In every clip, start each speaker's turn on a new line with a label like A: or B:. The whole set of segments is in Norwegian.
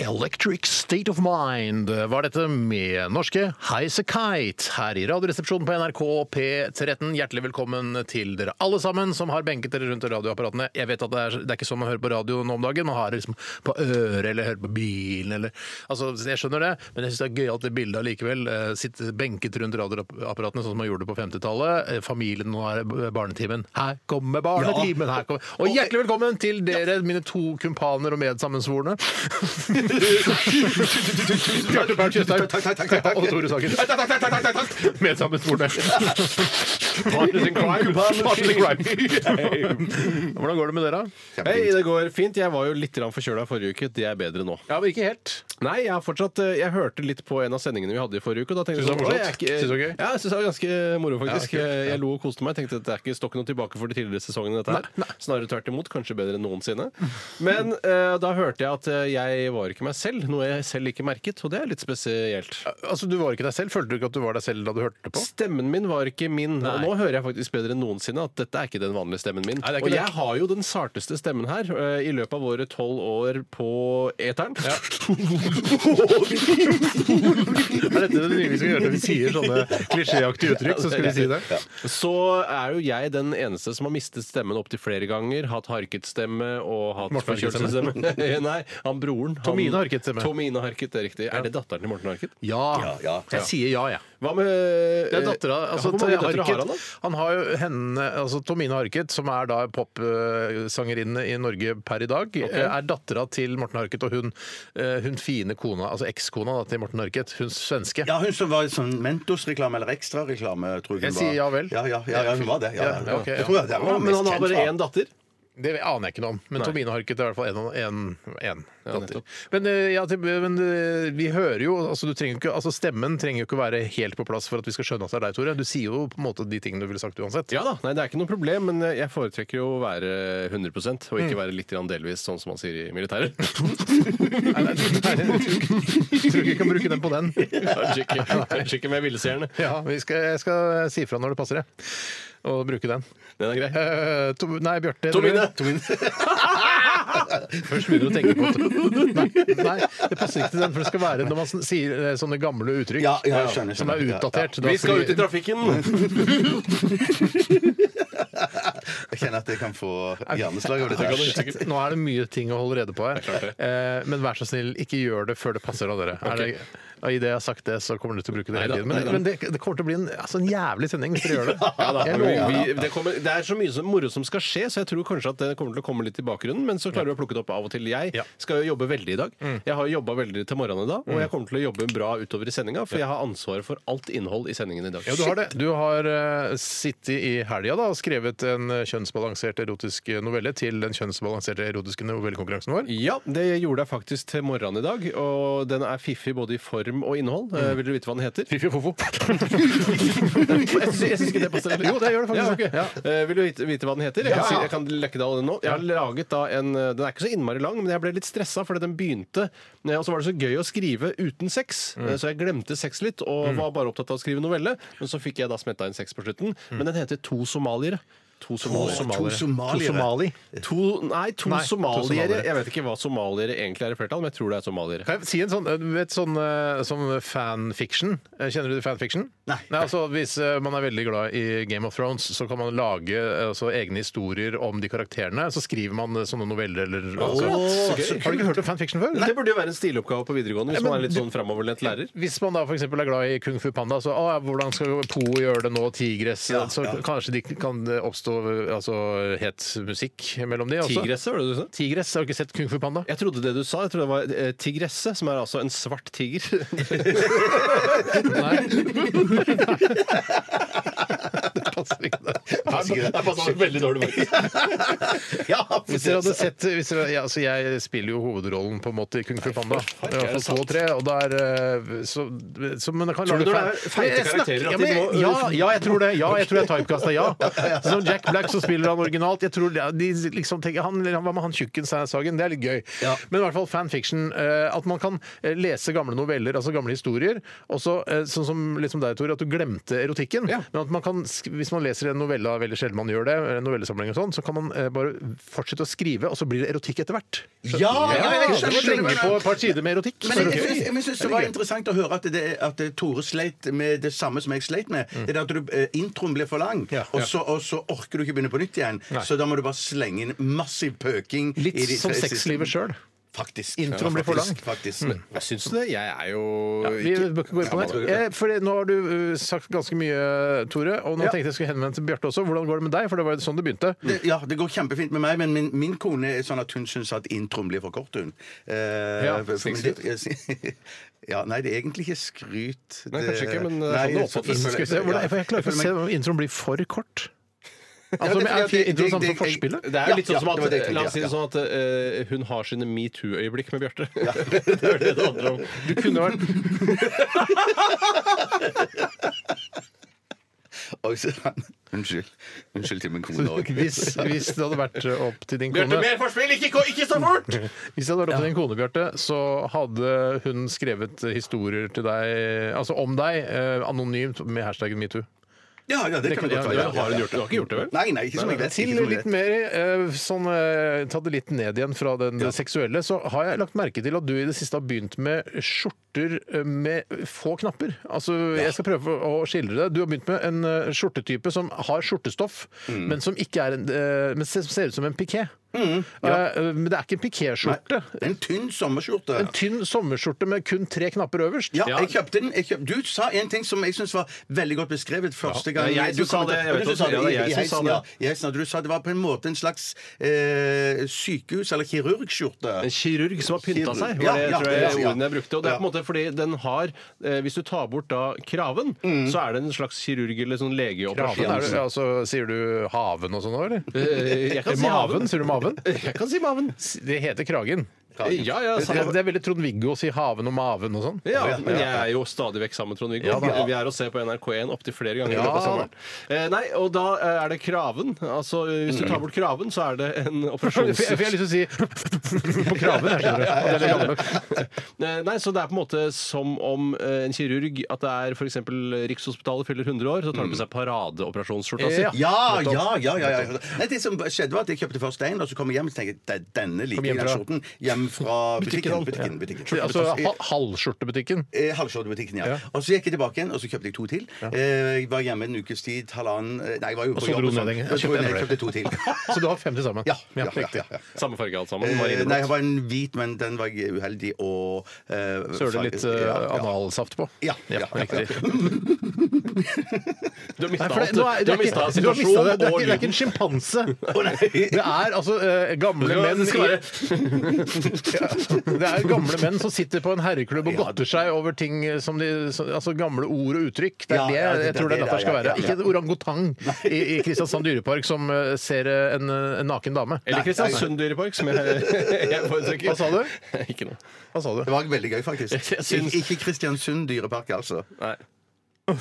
A: Electric State of Mind var dette med norske Highasakite her i Radioresepsjonen på NRK P13. Hjertelig velkommen til dere alle sammen som har benket dere rundt radioapparatene. Jeg vet at det er, det er ikke sånn man hører på radio nå om dagen. Man har det liksom på øret eller hører på bilen eller Altså, jeg skjønner det, men jeg syns det er gøyalt det bildet allikevel. Eh, Sitte benket rundt radioapparatene sånn som man gjorde det på 50-tallet. Eh, Familien, nå er det barnetimen. Her kommer barnetimen! Her kommer. Og hjertelig velkommen til dere, mine to kumpaner og medsammensvorne. Bjarte Bernt Tjøstheim og Tore Sagen. Med sammen sporene. Partners in crime. Partners in crime. Hvordan går det med dere?
B: Hei, det går fint. Jeg var jo litt grann forkjøla forrige uke. Det er bedre nå.
A: Ja, men ikke helt.
B: Nei, jeg har fortsatt eh, Jeg hørte litt på en av sendingene vi hadde i forrige uke. Og da tenkte
A: Synes du det var
B: sånn, «Oi, jeg er
A: morsomt?
B: ikke-
A: Synes du det var gøy?
B: Ja, jeg synes det var ganske moro, faktisk.
A: Ja, kult.
B: Eh, Jeg lo og koste meg. Tenkte at det er ikke står ikke noe tilbake for de tidligere sesongene, dette her. Snarere tvert imot. Kanskje bedre enn noensinne. Men eh, da hørte jeg at eh, jeg var ikke meg selv, noe jeg selv ikke merket, og det er litt spesielt.
A: Altså, Du var ikke deg selv. Følte du ikke at du var deg selv da du hørte det på?
B: Stemmen min var ikke min. Og nå hører jeg faktisk bedre enn noensinne at dette er ikke den vanlige stemmen min.
A: Nei, det er ikke
B: og
A: det.
B: jeg har jo den sarteste stemmen her eh, i løpet av våre tolv år på eteren.
A: Er dette det nye vi skal gjøre når vi sier sånne klisjéaktige uttrykk? Så skal vi si det.
B: Så er jo jeg den eneste som har mistet stemmen opptil flere ganger. Hatt harketstemme og hatt
A: Morten
B: forkjølelsesstemme. Eh, Nei, han broren. han-
A: Tomine Harket-stemme.
B: Tomine Harket, det er riktig. Er det datteren til Morten Harket?
A: Ja. Jeg sier ja, jeg.
B: Hva med
A: Det er dattera altså,
B: Hvor mange
A: til
B: døtre har han, da?
A: Harket. Han har jo henne altså Tomine Harket, som er da popsangerinne i Norge per i dag, eh, er dattera til Morten Harket og hun, eh, hun fine kona, altså ekskona da, til Morten Harket, hun svenske.
C: Ja, hun som var i sånn Mentos-reklame eller ekstrareklame, tror jeg
A: Jeg
C: hun var.
A: sier ja vel.
C: Ja, ja, ja, ja hun var det. Ja,
A: Ja, ok, ja.
C: Jeg tror jeg
B: Ja,
C: det var hun
B: men
C: mest
B: han har
C: kjent
B: bare
C: fra.
B: én datter?
A: Det aner jeg ikke noe om, men Tomine Harket er i hvert fall en, en, en datter.
B: nettopp.
A: Men, eh, ja, til- men eh, vi hører jo altså, du trenger ikke, altså Stemmen trenger jo ikke å være helt på plass for at vi skal skjønne at det er deg, Tore. Du sier jo på en måte de tingene du ville sagt uansett.
B: Ja da, nei, det er ikke noe problem, men jeg foretrekker jo å være 100 og ikke
A: Mm.
B: være litt grann delvis, sånn som man sier i militæret.
A: Nei, nei, nei, nei, jeg tror ikke- jeg tror ikke jeg kan bruke den på den.
B: Kanskje ikke, kanskje ikke med villseerne.
A: Ja, vi skal, jeg skal si fra når det passer, jeg. Og bruke den.
B: Den er grei.
A: Eh, to, nei, Bjarte.
B: Tomine!
A: Først begynner du å tenke på det. Nei, nei, det passer ikke til den, for det skal være når man sn- sier eh, sånne gamle uttrykk
C: Ja, ja, jeg skjønner,
A: som er
C: skjønner. Ja,
A: utdatert. Da
B: Vi skal
A: fordi-
B: ut i trafikken!
C: Jeg kjenner at jeg kan få hjerneslag av dette. her.
A: Shit, Nå er det mye ting å holde rede på her. Eh, Men vær så snill, ikke gjør det før det passer av dere. Er det, og I det jeg har sagt det, så kommer dere til å bruke det hele
B: Neida,
A: tiden. Men,
B: neida.
A: men det, det kommer til å bli en, altså en jævlig sending hvis dere gjør det.
B: Ja da,
A: Jeg
B: men
A: lover.
B: vi, det, kommer, det er så mye som, moro som skal skje, så jeg tror kanskje at det kommer til å komme litt i bakgrunnen. Men så klarer vi å plukke det opp av og til. Jeg
A: Ja. Mm.
B: skal jo jobbe veldig i dag. Jeg har jobba veldig til morgenen i dag, og jeg kommer til å jobbe bra utover i sendinga, for jeg har ansvaret for alt innhold i sendingen i dag.
A: Ja, du har det. Du har eh, sittet i helga da, og skrevet en eh, kjønnsbalansert erotisk eh, novelle til den kjønnsbalanserte erotiske novellekonkurransen vår.
B: Ja, det gjorde jeg faktisk til morgenen i dag. Og den er fiffig både i form og innhold. Eh, Vil dere vite hva den heter?
A: Fiffi og Fofo.
B: Jeg sy- jeg syns ikke det passer.
A: Jo, det gjør det faktisk.
B: Ja, ok. Eh, Vil du vite, vite hva den heter? Jeg kan, si, jeg kan lekke deg av den nå. Jeg har laget da en eh, Den er ikke så innmari lang, men jeg ble litt stressa fordi den begynte. eh, Og så var det så gøy å skrive uten sex, eh, så jeg glemte sex litt og var bare opptatt av å skrive novelle. Men så fikk jeg da smetta inn sex på slutten. Men den heter To somaliere. To somaliere.
C: To somaliere.
A: To somali.
B: To, nei, to
A: Nei, to
B: somaliere.
A: somaliere.
B: Jeg vet ikke hva somaliere egentlig er i flertall, men jeg tror det er somaliere.
A: Kan jeg si en sånn, du vet, sånn, eh, sånn fanfiction? Eh, Kjenner du til fanfiction?
C: Nei.
A: altså, hvis eh, man er veldig glad i Game of Thrones, så kan man lage eh, altså, egne historier om de karakterene. Så skriver man eh, sånne noveller eller altså.
B: så gøy.
A: Har du ikke hørt om fanfiction før?
B: Det burde jo være en stiloppgave på videregående hvis
A: men
B: man er litt sånn framoverlent lærer.
A: Hvis man da for eksempel er glad i Kung Fu Panda, så «Å, ja, hvordan skal Po gjøre det nå, Tigres? så kanskje de kan det oppstå altså, het musikk mellom de. også.
B: Tigresse, var det du sa?
A: Tigress, har du ikke sett Kung Fu Panda?
B: Jeg trodde det du sa, jeg trodde det var eh, tigresse, som er altså en svart tiger.
A: Nei. det passer ikke det.
C: ikke det.
B: passer sånn veldig dårlig. faktisk.
C: Ja, for
A: Hvis dere hadde sett hvis dere, ja, altså Jeg spiller jo hovedrollen på en måte i Kung Fu Panda. I hvert fall to og tre. Og der, eh, så, så, men jeg kan
B: Tror du
A: lage
B: det er
A: feil-
B: feite
A: Jeg snakker-
B: karakterer, at
A: Ja,
B: de
A: men,
B: må-
A: ja, ja, jeg tror det. Ja, jeg tror jeg typecasta, ja. Som Jack Black så spiller han originalt. Jeg tror ja, de liksom tenker, han, eller han- Hva med han tjukken sa- Sagen? Det er litt gøy. Men i hvert fall fanfiction. eh, At man kan eh, lese gamle noveller, altså gamle historier. Også, eh, sånn som liksom deg, Tore, at du glemte erotikken.
B: Ja.
A: Men at man kan, sk- hvis man leser en novelle, det er veldig sjelden man gjør det, en novellesamling og sånn, så kan man eh, bare fortsette å skrive, og så blir det erotikk etter hvert.
C: Ja, ja, jeg
A: Så
C: skjønner,
A: Slenge
C: skjønner.
A: på et par sider med erotikk.
C: Men
A: så er
C: jeg,
A: det
C: jeg,
A: gøy.
C: synes- jeg, synes det var interessant å høre at, det, at det Tore sleit med det samme som jeg sleit med. Det er at du, eh, Introen blir for lang,
A: Mm. Ja.
C: og, så, og så orker du ikke begynne på nytt igjen. Så da må du bare slenge inn massiv pøking. i
A: Litt
C: de
A: som
C: tre siste-
A: sexlivet sjøl.
C: Faktisk.
A: Introen blir for lang. Mm.
C: Faktisk, Faktisk.
B: Jeg syns det. Jeg er jo
A: Ja, vi
B: ikke
A: bør ikke gå inn på det. Eh, For nå har du uh, sagt ganske mye, Tore. Og nå
B: Ja.
A: tenkte jeg skulle henvende til Bjarte også. Hvordan går det med deg? For det var jo sånn det begynte.
C: Det, ja, det går kjempefint med meg, men min, min kone er sånn at hun syns at introen blir for kort. Hun. Eh,
A: Ja,
C: for- for- men
A: snikskryt.
C: det- ja, nei, det er egentlig ikke skryt.
B: Nei, kanskje ikke, men det
A: eh,
B: er
C: Nei,
B: sånn det
C: så-
B: oppfattes.
A: Skal vi se, hvordan, for jeg klarer ikke å se om introen blir for kort. Altså,
C: det-
A: men er
C: det- det-
A: introen samme som
C: det- jeg-
A: forspillet?
B: Det er jo
C: Ja,
B: litt sånn
C: ja,
B: som at,
C: det var det jeg tenkte,
B: la oss si
C: ja,
B: det sånn at eh, hun har sine metoo-øyeblikk med Bjarte. det er det det handler om. Du kunne vært
C: Oi, så-
B: sånn-
C: Unnskyld. Unnskyld til min kone òg.
A: Hvis, hvis det hadde vært eh, opp til din
B: Bjarte,
A: kone
B: mer forspill! Ikke, ikke så fort!
A: Hvis det hadde vært opp til din kone, Bjarte, så hadde hun skrevet historier til deg, altså om deg, eh, anonymt med hashtaggen metoo.
C: Ja, ja, det kan
A: kan-
C: det godt
A: ja,
C: være.
A: det
C: ja, ja,
B: Har hun
C: ja.
B: gjort det? Du har ikke gjort det, vel?
C: Nei, nei, ikke som jeg vet.
A: Til
C: ikke som jeg
A: litt
C: vet.
A: mer eh, sånn eh, Ta det litt ned igjen fra den seksuelle. Så har jeg lagt merke til at du i det siste har begynt med skjorter eh, med få knapper. Altså, Jeg skal prøve å skildre det. Du har begynt med en eh, skjortetype som har skjortestoff,
C: Mm.
A: men som ikke er en, eh, men ser, ser ut som en piké. Eh, men det er ikke en pikéskjorte.
C: Det er En tynn sommerskjorte.
A: En tynn sommerskjorte med kun tre knapper øverst.
C: Ja, jeg kjøpte den. Jeg kjøp... Du sa en ting som jeg syns var veldig godt beskrevet første gang.
B: det er jeg
C: du
B: som sa
C: kommenterte-
B: det, jeg vet
C: Du sa
B: også. Ja,
C: det
B: det
C: i-
B: er jeg som
C: i
B: sa
C: heisen,
B: det.
C: ja. I heisen, at Du sa det var på en måte en slags eh, sykehus- eller kirurgskjorte.
B: En kirurg som har pynta
C: Kirurg.
B: seg, var
C: Ja,
B: det
C: ja,
B: tror jeg
C: ja, ja.
B: ordene jeg brukte. Og det er på en måte fordi den har eh, Hvis du tar bort da kraven, så er det en slags kirurg eller sånn
A: Raven,
B: legeoperasjon.
A: er det, altså, sier du haven og sånn òg, eller?
B: Eh, Jeg kan si
A: Maven,
B: haven.
A: sier du maven?
B: Jeg kan si maven.
A: Det heter kragen.
B: Ja, ja,
A: Det
B: samme-
A: er, det er veldig Trond-Viggo å si haven og maven og sånn.
B: Ja, men jeg er jo stadig vekk sammen med Trond-Viggo. Vi er og ser på NRK1 opptil flere ganger. i
A: Ja.
B: løpet av sommeren. Eh, nei, og da eh, er det kraven. Altså, eh, hvis du tar bort kraven, så er det en
A: For jeg, for jeg har
B: operasjons...
A: lyst til å si på kraven. Jeg skjønner. det. Det er det gamle.
B: Eh, Nei, så det er på en måte som om eh, en kirurg At det er f.eks. Rikshospitalet fyller 100 år, så tar han på seg paradeoperasjonsskjorta si.
A: Mm. Ja.
C: Ja, ja, ja, ja, ja. Nei, Det som skjedde var at jeg kjøpte først en, og så kom jeg hjem og tenkte jeg, denne liker
A: hjem
C: jeg
A: fra-
C: skjorten. Hjem fra butikken. butikken, butikken.
A: Altså ha- halvskjortebutikken.
C: Eh, Halvskjortebutikken, ja.
A: Ja.
C: Og så gikk jeg tilbake igjen, og så kjøpte jeg to til. Eh, jeg var hjemme en ukes tid, halvannen eh, Nei, jeg var jo
A: Og
C: på
A: så
C: jobb.
A: dro
C: og
A: du
C: sånn.
A: ned igjen.
C: Jeg
A: Jeg kjøpte
C: kjøpte-
A: en
C: jeg
A: mer.
C: kjøpte to til.
A: Så du har fem til sammen?
C: Ja, ja, ja,
A: riktig.
C: ja, ja.
B: Samme farge alt sammen.
C: Eh,
B: Marineblått.
C: Nei, jeg har en hvit, men den var jeg uheldig og eh,
A: Søler
C: farge-
A: litt eh,
C: ja, ja.
A: analsaft på.
C: Ja, ja, ja.
A: riktig.
B: Du har mista
A: Nei, for det,
B: alt.
A: nå er,
B: Du
A: det,
B: har
A: er ikke, du
B: mista
A: har mistet det.
B: situasjonen
A: det er
B: og
A: ikke, det er ikke
B: lyden.
A: en sjimpanse. Det er altså eh, gamle
B: Ja,
A: menn
B: det skal
A: i-
B: være-
A: Ja, Det er gamle menn som sitter på en herreklubb og godter seg over ting eh, som de som- Altså gamle ord og uttrykk. Det er
C: Ja,
A: det
C: ja, det-
A: jeg tror
C: det
A: det
C: er
A: dette
C: det,
A: skal
C: ja,
A: være.
C: ja, ja.
A: Ikke en orangutang i, i Kristiansand dyrepark som eh, ser eh, en, eh, en naken dame.
B: Eller Kristiansund Dyrepark, som jeg, jeg foretrekker.
A: Hva sa du?
B: Ikke noe.
A: Hva sa du?
C: Det var veldig gøy, faktisk.
B: Jeg- jeg syns-
C: Ik ikke Kristiansund dyrepark, altså.
B: Nei.
A: Nei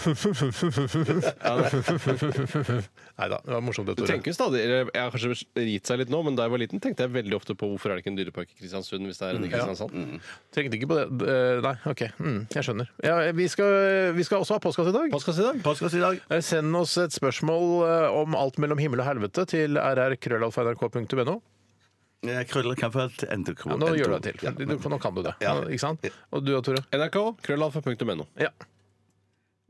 A: da, det var morsomt. det,
B: Du
A: Tore.
B: tenker jo stadig, eller Jeg har kanskje gitt seg litt nå, men da jeg var liten, tenkte jeg veldig ofte på hvorfor er det ikke en dyrepark i Kristiansund hvis det er en
A: Mm.
B: i Kristiansand.
A: Tenkte ikke på det. Eh, Nei, OK. Mm, jeg skjønner. Ja, vi, skal, vi skal også ha postkasse i dag.
B: Postkasse i dag.
C: Postkasse i dag.
A: Eh, Send oss et spørsmål eh, om alt mellom himmel og helvete til rrkrøllalfa.nrk.no.
C: Eh, Krøller kan få et endekro.
A: Ja, nå gjør du det til. Du, for nå kan du det.
C: Ja.
A: Ikke sant? Og du da, Tore?
B: NRK, krøllalfa.no.
A: Ja.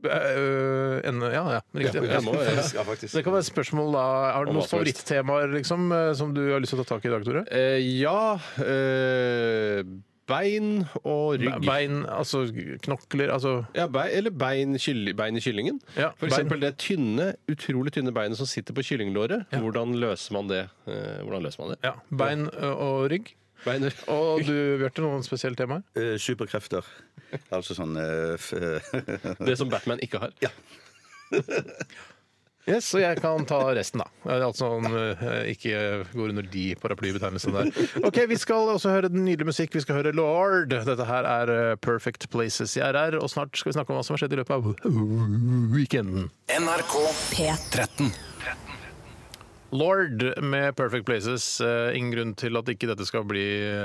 A: Eh, en, ja, ja, riktig.
B: Ja, nå er det-
C: Ja, faktisk.
A: Det kan være spørsmål da. Har du
B: Om
A: noen
B: hva som helst.
A: favorittemaer liksom, eh, som du har lyst til å ta tak i i dag, Tore?
B: Eh, ja eh, Bein og rygg.
A: Bein, altså knokler altså,
B: Ja, bei, eller bein, kylli- bein i kyllingen.
A: Ja,
B: For
A: bein.
B: eksempel det tynne, utrolig tynne beinet som sitter på kyllinglåret. Hvordan løser man det? Eh, hvordan løser man det?
A: ja, Bein eh, og rygg.
B: Bein,
A: Og du, Bjarte, noen spesielle temaer?
C: Eh, superkrefter. Altså sånn eh, f-
B: det som Batman ikke har.
C: Ja.
A: Yes, så jeg kan ta resten, da. Eh, Altså om eh, ikke går under de paraplybetegnelsene der. Ok, Vi skal også høre den nydelige musikk. Vi skal høre Lord. Dette her er eh, Perfect Places i RR. Og snart skal vi snakke om hva som har skjedd i løpet av weekenden.
D: NRK
E: P13.
A: Lord med Perfect Places. Eh, Ingen grunn til at ikke dette skal bli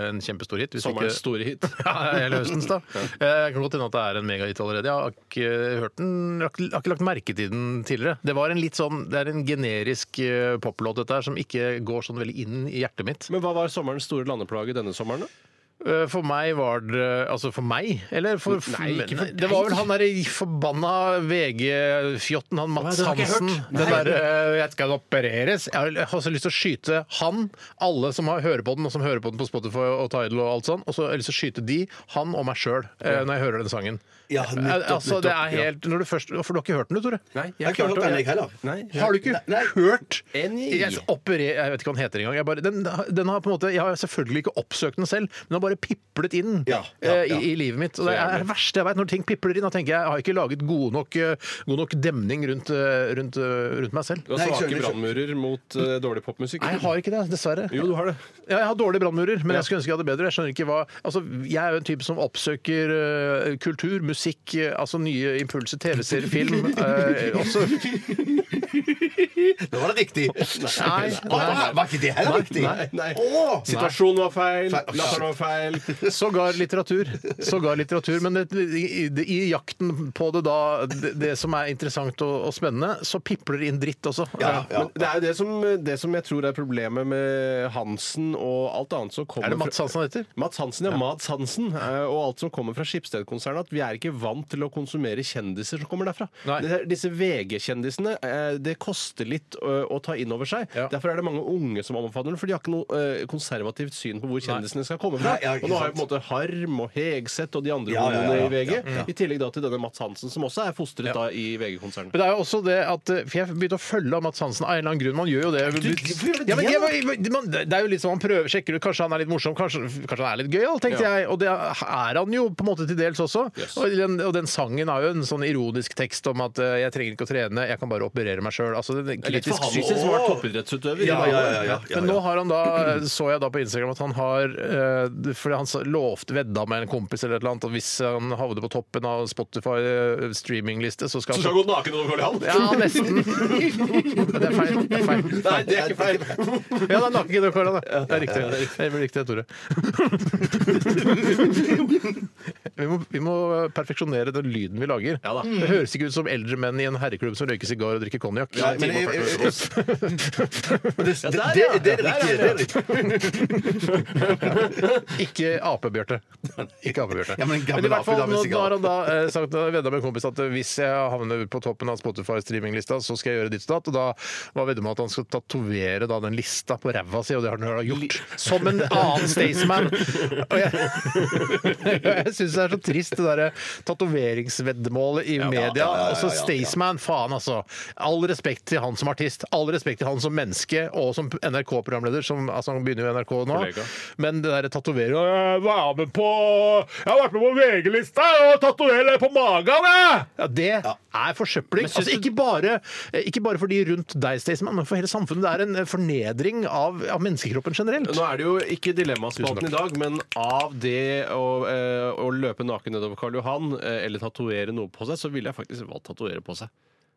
A: en kjempestor hit. hvis
B: Sommerens
A: ikke-
B: store hit.
A: Ja, eller høstens, da. Eh, kan godt hende at det er en megahit allerede. Jeg har ikke eh, hørt den, har ikke- har ikke lagt merke til den tidligere. Det var en litt sånn, det er en generisk eh, poplåt dette her, som ikke går sånn veldig inn i hjertet mitt.
B: Men hva var sommerens store landeplage denne sommeren, da?
A: Eh, For meg var det Altså for meg? Eller for
B: Nei, ikke for
A: Nei, Det var vel han derre forbanna VG-fjotten, han Mats
B: Nei, det har jeg ikke
A: Hansen.
B: hørt.
A: Den derre eh, 'jeg skal opereres'. Jeg har- jeg har også lyst til å skyte han, alle som har, hører på den, og som hører på den på Spotify og Tidal og alt sånn, og så har jeg lyst til å skyte de, han og meg sjøl, eh, når jeg hører den sangen.
C: Ja, nettopp,
A: altså, det er
C: nettopp, ja.
A: helt når du først, For du har ikke hørt den, du, Tore?
B: Nei,
C: Jeg har ikke hørt den, jeg heller.
B: Nei,
A: Har du ikke
C: Nei.
A: hørt
B: En i-
A: jeg, operer, jeg vet ikke hva den heter engang. Jeg, bare, den, den har på en måte, jeg har selvfølgelig ikke oppsøkt den selv, men den har bare piplet inn
C: Ja, ja,
A: eh,
C: ja.
A: I, i livet mitt. Og det er det verste jeg vet. Når ting pipler inn, da tenker jeg jeg har ikke laget god nok, eh, god nok demning rundt, eh, rundt, eh, rundt meg selv.
B: Du har
C: Nei, jeg
B: svake
C: skjønner,
B: brannmurer mot eh, dårlig popmusikk?
A: Nei, jeg har ikke det, dessverre.
B: Jo, du har det.
A: Ja, jeg har dårlige brannmurer, men
B: Ja.
A: jeg skulle ønske jeg hadde bedre. Jeg skjønner ikke hva Altså, jeg er jo en type som oppsøker eh, kultur, musikk, eh, altså nye impulser, TV-serier, film eh, også.
C: Nå var det riktig.
A: Nei,
C: Å, var ikke det heller riktig?
B: Nei, nei.
C: Å!
B: Situasjonen var feil,
C: Feil.
B: latteren var feil.
A: Sågar litteratur. Sågar litteratur. Men det, i, det- i jakten på det da, det, det som er interessant og, og spennende, så pipler det inn dritt også.
C: Ja, ja.
B: Men det er jo det som, det som jeg tror er problemet med Hansen og alt annet som kommer
A: Er det Mats Hansen han heter?
B: Fra Mats Hansen, ja. Mads Hansen. eh, Og alt som kommer fra Skipsted-konsernet. At vi er ikke vant til å konsumere kjendiser som kommer derfra.
A: Nei.
B: Det- Disse VG-kjendisene, eh, det koster litt å, å ta inn over seg.
A: Ja.
B: Derfor er det mange unge som omfavner det, for de har ikke noe eh, konservativt syn på hvor kjendisene skal komme fra.
C: Nei, ja, ikke
B: og nå har jo på en
C: sant.
B: måte Harm og Hegseth og de andre
C: Ja, ja, ja, ja.
B: homoene i VG.
C: Ja, ja.
B: I tillegg da til denne Mats Hansen, som også er fostret da i VG-konsernet.
A: Men det er jo også det at eh, For jeg begynte å følge av Mats Hansen av en eller annen grunn. Man gjør jo det.
B: hvorfor gjør du det
A: Ja, men jeg,
B: da?
A: var- man, det er jo litt sånn man prøver, sjekker ut Kanskje han er litt morsom, kanskje, kanskje han er litt gøyal, tenkte
B: Ja.
A: jeg. Og det er han jo på en måte til dels også.
B: Yes.
A: Og, den, og den sangen har jo en sånn ironisk tekst om at eh, jeg trenger ikke å trene, jeg kan bare operere meg sjøl. Altså, den
B: Det er lett for
A: kritisk
B: han også, som var toppidrettsutøver.
C: Ja, ja, ja, ja, ja,
A: Men nå
C: ja.
A: har han da, så jeg da på Instagram at han har eh, Fordi han sa- lovte vedda med en kompis eller et eller annet, og hvis han havner på toppen av Spotify eh, streamingliste, så skal han
B: Så skal han gå naken over Karl Johan?
A: ja, nesten. Det er feil. Det er feil.
B: Nei, det er ikke feil.
A: Ja, det er naken og koran, da. Det er riktig. Det blir riktig, Tore. Vi må, vi må perfeksjonere den lyden vi lager.
B: Ja da.
A: Det høres ikke ut som eldre menn i en herreklubb som røyker sigar og drikker konjakk.
C: Nei, men jeg, jeg, jeg, det, det, det, det, det er det riktige. Det er det riktige.
A: Ikke Ape-Bjarte. Ikke Ape-Bjarte.
C: Ja, men en gammel
A: i hvert fall,
C: ape, da, med
A: nå
C: sigar.
A: nå har han da eh, sagt da vedda med en kompis at eh, hvis jeg havner på toppen av Spotify-streaminglista, så skal jeg gjøre ditt og datt. Og da var vedda med at han skal tatovere da den lista på ræva si, og det har han jo da gjort. Som en annen Staysman. Og jeg, jeg syns det er så trist, det derre tatoveringsveddemålet i media.
C: ja, ja, ja,
A: Altså
C: ja.
A: Staysman, faen altså. All respekt til han som artist, all respekt til han som menneske og som NRK-programleder, som altså, han begynner jo i NRK nå.
B: Kollega.
A: Men det derre tatoveringa Jeg var med på Jeg har vært med på VG-lista og tatoverer på magen, jeg! Ja, det er forsøpling. Altså, ikke, bare, eh, ikke bare for de rundt deg, Staysman, men for hele samfunnet. Det er en eh, fornedring av, av menneskekroppen generelt.
B: Nå er det jo ikke Dilemmaspalten i
A: Tusen
B: dag, men av det å, eh, å løpe naken nedover Karl Johan eh, eller tatovere noe på seg, så ville jeg faktisk valgt tatovere på seg.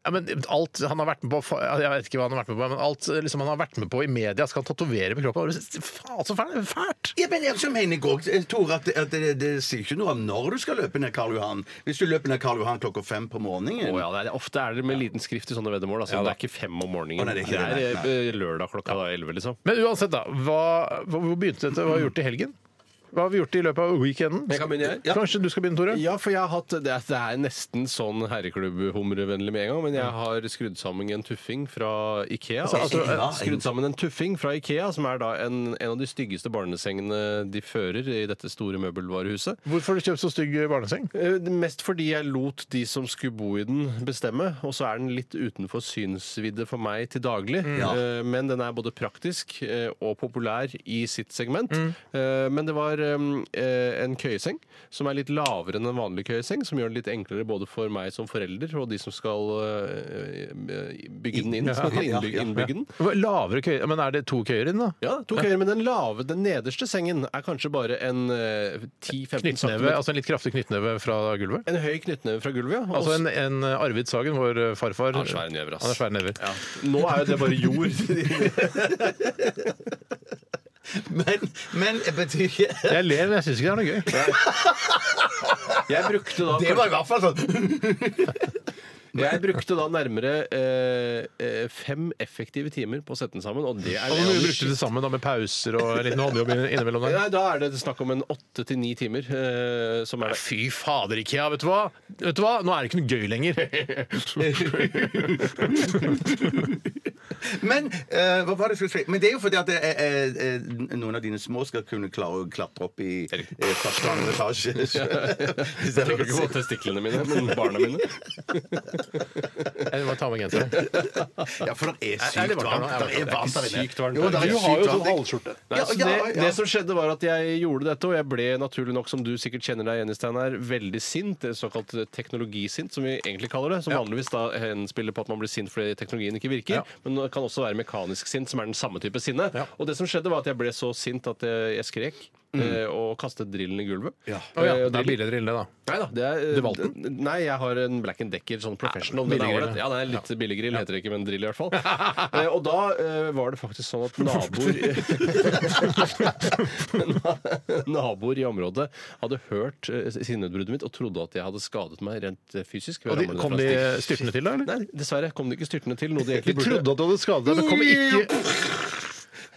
A: Ja, men alt han har vært med på fa- Jeg vet ikke hva han har vært med på, men alt liksom, han har vært med på i media, skal han tatovere på kroppen? Faen, så fæl- fælt!
C: Ja, men jeg også mener jeg også, Tore, at, at det, det sier ikke noe om når du skal løpe ned Karl Johan. Hvis du løper ned Karl Johan klokka fem på morgenen
B: Å ja, det er, ofte er det med liten skrift i sånne veddemål. Altså, det er ikke fem om morgenen.
C: Å, nei, det er ikke det,
B: det er
C: nei,
B: eh, lørdag klokka da elleve, liksom.
A: Men uansett, da. Hva, hva- hvor begynte dette? Hva har vi gjort i helgen? Hva har vi gjort i løpet av weekenden?
B: Jeg kan begynne, jeg. Ja.
A: Kanskje du skal begynne, Tore?
B: Ja, for jeg har hatt Det er, det er nesten sånn herreklubb-humrevennlig med en gang, men jeg har skrudd sammen en tuffing fra Ikea. Altså,
C: Ja,
B: skrudd sammen en tuffing fra Ikea, som er da en, en av de styggeste barnesengene de fører i dette store møbelvarehuset.
A: Hvorfor har du kjøpt så stygg barneseng?
B: Eh, Mest fordi jeg lot de som skulle bo i den, bestemme. Og så er den litt utenfor synsvidde for meg til daglig.
A: Mm.
C: Ja.
A: Mm.
B: Eh, Men den er både praktisk eh, og populær i sitt segment. Eh, Men det var har um, eh, en køyeseng som er litt lavere enn en vanlig køyeseng, som gjør det litt enklere både for meg som forelder og de som skal eh, bygge den inn. som skal innbygge, innbygge den.
A: Hva- Lavere køyer? Men er det to køyer inn, da?
B: Ja, to køyer, men den lave, den nederste sengen er kanskje bare en eh, 10-15
A: Knyttneve,
B: cm.
A: altså en litt kraftig knyttneve fra gulvet?
B: En høy knyttneve fra gulvet, ja. Og
A: Altså en, en Arvid Sagen, vår eh, farfar.
B: Han har svære never, ass.
A: Han har svære never.
B: Nå er jo det bare jord.
C: Men, men det betyr ikke
A: Jeg ler, men jeg syns ikke det er noe gøy.
B: Jeg brukte da,
C: Det var i hvert fall sånn
B: jeg brukte da nærmere eh, eh, fem effektive timer på å sette den sammen, og det er
A: Og Hvor mye brukte du det sammen da med pauser og en liten håndjobb inn- innimellom der?
B: Nei, da er det snakk om en åtte til ni timer eh, som er det.
A: Fy fader, Ikea, vet du hva? Vet du hva? Nå er det ikke noe gøy lenger.
C: Men eh, hva var det jeg skulle si? Men det er jo fordi at eh, eh, eh, noen av dine små skal kunne klare å klatre opp i eh, første andre etasje.
B: Jeg tenker ikke på testiklene mine, men barna mine.
A: Jeg må ta med genseren.
C: Ja, for det er
A: Er det
C: sykt
A: varmt
C: varmt.
A: her?
C: Det er varmt der inne.
B: Sykt varmt.
C: Jo, det er jo sykt varmt.
B: sånn halvskjorte. Nei,
C: Ja,
B: så
C: ja,
B: det,
C: ja.
B: det som skjedde, var at jeg gjorde dette, og jeg ble naturlig nok, som du sikkert kjenner deg igjen i, Steinar, veldig sint. det Såkalt teknologisint, som vi egentlig kaller det. Som vanligvis da henspiller på at man blir sint fordi teknologien ikke virker.
A: Ja.
B: Men det kan også være mekanisk sint, som er den samme type sinne.
A: Ja.
B: Og det som skjedde, var at jeg ble så sint at jeg, jeg skrek. eh, Og kastet drillen i gulvet. Eh, Ja.
A: Å ja, det er billigere ille, da.
B: Nei da. Det er,
A: Du valgte
B: Nei, jeg har en Black Decker, sånn professional.
A: Ja,
B: men det er
A: billig
B: ålreit.
A: grill.
B: ja, det er litt billig grill, heter det ikke, men drill i hvert fall. Eh, og da eh, var det faktisk sånn at naboer Naboer i området hadde hørt eh, sinneutbruddet mitt og trodde at jeg hadde skadet meg rent eh, fysisk. ved å
A: Og de,
B: ramle ned
A: kom
B: fra
A: de
B: en stig.
A: styrtende til, da? eller?
B: Nei, dessverre kom de ikke styrtende til. Noe de
A: De
B: egentlig
A: trodde at
B: burde
A: du hadde skadet deg, men kom ikke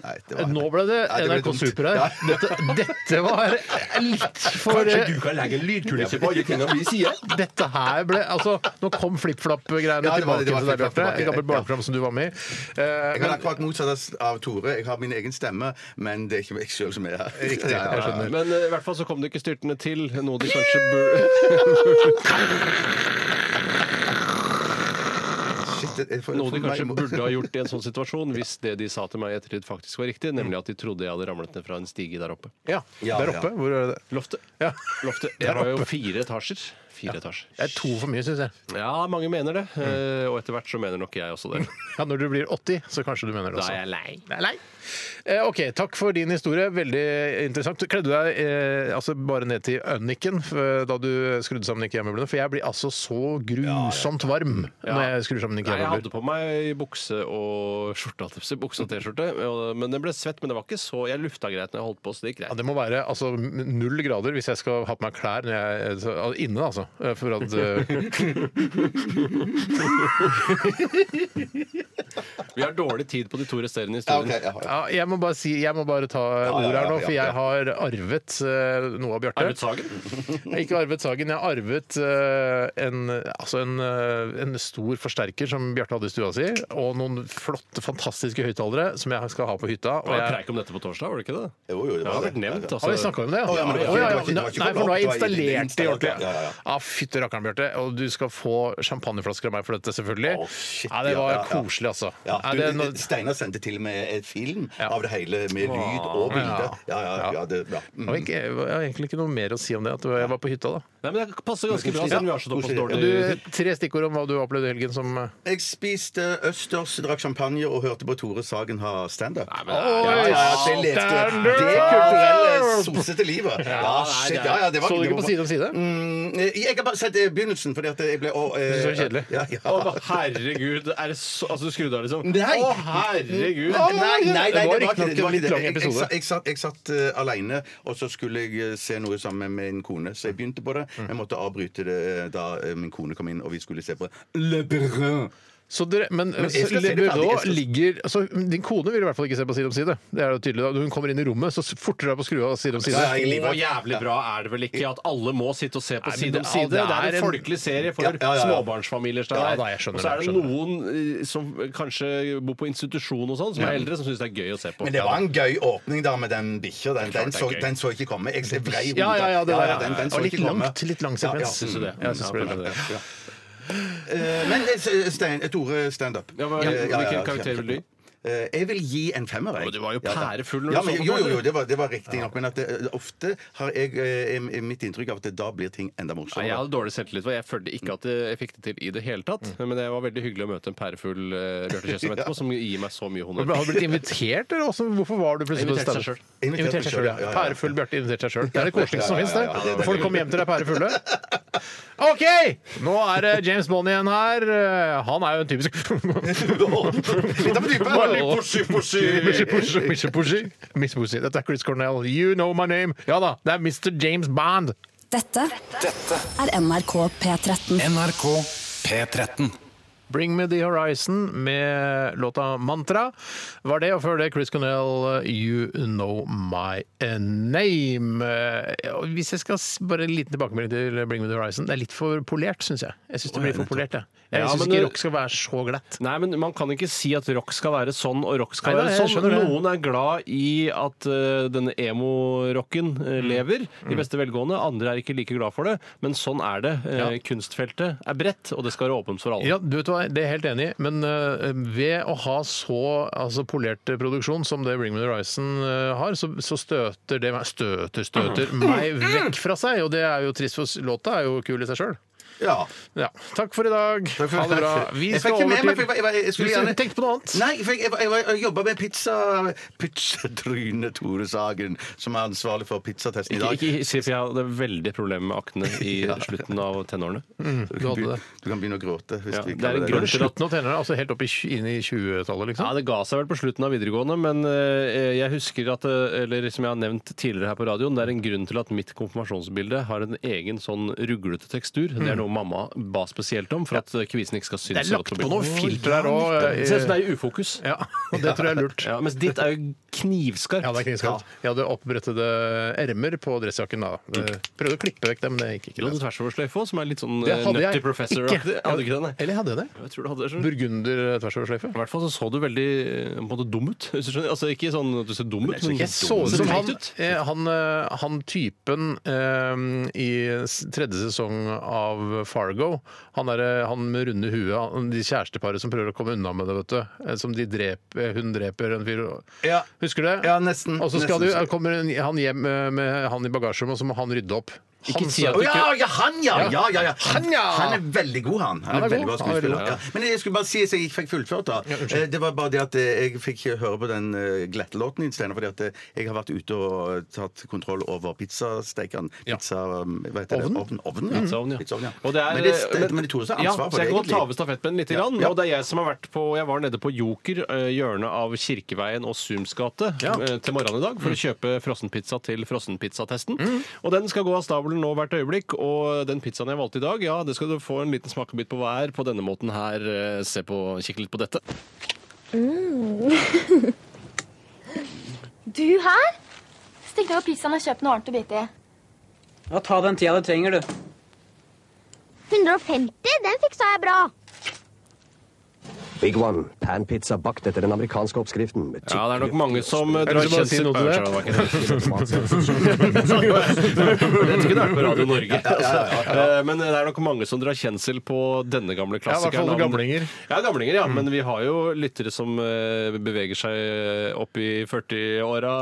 C: Nei, det var-
A: Nå ble det
C: Nei, det ble
A: NRK
C: dumt.
A: Super
C: Ja.
A: her. Dette, dette var litt for
B: kan legge en lydkulisse på alle tingene vi sier.
A: Dette her ble Altså, nå kom flipflap-greiene
C: Ja, det
A: tilbake
C: var det,
A: til
C: det var
A: deg, Bjarte. Et
C: flip-flap
A: gammelt
C: tilbake,
A: barneprogram som du var med i. Eh,
C: Jeg
A: men-
C: har akkurat motsatt av- av Tore. Jeg har min egen stemme, men det er ikke jeg sjøl som er her. Riktig, ja, ja, ja.
B: Men eh, i hvert fall så kom de ikke styrtende til, noe de kanskje burde
C: Shit, det er for-
B: Noe
C: for
B: de kanskje
C: meg-
B: burde ha gjort i en sånn situasjon, hvis det de sa til meg i ettertid faktisk var riktig, nemlig at de trodde jeg hadde ramlet ned fra en stige der oppe.
A: ja,
C: Ja,
A: der
C: ja.
A: oppe. Hvor er det?
B: Loftet.
A: Ja.
B: Loftet.
A: Der
B: Jeg har jo
A: oppe.
B: fire etasjer. Fire etasjer.
A: Det er to for mye, syns jeg.
B: Ja, mange mener det, eh, og etter hvert så mener nok jeg også det.
A: Ja, Når du blir 80, så kanskje du mener det
B: Da
A: også.
B: er jeg lei.
A: Eh, OK, takk for din historie. Veldig interessant. Du kledde deg eh, altså bare ned til ønniken f- da du skrudde sammen IKEA-møblene, for jeg blir altså så grusomt varm når jeg skrur sammen
B: Nei, jeg hadde
A: IKEA-møbler.
B: på meg bukse og skjorte, holdt jeg på å si, bukse og T-skjorte, og- men den ble svett, men det var ikke så, jeg lufta greit når jeg holdt på, så det gikk
A: Ja,
B: greit.
A: det må være altså, null grader hvis jeg skal ha på meg klær når jeg, så- altså, inne, altså. eh, For at eh,
B: Vi har dårlig tid på de to resterende
C: Ja, ok,
B: historiene.
C: ja,
A: ja,
C: ja.
A: jeg, må bare si, jeg må bare ta ordet her nå, for jeg har arvet eh, noe av Bjarte.
B: Arvid Sagen?
A: Jeg har ikke arvet Sagen. Jeg har arvet eh, en, altså en, eh, en stor forsterker som Bjarte hadde i stua si, og noen flotte, fantastiske høyttalere som jeg skal ha på hytta. Og
B: Det var
A: jeg
B: preik om dette på torsdag, var det ikke det?
C: Jo, jo, det
B: Det har
C: var
B: vært
C: det.
B: nevnt, altså.
A: har vi snakka om det?
C: Å, ja, men det
A: Å, ja,
C: var ikke-
A: ja.
C: det var ikke- det var ikke
A: Nei, for nå har jeg
C: opp, det var i- det
A: installert det
C: installert,
A: ordentlig.
C: ja, ja, ja.
A: Ja, fytti rakkeren, Bjarte. Og du skal få champagneflasker av meg for dette, selvfølgelig.
C: Å, shit,
A: Ja, det
C: ja,
A: var
C: ja, ja.
A: koselig, altså.
C: Ja,
A: Er
C: du,
A: det noe-
C: Steinar sendte til og med et film
A: Ja.
C: av det hele med lyd og bilde. Ja, ja, ja, det, ja. Mm.
A: Det var ikke- jeg har egentlig ikke noe mer å si om det. At jeg var på hytta, da.
B: Nei, men det passer ganske bra, siden vi har så såpass
C: Koselig.
B: dårlig
A: Du, tre stikkord om hva du opplevde i helgen som
C: Jeg spiste østers, drakk champagne og hørte på Tore Sagen ha standup.
B: men-
C: Ja, ja, ja, det levde det kulturelle, sossete livet. Ja, shit, ja, ja, det var
A: Så du
C: det
A: ikke på
C: var-
A: Side om side?
C: Mm, Jeg har bare sett eh, begynnelsen, fordi at jeg ble å, eh,
A: Det er så kjedelig.
C: Ja, ja.
B: Å, hva- herregud, er det så Altså, du skrudde av, liksom?
C: Nei.
B: Å, herregud!
C: Nei,
A: Det
C: nei, nei,
A: var
C: det var ikke
A: riktignok
C: det. det,
A: en
C: var ikke
A: litt
C: det.
A: lang
C: Jeg, jeg,
A: episode.
C: sa- jeg satt, jeg satt eh, alene, og så skulle jeg eh, se noe sammen med en kone, så jeg begynte på det.
A: Mm.
C: Jeg måtte avbryte det eh, da eh, min kone kom inn, og vi skulle se på Le Brun.
A: Så dere, men
C: jeg skal
A: Le
C: se det ferdig,
A: Bureau
C: jeg skal-
A: ligger altså, Din kone vil i hvert fall ikke se på Side om side. Det er jo tydelig. da. Når Hun kommer inn i rommet, så forter deg på å skru av Side om side.
C: Ja, ja, jeg-
B: Så jævlig bra er det vel ikke at alle må sitte og se
A: Nei,
B: på
A: men
B: side om
A: det-
B: side. Det er en folkelig serie for
C: Ja, ja, ja.
B: småbarnsfamilier. Steinar.
A: Ja, da, jeg skjønner
B: og så er
A: det,
B: det
A: jeg
B: noen eh, som kanskje bor på institusjon og sånn, som er eldre, som syns det er gøy å se på.
C: Men det var en gøy åpning da med den bikkja. Den, den, så-
B: det er gøy.
C: den så ikke komme. Jeg vrei hodet.
A: Ja, ja, ja, det der, ja.
C: den, den
A: Det var
C: så
A: litt
C: ikke komme.
A: langt, litt lang sekvens.
C: Ja, Mm.
B: Syns du det?
A: Ja, jeg synes det ble det.
B: Ja,
C: ja. Eh, Men eh, Stein, Tore, standup.
B: hva-
C: Ja, ja, ja,
B: Hvilken karakter vil du gi?
C: Eh, Jeg vil gi en femmer. jeg.
B: Men du var jo
C: Ja, da.
B: pærefull når
C: ja,
B: du
C: men,
B: så på
C: Jo,
B: det,
C: jo, jo,
B: eller?
C: det var, det var riktig nok. Men at det, eh, ofte har jeg, eh, er- er mitt inntrykk av at det, da blir ting enda
B: Nei, jeg
C: morsommere.
B: hadde dårlig selvtillit, for jeg følte ikke at eh, jeg fikk det til i det hele tatt.
C: Mm.
B: Men det var veldig hyggelig å møte en pærefull uh, Bjarte Tjøstheim etterpå, som gir meg så mye
A: Men
B: honnør.
A: Har du blitt invitert, eller også? hvorfor var du plutselig
B: Invitert seg
A: stedet?
B: selv.
C: Invitert
A: Invitert seg
C: seg
A: sjøl, ja.
C: selv, ja, ja, ja.
A: Pærefull Bjarte invitert seg sjøl. Det er det koseligste som
C: Ja, ja,
A: fins,
C: ja, ja,
A: det.
C: det er
A: Folk kommer hjem til deg pærefulle. OK! Nå er det James Bond igjen her. Eh, Han er jo en typisk
C: Litt av en type.
A: Bare-
C: Pushy, pushy.
A: Mr. Pushy, Mr. Pushy. Mr. Pushy. Dette er Chris Cornell. You know my name. Ja da, det er Mr. James Bond.
E: Dette er NRK P13.
F: NRK P13.
A: Bring Me The Horizon med låta Mantra var det, og før det Chris Connell, You Know My Name. Eh, og Hvis jeg skal s- bare en liten tilbakemelding til Bring Me The Horizon, det er litt for polert, syns jeg. Jeg syns det blir for polert, jeg. Jeg
B: Ja,
A: syns
B: men
A: ikke
B: det-
A: rock skal være så glatt.
B: Nei, men Man kan ikke si at rock skal være sånn og rock skal
A: Nei, nei,
B: være
A: jeg
B: sånn.
A: skjønner det.
B: Noen er glad i at eh, denne emo-rocken
A: Mm.
B: eh, lever i beste velgående. Andre er ikke like glad for det, men sånn er det. Eh,
A: Ja.
B: Kunstfeltet er bredt, og det skal være åpent for alle.
A: Ja, du vet hva, Det er jeg helt enig i, men eh, ved å ha så altså, polert eh, produksjon som det Bring Me The Horizon eh, har, så, så støter det meg Støter, støter meg vekk fra seg, og det er jo trist, for s- låta er jo kul i seg sjøl.
C: Ja.
A: Ja. Takk for i dag.
C: Takk for-
A: ha det bra. Vi
C: Jeg
A: skal
C: fikk ikke med meg,
A: over
C: for
A: til
C: jeg, var- jeg, jeg skulle
A: Du
C: gjerne
A: tenkte på noe annet.
C: Nei, for jeg, jeg, var- jeg, var- jeg jobba med pizza Pizzatryne Tore Sagen, som er ansvarlig for pizzatesten i
B: Ikke,
C: dag.
B: ikke si for jeg hadde veldig problemer med akne i slutten av tenårene.
C: du,
A: du
C: kan
A: hadde
C: begynne,
A: det.
C: du kan begynne å gråte. Hvis
B: Ja,
C: vi
B: det er en
C: kaller
B: grunn
A: Var det Slutten av tenårene, altså helt opp i, tj- inn i 20-tallet,
B: Ja,
A: liksom?
B: Det ga seg vel på slutten av videregående, men eh, jeg husker at eh, eller som jeg har nevnt tidligere her på radioen, det er en grunn til at mitt konfirmasjonsbilde har en egen sånn ruglete tekstur. Det er noe mamma ba spesielt om for at eh, kvisen ikke skal
A: Det
B: synes.
A: er lagt på noe filter der
B: Det ser
A: òg.
B: ut som det er i ufokus.
A: Ja, og det tror jeg er lurt.
B: Ja, mens ditt er jo knivskarpt.
A: Ja, det er knivskarpt. Jeg hadde oppbrettede ermer på dressjakken da. Eh, Prøvde å klippe vekk dem, men det gikk
B: Du
A: ikke. Altså.
B: hadde
A: Det,
B: tvers over sløyfe også, som er litt sånn
A: det
B: eh,
A: hadde
B: nutty
A: jeg ikke.
B: professor. Hadde du ikke det, nei?
A: Eller hadde jeg det?
B: Jeg tror du hadde det. skjønner du.
A: Burgunder eh, tvers over sløyfe?
B: I hvert fall så så du veldig eh, på en måte dum ut. hvis du skjønner. Altså Ikke sånn at du ser dum ut, men
A: Jeg så ut
B: ser
A: som
B: teit
A: han, eh, han, eh, han typen eh, i s- tredje sesong av Fargo. Han, er, eh, han med runde huet, han, de kjæresteparet som prøver å komme unna med det, vet du. Eh, Som de dreper, hun dreper en fyr. og-
C: Ja.
A: Husker du det?
C: Ja, nesten.
A: Og så skal
C: Nesten.
A: du, kommer en- han hjem eh, med han i bagasjerommet, og så må han rydde opp. Han
B: si at
A: sa-
C: Å ja, ja, han ja! ja, ja, ja. Han,
A: Han, ja!
C: han er veldig god, han. Han er, veldig god
A: Han er veldig
C: skuespiller. Ja. Men jeg skulle bare si at jeg ikke fikk fullført. da Eh, Det var bare det at eh, jeg fikk ikke høre på den eh, glettelåten din, Steinar, fordi at eh, jeg har vært ute og eh, tatt kontroll over pizzastekeren.
A: Ja.
C: Pizza... um, Hva heter
A: Ovnen?
C: det? Ovnen, ovnen, ja.
B: Pizzaovn, ja.
C: Pizzaovn, ja.
B: Og det er, eh,
C: men det, det, men det er Tore som har ansvar
B: ja,
C: for
B: så jeg
C: det,
B: kan godt ta
C: egentlig.
B: over stafettpinnen litt. Grann,
C: Ja.
B: Og det er jeg som har vært på Jeg var nede på Joker, eh, hjørnet av Kirkeveien og Sums gate,
A: Ja.
B: eh, til morgenen i dag for å kjøpe frossenpizza til frossenpizzatesten. Og den skal gå av stabelen nå hvert øyeblikk. Og den pizzaen jeg valgte i dag, ja, det skal du få en liten smakebit på hver på denne måten her. eh, Se på, Kikk litt på dette.
G: Du her? Stikk deg på pizzaen og kjøp noe ordentlig å bite i.
H: Ja, ta den tida du trenger, du.
G: 150? Den fiksa jeg bra.
I: Big One. Panpizza bakt etter den amerikanske oppskriften. med
B: Ja, det er nok mange som eh,
A: det
B: drar
A: som bare å si
B: kjensel
A: noe til det?
B: på det.
I: chips og tomatsaus.
B: Jeg tror ikke det er på Radio Norge. Eh, Men det er nok mange som drar kjensel på denne
A: Ja, i
B: gamle
A: hvert
B: klassikeren.
A: fall
B: av-
A: gamlinger.
B: Ja, gamlinger, ja. Men vi har jo lyttere som eh, beveger seg opp i 40-åra.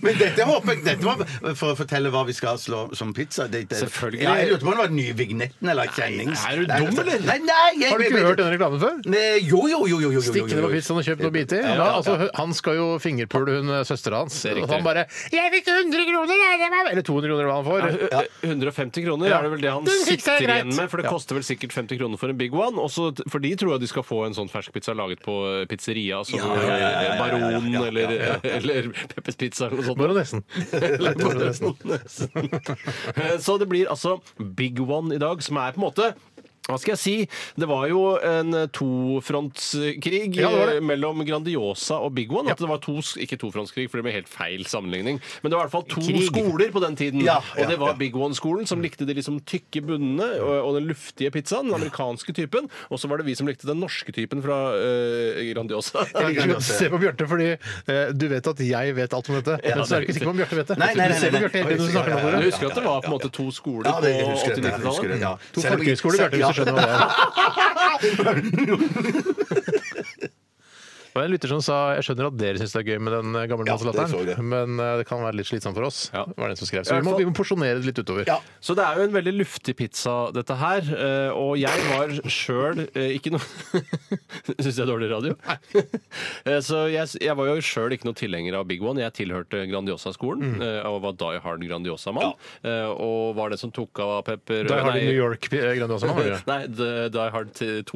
C: Men dette håper jeg dette var for å fortelle hva vi skal slå som pizza. Det, det,
B: Selvfølgelig.
C: Ja, jeg lurte på om det var den nye vignetten eller kjennings.
B: Nei, er du
C: Nei, altså,
B: dum, eller?
C: Nei, nei, jeg,
A: Har du ikke hørt denne reklamen før?
C: Nei, Jo, jo, jo, jo, jo, jo, jo,
A: Stikk ned på pizzaen og kjøp noen biter.
C: Ja, ja,
A: Ja,
C: ja.
A: altså, han skal jo fingerpule hun eh, søstera hans.
B: er
A: Og
B: riktig.
A: han bare 'Jeg fikk 100 kroner!' jeg, det var- Eller 200 kroner, hva han får.
B: 150 kroner
A: Ja.
B: er det vel det han
A: Den fikk seg
B: sitter
A: greit.
B: igjen med, for det
A: Ja.
B: koster vel sikkert 50 kroner for en Big One. Også, t- for de tror jeg de skal få en sånn fersk pizza laget på eh, pizzeria som
C: Ja, ja, ja, ja, ja, ja,
B: Baron
C: ja, ja,
B: eller, eller Peppes Pizza eller noe sånt.
A: Bare nesten.
B: Bare nesten. Eh, Så det blir altså Big One i dag, som er på en måte hva skal jeg si? Det var jo en tofrontskrig
A: Ja, det var det.
B: eh, mellom Grandiosa og Big One. At det var to, s- ikke tofrontskrig, for det ble helt feil sammenligning. Men det var i hvert fall to
A: Krig.
B: skoler på den tiden.
C: Ja,
B: og
C: ja,
B: det var
C: ja.
B: Big One-skolen, som likte de liksom tykke bunnene og, og den luftige pizzaen. Den amerikanske typen. Og så var det vi som likte den norske typen fra eh, Grandiosa.
A: Jeg liker så godt å se på Bjarte, fordi eh, du vet at jeg vet alt om dette. Men så er du ikke sikker på om Bjarte vet det.
C: Nei, nei, nei,
A: Du ser på
C: nei, nei.
A: Bjarte hele tiden når du snakker om
B: Du
A: det.
B: husker at det var på en måte to skoler
C: Ja, det, jeg
B: på
C: husker det, jeg husker
B: 80-90-tallet?
C: det, ja.
A: To
C: Selv om jeg-
A: folkehøyskoler, Bjarte, hvis du skjønner hva det er. Det var en lytter som sa jeg skjønner at dere syns det er gøy med den
C: Ja, det så jeg.
A: gammelmannslatteren, men eh, det kan være litt slitsomt for oss.
B: Ja.
A: var den som skrev.
B: I
A: Så vi
B: hvert
A: må,
B: fall-
A: vi må porsjonere det litt utover.
C: Ja.
B: Så det er jo en veldig luftig pizza, dette her. eh, Og jeg var sjøl eh, ikke noe Syns jeg er dårlig radio? Eh, Så jeg, s- jeg var jo sjøl ikke noe tilhenger av Big One. Jeg tilhørte
C: Mm.
B: Grandiosa-skolen eh, og var Die Hard Grandiosa-mann. eh, Og var det som tok av pepper
A: Da har du
B: nei,
A: New York eh, Grandiosa nå, har du det?
B: Nei, The Die Hard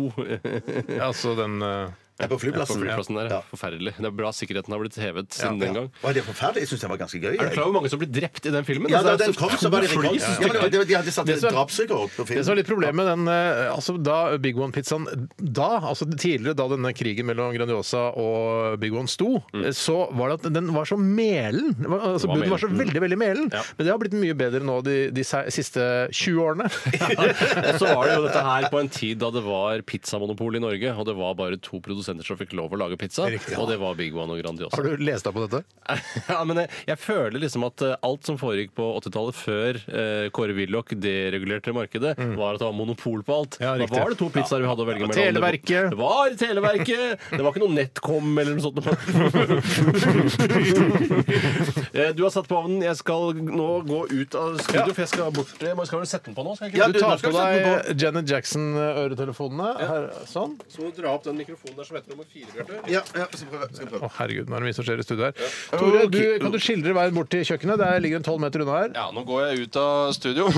B: 2.
A: Altså den eh,
C: Jeg er på
B: På
C: flyplassen.
B: flyplassen der.
C: Ja.
B: Forferdelig. Det er bra sikkerheten har blitt hevet siden den gang.
C: Å, det er forferdelig. Jeg syns den var ganske
B: Er
C: gøy.
B: du
C: jeg.
B: klar over hvor mange som ble drept i den filmen?
C: Ja,
B: Altså,
C: da
B: det er
C: den kom, så var det
B: to
C: rekord.
B: flys.
C: Ja, men det var- De hadde satt
A: Det som er-
C: drapsrekord på
A: Det som er
C: film.
A: litt problemet med den eh, altså Da Big One-pizzaen da, altså tidligere da denne krigen mellom Grandiosa og Big One sto, eh, så var det at den var så melen. Det var- Altså,
B: var
A: Bunnen var så
B: melen.
A: veldig, veldig melen.
B: Ja.
A: Men det har blitt mye bedre nå de, de se- siste 20 årene.
B: Og så var det jo dette her på en tid da det var pizzamonopol i Norge, og det var bare to produsenter som fikk lov å lage pizza,
A: Riktig, ja.
B: og det var Big One og Grandiosa.
A: Har du lest deg på dette?
B: ja, men eh, jeg, jeg føler liksom at eh, alt som foregikk på 80-tallet før eh, Kåre Willoch deregulerte markedet, var at det var monopol på alt.
A: Mm. Ja,
B: da
A: riktig.
B: var det to pizzaer vi hadde å velge mellom.
A: Televerket.
B: Det var Televerket! Det var ikke noe NetCom eller noe sånt. Eh, du har satt på ovnen. Jeg skal nå gå ut av studio, for jeg skal bort. Jeg må- skal vel sette den på nå? Skal jeg ikke?
C: Ja,
A: Du
C: du, nå
A: tar på
C: skal vi sette den
A: deg Janet Jackson-øretelefonene. Her, sånn.
B: Så må du dra opp den mikrofonen der som heter nummer fire, Bjarte.
C: Ja, ja, skal prøve. Skal prøve.
A: Å, herregud, nå er det mye som skjer i studio her. Tore, du, kan du skildre veien bort til kjøkkenet? Der ligger en tolv meter unna her.
J: Ja, nå går jeg ut av studio.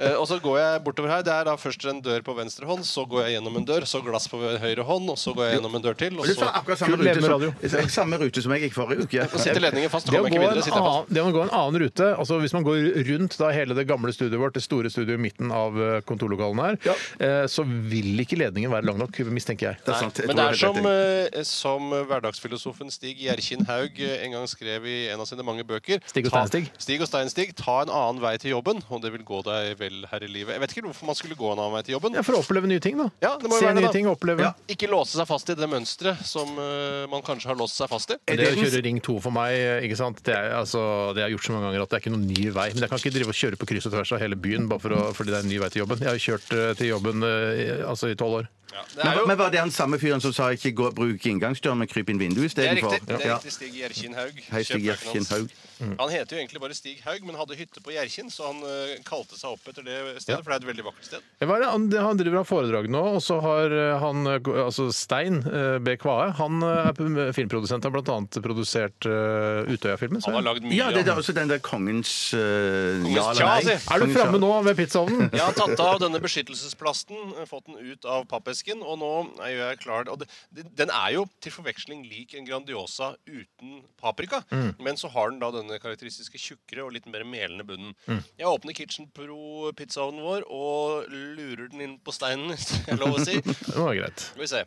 J: Eh, og så går jeg bortover her. Det er da først en dør på venstre hånd, så går jeg gjennom en dør, så glass på høyre hånd, og så går jeg gjennom en dør til. Og
C: Du sa
J: så
C: akkurat samme
A: Kul leve
C: rute,
A: med
C: som, samme rute som jeg gikk forrige uke.
J: Og sitter ledningen fast,
A: Det å,
J: kommer jeg
A: gå
J: ikke
A: en
J: videre. Sitter jeg fast.
A: annen, det å gå en annen rute, altså hvis man går rundt da hele det gamle studioet vårt, det store studioet i midten av eh, kontorlokalene her, eh, så vil ikke ledningen være lang nok, mistenker jeg.
C: Det er sant, jeg
J: Men det er
C: tror jeg vet
J: som,
C: det.
J: eh, som hverdagsfilosofen Stig Gjerkin Haug eh, en gang skrev i en av sine mange bøker
A: Stig og
J: ta-
A: Steinstig.
J: Stig og Steinstig, ta en annen vei til jobben, og det vil gå deg vel her i livet. Jeg vet ikke hvorfor man skulle gå en annen vei til jobben.
A: Ja, For å oppleve nye ting, da.
J: Ja, det må jo
A: Se
J: være det,
A: nye
J: da.
A: ting, oppleve.
C: Ja.
J: Ikke låse seg fast i det mønsteret som eh, man kanskje har låst seg fast i.
A: Det å kjøre Ring 2 for meg, ikke sant? Det, er, altså, det har jeg gjort så mange ganger at det er ikke noen ny vei. Men jeg kan ikke drive og kjøre på kryss og tvers av hele byen bare for å, fordi det er en ny vei til jobben. Jeg har jo kjørt eh, til jobben eh, i- altså, i tolv år.
J: Det er jo
C: Men var det han samme fyren som sa ikke gå, bruk inngangsdøren, men kryp inn vinduet
J: det er
C: istedenfor?
J: riktig. Det er
C: Ja.
J: riktig Stig Gjerkin Haug.
C: Hei, Stig
J: Kjøp bøkene hans.
C: Gjerkin Haug. Mm.
J: Han heter jo egentlig bare Stig Haug, men hadde hytte på Gjerkin, så han eh, kalte seg opp etter det stedet, for det er et veldig vakkert sted.
A: Eh, Hva er det? Han, han driver av foredrag nå, og så har eh, han eh, altså Stein eh, B. Kvae. Han eh, er p- filmprodusent, har bl.a. produsert eh, Utøya-filmen. så
J: Han har
A: jeg.
J: lagd mye.
C: Ja, det er
J: han.
C: også den der kongens uh,
J: Kongens
C: ja eller
J: tja,
C: nei.
J: si.
A: Er du framme nå ved pizzaovnen?
J: Jeg har tatt av denne beskyttelsesplasten, eh, fått den ut av pappesken, og nå er jo jeg klar og det, Den er jo til forveksling lik en Grandiosa uten paprika, men så har den da denne karakteristiske tjukkere og litt mer melende bunnen. Jeg åpner Kitchen Pro-pizzaovnen vår og lurer den inn på steinen, hvis det er lov å si. Skal
A: Det var greit.
J: vi se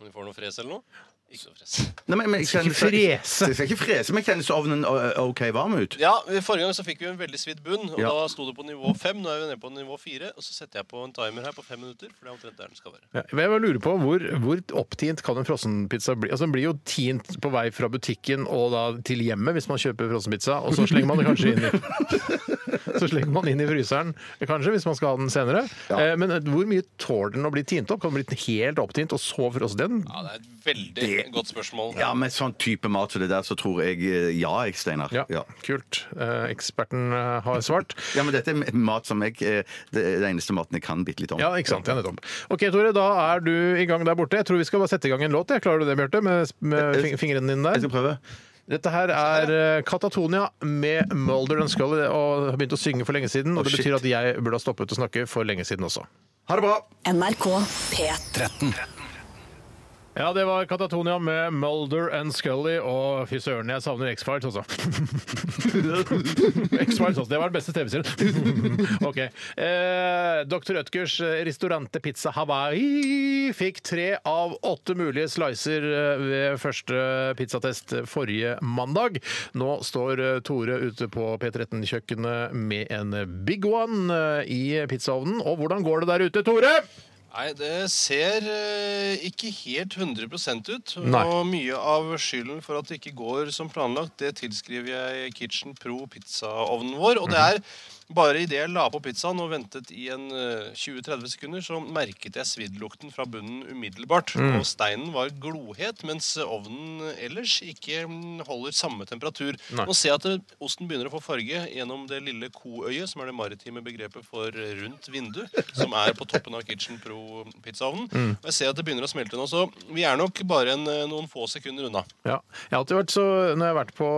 J: om vi får noe fres eller noe. Ikke noe fres.
C: Nei, men, men, jeg kjenner,
A: Skal ikke frese.
C: Jeg skal ikke frese, men kjennes ovnen ø, OK varm ut?
J: Ja, Forrige gang så fikk vi en veldig svidd bunn, og
C: Ja.
J: da sto det på nivå fem. Nå er vi nede på nivå fire, og så setter jeg på en timer her på fem minutter, for det er omtrent der den skal være.
A: Ja, men jeg bare lurer på Hvor, hvor opptint kan en frossenpizza bli? Altså Den blir jo tint på vei fra butikken og da til hjemmet hvis man kjøper frossenpizza, og så slenger man det kanskje inn i Så slenger man inn i fryseren, kanskje, hvis man skal ha den senere. Eh, Men hvor mye tåler den å bli tint opp? Kan den bli helt opptint og så frosset igjen?
J: Ja, det er et veldig
C: Det-
J: godt spørsmål.
C: Ja, med sånn type mat som det der, så tror jeg ø, ja, jeg, Steinar.
A: Ja,
C: Ja.
A: kult. Eh, Eksperten eh, har svart.
C: Ja, men dette er mat som jeg eh, Det er den eneste maten jeg kan bitte litt om.
A: Ja, ikke sant. Ja, nettopp. OK, Tore, da er du i gang der borte. Jeg tror vi skal bare sette i gang en låt. jeg. Klarer du det, Bjarte? Med, med fing- fingrene dine
C: Jeg
A: der?
C: skal prøve.
A: Dette her er eh, Katatonia med Mulder and Scully, og har begynt å synge for lenge siden. Og det
C: shit.
A: betyr at jeg burde ha stoppet å snakke for lenge siden også.
C: Ha det bra!
E: NRK P13.
A: Ja, det var Katatonia med Mulder and Scully, og fy søren, jeg savner X-Files også. X-Files også, det var den beste TV-serien. ok. Eh, Dr. Ødgers Restaurante Pizza Hawaii fikk tre av åtte mulige slicer eh, ved første pizzatest forrige mandag. Nå står eh, Tore ute på P13-kjøkkenet med en big one eh, i pizzaovnen. Og hvordan går det der ute, Tore?
J: Nei, det ser eh, ikke helt 100 ut.
A: Nei.
J: Og mye av skylden for at det ikke går som planlagt, det tilskriver jeg Kitchen Pro pizzaovnen vår. Og det er
B: Bare idet jeg la på pizzaen og ventet i en eh, 20-30 sekunder, så merket jeg sviddlukten fra bunnen umiddelbart.
K: Mm.
B: Og steinen var glohet, mens ovnen ellers ikke mm, holder samme temperatur.
K: Nei.
B: Nå ser jeg at eh, osten begynner å få farge gjennom det lille koøyet, som er det maritime begrepet for rundt vindu, som er på toppen av Kitchen Pro-pizzaovnen.
A: Mm.
B: Og jeg ser at det begynner å smelte nå, så vi er nok bare en, eh, noen få sekunder unna.
A: Ja. Jeg har alltid vært så, når jeg har vært på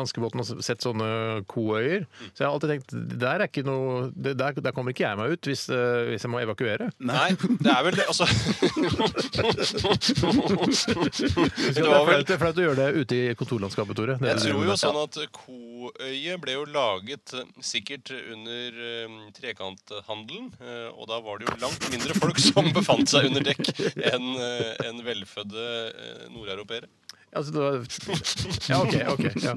A: danskebåten og sett sånne koøyer, så jeg har alltid tenkt der, er ikke noe, det, der, der kommer ikke jeg meg ut hvis, eh, hvis jeg må evakuere.
B: Nei, det er vel det, altså
A: Det
B: Det
A: er
B: var vel
A: flaut det er flaut å gjøre det ute i kontorlandskapet, Tore. Det er det
B: Jeg
A: du
B: tror
A: driver
B: jo
A: med.
B: sånn at koøye ble jo laget eh, sikkert under eh, trekanthandelen, eh, og da var det jo langt mindre folk som befant seg under dekk enn eh, enn velfødde eh, nordeuropeere.
A: Altså, det var... Ja, OK. ok, ja.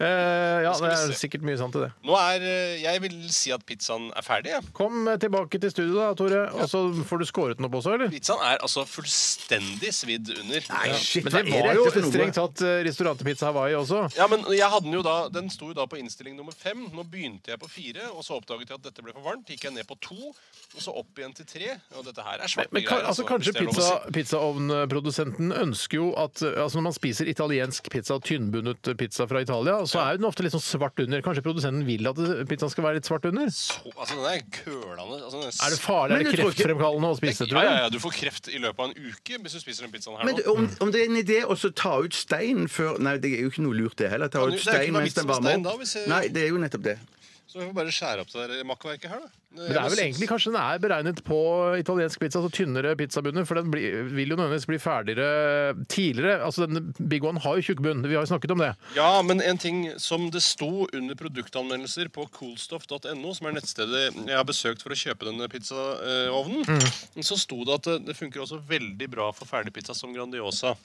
A: Eh, ja, det er sikkert mye sant i det.
B: Nå er eh, Jeg vil si at pizzaen er ferdig, jeg.
A: Kom eh, tilbake til studio, da, Tore. Og så får du skåret den opp også, eller?
B: Pizzaen er altså fullstendig svidd under.
A: Ja. Men det var jo strengt tatt eh, restaurantpizza Hawaii også.
B: Ja, men jeg hadde den jo da Den sto jo da på innstilling nummer fem. Nå begynte jeg på fire, og så oppdaget jeg at dette ble for varmt. Gikk jeg ned på to, og så opp igjen til tre. Og dette her er svarte
A: Men kan, altså, kanskje
B: hvis det er lov å
A: pizza,
B: si.
A: pizzaovnprodusenten ønsker jo at eh, altså, Når man spiser italiensk pizza, tynnbundet pizza fra Italia, så er jo den ofte litt sånn svart under. Kanskje produsenten vil at eh, pizzaen skal være litt svart under?
B: Altså, den er kølende. Altså, den
A: Er det farlig? Er det kreftfremkallende å spise, tror
B: Ja, ja,
A: jeg?
B: ja, du får kreft i løpet av en uke hvis du spiser den pizzaen her
C: Men
B: nå.
C: du, om, om det er en idé å så ta ut steinen før Nei, det er jo ikke noe lurt, det heller. Ta
B: Kan du-
C: ut
B: det er ikke
C: steinen
B: noe
C: mens
B: vits
C: den
B: med
C: varmer
B: stein da,
C: opp.
B: hvis jeg-
C: Nei, det er jo nettopp det.
B: Så vi får bare skjære opp det der makkverket her, da.
A: Men det er vel egentlig kanskje den er beregnet på italiensk pizza, altså tynnere pizzabunner, for den blir, vil jo nødvendigvis bli ferdigere tidligere. Altså denne Big One har jo tjukk bunn, vi har jo snakket om det.
B: Ja, men en ting som det sto under produktanmeldelser på coolstoff.no, som er nettstedet jeg har besøkt for å kjøpe denne pizzaovnen,
A: Mm.
B: så sto det at det- det funker også veldig bra for ferdig pizza som Grandiosa.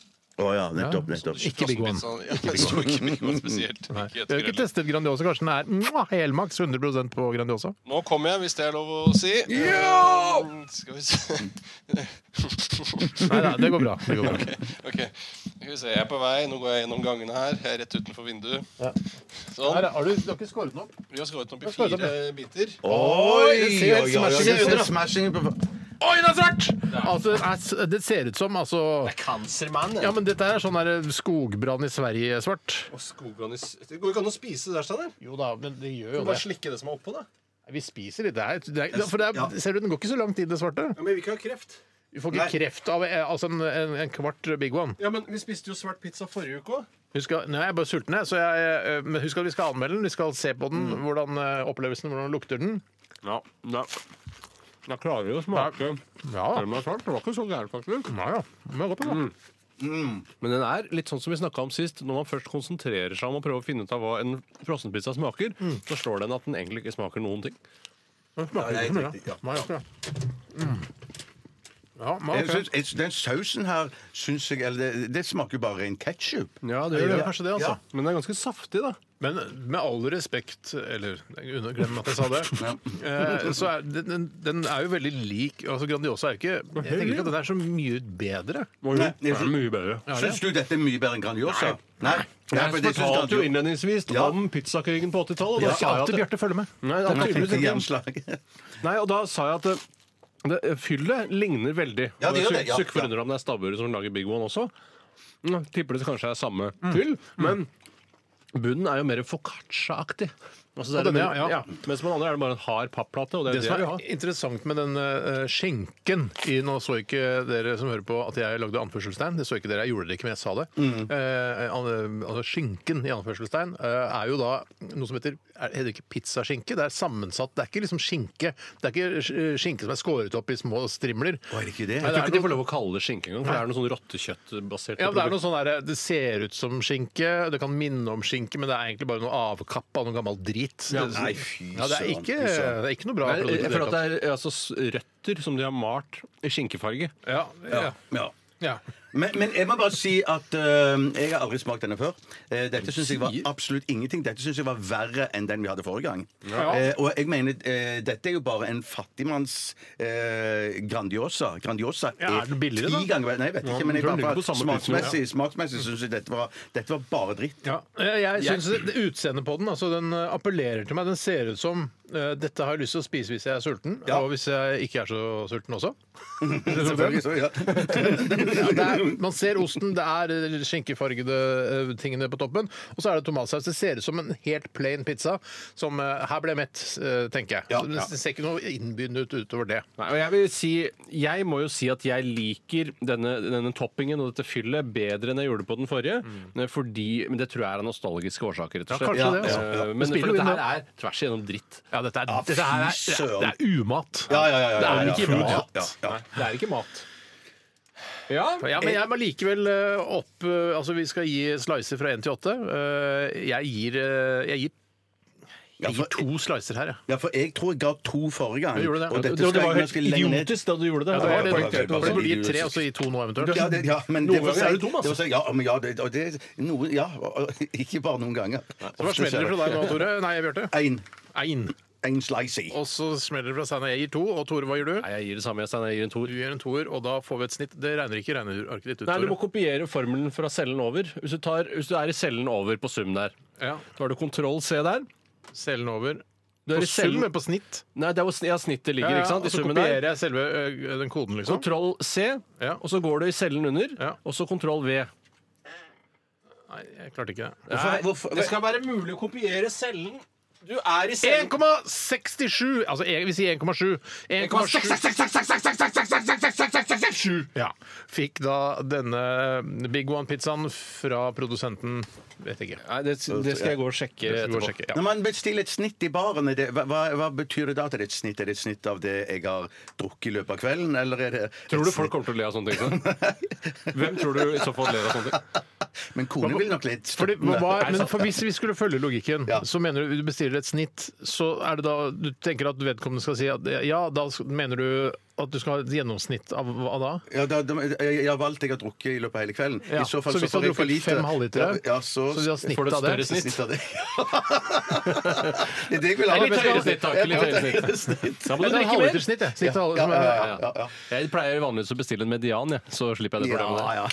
C: Å ja, nettopp. nettopp.
A: Ikke Big One.
B: Pizza- Ja, det sto ikke Big One spesielt.
A: Nei. Vi
B: Ikke
A: har jo ikke
B: etter-
A: testet Grandiosa, kanskje den er mwah, helmaks 100 på Grandiosa?
B: Nå kommer jeg, hvis det er lov å si. Ja! Skal vi se
A: Nei, nei, det går bra. Det går bra.
B: Ok, ok. Skal vi se, jeg er på vei. Nå går jeg gjennom gangene her. Jeg er rett utenfor vinduet. Sånn.
A: Her, har du, du har ikke skåret den opp?
B: Vi har skåret den opp
A: Vi
B: i
A: har skåret opp,
B: fire
A: ja.
B: biter.
A: Oi, det ser helt
C: oi, oi,
A: smashing
C: oi,
A: ut,
C: det ser
A: da.
C: smashing ut på-
A: Oi, den er svart! Altså, den er, s- det ser ut som altså Det er
B: Cancermann.
A: Ja, men dette er sånn der skogbrann i Sverige-svart.
B: Det går ikke an å spise det der, Steinar.
A: Jo da, men det gjør
B: Bare slikke det som er oppå, da.
A: Vi spiser litt. Det er, det er, for det er, ser du, den går ikke så langt i det svarte.
B: men vi vil ikke ha kreft.
A: Du får ikke kreft av eh, altså en, en, en kvart Big One.
B: Ja, men Vi spiste jo svart pizza forrige uke òg.
A: Husk at, nå er jeg bare sulten, jeg, så jeg, eh, men husk at vi skal anmelde den. Vi skal se på den, hvordan eh, opplevelsen, hvordan lukter den.
L: Ja, da, da klarer vi å smake Selv om det er svart. Det var ikke så gærent, faktisk. Mm. Men den er litt sånn som vi snakka om sist. Når man først konsentrerer seg om å prøve å finne ut av hva en frossenpizza smaker, så slår den at den egentlig ikke smaker noen ting.
A: Den smaker
C: Ja,
A: ikke så mye.
C: det er riktig, ja.
A: Nei, ja. Ja, men
C: Jeg
A: ok.
C: syns- jeg syns- Den sausen her syns jeg eller det, det smaker jo bare ren ketsjup.
L: Ja,
A: det gjør det. Kanskje det, altså.
L: Men den er ganske saftig, da.
A: Men med all respekt Eller under- glem at jeg sa det. eh, Så er, den- den, den er jo veldig lik altså Grandiosa er jo ikke Jeg tenker ikke at den er så mye bedre.
C: Nei, jeg syns-
L: mye bedre.
C: Syns du dette er mye bedre enn Grandiosa? Nei. Nei,
L: Jeg
C: for det
L: fortalte
C: syns
L: jo
C: Grandiosa-
L: innledningsvis
C: Ja.
L: om pizzakrigen på 80-tallet. og
A: Det
L: da
A: er ikke
L: sa jeg at
A: alltid Bjarte følger med.
L: Nei, det er
C: Nei,
L: tydeligvis
C: fikk
L: ikke.
C: jernslag.
L: Nei, og da sa jeg at eh, det, fyllet ligner veldig.
C: Ja, det gjør det, ja,
L: Sukk
C: ja.
L: forundrer om det er stabburet som lager Big One også. Mm, Tipper det kanskje er samme
A: Mm.
L: fyll, men bunnen er jo mer foccaccia-aktig. Altså, det
A: Ja,
L: er
A: den,
L: mer-
A: ja, ja.
L: Mens på den andre er det bare en hard papplate, og det er
A: Det
L: det,
A: som
L: vi
A: er
L: har.
A: interessant med den eh, skjenken i, Nå så ikke dere som hører på at jeg lagde anførselstegn. Det så ikke dere, jeg gjorde det ikke, men jeg sa det. Eh, an- altså Skinken i anførselstegn eh, er jo da noe som heter er, Heter det ikke pizzaskinke? Det er sammensatt. Det er ikke liksom skinke. Det er ikke sk- skinke som er skåret opp i små strimler.
C: Å, er det ikke det?
A: Nei,
L: Jeg tror ikke
A: det er
L: de
A: noe-
L: får lov å kalle det skinke engang, for det er noe sånn rottekjøttbasert
A: ja, det, er noe
L: produkt.
A: sånn der, det ser ut som skinke, det kan minne om skinke, men det er egentlig bare noe avkappa av noe gammel drit.
L: Ja.
A: Det-
C: Nei, fy
A: ja, det, er
C: søren,
A: ikke,
C: fy søren.
A: det er ikke noe bra
L: Nei,
A: produkt. i
L: jeg
A: det hele
L: føler at det er altså, s- røtter som de har malt i skinkefarge.
A: tatt. ja, ja.
C: Ja.
A: Ja.
C: Men, men jeg må bare si at øh, jeg har aldri smakt denne før. Eh, dette syns jeg var absolutt ingenting. Dette syns jeg var verre enn den vi hadde forrige gang. Eh, og jeg mener, eh, dette er jo bare en fattigmanns eh, Grandiosa. Grandiosa
A: Ja, er den billigere, da?
C: ti ganger Nei, jeg vet ikke, men jeg
B: tror den
C: bare,
B: ligger på samme prisen,
C: smaksmessig, smaksmessig syns jeg dette var, dette var bare dritt.
A: Ja, eh, jeg synes det- det Utseendet på den altså den eh, appellerer til meg. Den ser ut som eh, dette har jeg lyst til å spise hvis jeg er sulten,
C: Ja.
A: og hvis jeg ikke er så sulten også.
C: Selvfølgelig. Så, ja.
A: Ja, det er, man ser osten, det er eh, skinkefargede eh, tingene på toppen, og så er det tomatsaus. Det ser ut som en helt plain pizza som eh, Her ble jeg mett, eh, tenker jeg.
C: Ja,
A: Så
C: ja.
A: Det ser ikke noe innbydende ut utover det.
B: Nei, og jeg, vil si, jeg må jo si at jeg liker denne, denne toppingen og dette fyllet bedre enn jeg gjorde på den forrige. Eh, Fordi, men det tror jeg er av nostalgiske årsaker. rett
A: Ja,
B: og slett.
A: kanskje det, altså.
B: Eh,
A: Ja. Det
B: Men
A: spiller jo
B: for dette
A: inn,
B: her er tvers igjennom dritt.
A: Ja, dette er,
C: Ja,
A: dette her er,
C: fy
A: det er,
C: søren.
A: det er umat.
C: Ja, ja, ja, ja,
A: det er
C: ja,
A: jo ikke
C: ja, ja,
A: mat.
C: ja, ja.
B: Nei, det er ikke mat. Ja,
A: Ja, men jeg må likevel eh, opp eh, Altså, vi skal gi slicer fra 1 til 8. Eh, Jeg gir, eh, jeg gir,
C: Ja,
A: jeg
C: for-
A: gir to slicer her, jeg.
C: Ja, for jeg tror jeg ga to forrige gang.
A: Du gjorde det.
C: Og
B: det,
C: dette
B: det
C: skal
B: var
C: jeg
B: jo helt
C: ganske lenger ned.
B: idiotisk da du gjorde det.
A: Ja, det var det
C: jeg
A: du
C: poengterte
A: tenkte.
C: også.
A: Du burde gi tre, og så gi to nå eventuelt.
C: altså. Ja, det, ja, men
B: Noen
C: det var
B: ganger er det
C: seg-
B: tom, altså.
C: det var seg- Ja, men ja, det, og det, noen, ja, og- ikke bare noen ganger.
A: Så hva smeller det fra deg nå, Tore? Nei, Bjarte.
C: Én.
A: Én.
C: Én slicey.
A: Og så smeller det fra Steinar. Jeg gir to. Og Tore, hva gjør du?
B: Nei, jeg gir det samme, jeg, Stein. Jeg gir en
A: Du
B: toer.
A: gir en toer, og da får vi et snitt. Det regner ikke regnearket ditt ut,
B: Nei, du må
A: Tore.
B: kopiere formelen fra cellen over. Hvis du, tar, hvis du er i cellen over på sum der,
A: Ja.
B: så har du kontroll C der.
A: Cellen over.
B: Du er
A: På
B: i cellen-
A: sum, men på snitt.
B: Nei, det er hvor sn- ja, snittet ligger, ikke sant?
A: og
B: I
A: så
B: summen der.
A: kopierer jeg selve ø, den koden, liksom.
B: Kontroll C,
A: Ja.
B: og så går du i cellen under,
A: Ja.
B: og så kontroll V.
A: Nei, jeg klarte ikke det.
B: Nei,
C: hvorfor-
B: det skal være mulig å kopiere cellen. Du er i
A: 1,67! Altså, jeg vil si 1,7. 1,7. Ja. Fikk da denne øh, Big One-pizzaen fra produsenten Vet ikke.
B: Nei, det, det skal jeg gå og sjekke
A: Jeg skal gå og
B: etterpå.
A: sjekke. Ja.
C: Når man bestiller et snitt i baren, er det, hva, hva- hva betyr det da? At det er et snitt? Er det et snitt av det jeg har drukket i løpet av kvelden, eller er det et
B: Tror du
C: snitt-
B: folk kommer til å le av sånne ting? sånn? Hvem tror du i så fall ler av sånne ting?
C: Men kone vil nok litt altså,
A: Fordi, hva, hva- men
B: sant?
A: for hvis vi skulle følge logikken,
C: Ja.
A: så mener du du bestiller et snitt, så er det da du tenker at vedkommende skal si at ja, da sk- mener du at du skal ha et gjennomsnitt av hva da?
C: Ja, da, da, jeg jeg har valgt jeg har drukket i løpet av hele kvelden.
A: Ja.
C: I så fall
A: så
C: så,
A: hvis du
C: får
A: har
C: jeg for
A: drukket
C: lite.
A: fem halvlitere,
C: ja, ja, så,
A: så, så
B: får du
A: snitt
B: et
A: av det.
B: større snitt.
C: snitt av det. det er det jeg vil ha.
B: Nei, litt høyere snitt, takk. Litt
C: Ja,
B: høyere snitt. Da må
A: Jeg
B: du
A: tar
B: drikke mer.
A: halvlitersnitt, jeg. Snitt av alle
C: Ja,
A: som
C: ja,
A: er-
C: ja, ja, ja.
B: Jeg pleier vanligvis å bestille en median, jeg, så slipper jeg det problemet. der.
C: Ja, ja.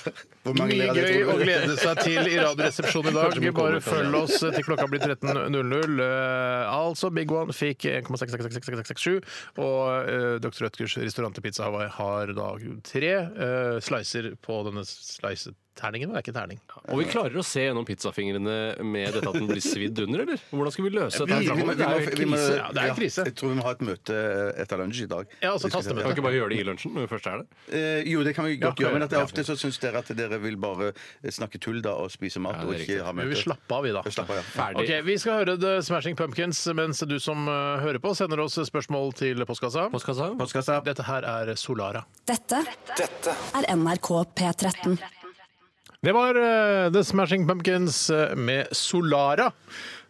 C: Hvor mange
A: Mye
C: ler av det,
A: gøy å
C: tror du?
A: glede seg til i Radioresepsjonen i dag. Bare følg oss til klokka blir 13.00. Eh, altså, Big One fikk 1,666667, og eh, Dr. Rødtgers restaurant til Pizza Hawaii har da tre eh, slicer på denne sliceterningen. Det er ikke terning.
B: Og vi klarer å se gjennom pizzafingrene med dette at den blir svidd under, eller? Hvordan skal vi løse
C: Vi-
B: dette? her
C: vi
B: fremover?
C: må- vi
B: Det
C: må-
B: er jo helt
C: vi må-
B: krise.
A: Ja, det er
C: ja,
A: krise.
C: Jeg tror vi må ha et møte eh, etter lunsj i dag.
A: Ja, altså
C: Vi skal se-
A: tastemøte.
B: Kan vi ikke bare gjøre det i lunsjen når vi først er der?
C: Eh, jo, det kan vi godt
A: Ja,
C: gjøre, men at
A: ja.
C: ofte så syns dere at dere vil bare eh, snakke tull da og spise mat
B: det er
C: og ikke
B: riktig.
C: ha
A: Men
C: møte.
A: vi slapper av, vi, da.
C: Slapp av, ja.
B: Ferdig.
A: Ok, Vi skal høre The Smashing Pumpkins mens du som eh, hører på, sender oss spørsmål til postkassa.
B: Postkassa?
C: Postkassa.
A: Dette her er Solara.
E: Dette er NRK P13.
A: Det var eh, The Smashing Pumpkins eh, med Solara.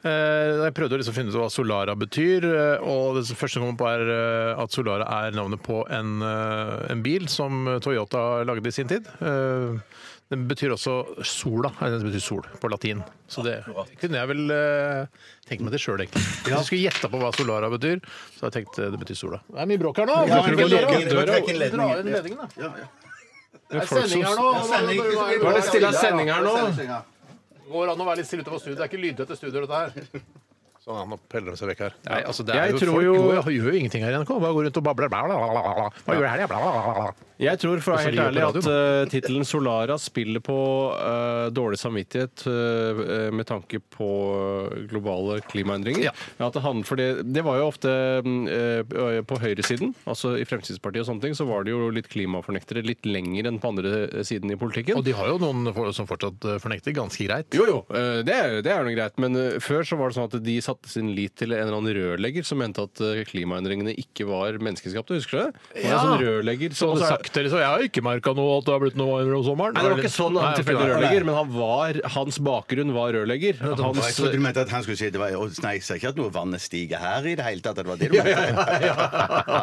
A: Eh, jeg prøvde å liksom finne ut hva Solara betyr, eh, og det som første som kommer på er eh, at Solara er navnet på en, eh, en bil som Toyota lagde i sin tid. Eh, den betyr også sola, Nei, den betyr sol på latin. Så det kunne jeg vel eh, tenkt meg det sjøl, egentlig. Hvis jeg skulle gjette på hva Solara betyr, så har jeg tenkt eh, det betyr sola. Det er mye bråk her nå!
C: Ja,
A: Hvorfor lukker
C: men ledningen,
A: døra?
C: du må trekke inn
A: Dra inn
C: ledningen.
A: ledningen, da.
C: Ja, ja.
A: Det er sending her nå.
C: Nå
B: er det stille av sending her nå.
A: går an å være litt stille utenfor studio. Det er ikke lydtette studioer, dette her. Sånn, ja, nå peller de seg vekk her. Nei, altså, det
B: Jeg tror
A: folk
B: jo-
A: går- gjør jo ingenting her i NRK. Bare går rundt og babler. Bla, bla, bla, bla. Hva gjør jeg her, jeg? Bla, bla, bla, bla.
B: Jeg tror for å
A: Også
B: være helt
A: ligger
B: ærlig
A: på
B: at uh, tittelen 'Solara' spiller på eh, dårlig samvittighet eh, eh, med tanke på eh, globale klimaendringer.
A: Ja.
B: At det, handler, for det, det var jo ofte mm, eh, på høyresiden, altså i Fremskrittspartiet og sånne ting, så var det jo litt klimafornektere litt lenger enn på andre eh, siden i politikken.
A: Og de har jo noen for, som fortsatt eh, fornekter ganske greit.
B: Jo, jo, eh, det er, det er noe greit. Men eh, før så var det sånn at de satte sin lit til en eller annen rørlegger som mente at eh, klimaendringene ikke var menneskeskapte. Husker du det? Det var
A: Ja.
B: en sånn rørlegger som
A: Og så
B: hadde
A: er-
B: sagt
A: røykte, liksom. Jeg har ikke merka noe at det har blitt noe varmere om sommeren.
B: Nei, det var ikke sånn
A: Nei,
B: han
A: ok,
B: tilfeldig
A: nei.
B: rørlegger, men han var, hans bakgrunn var rørlegger.
C: Og jeg
B: Hans,
C: trodde du mente at han skulle si det var, å, Nei, jeg ser ikke at noe vannet stiger her i det hele tatt. at Det var det du mente.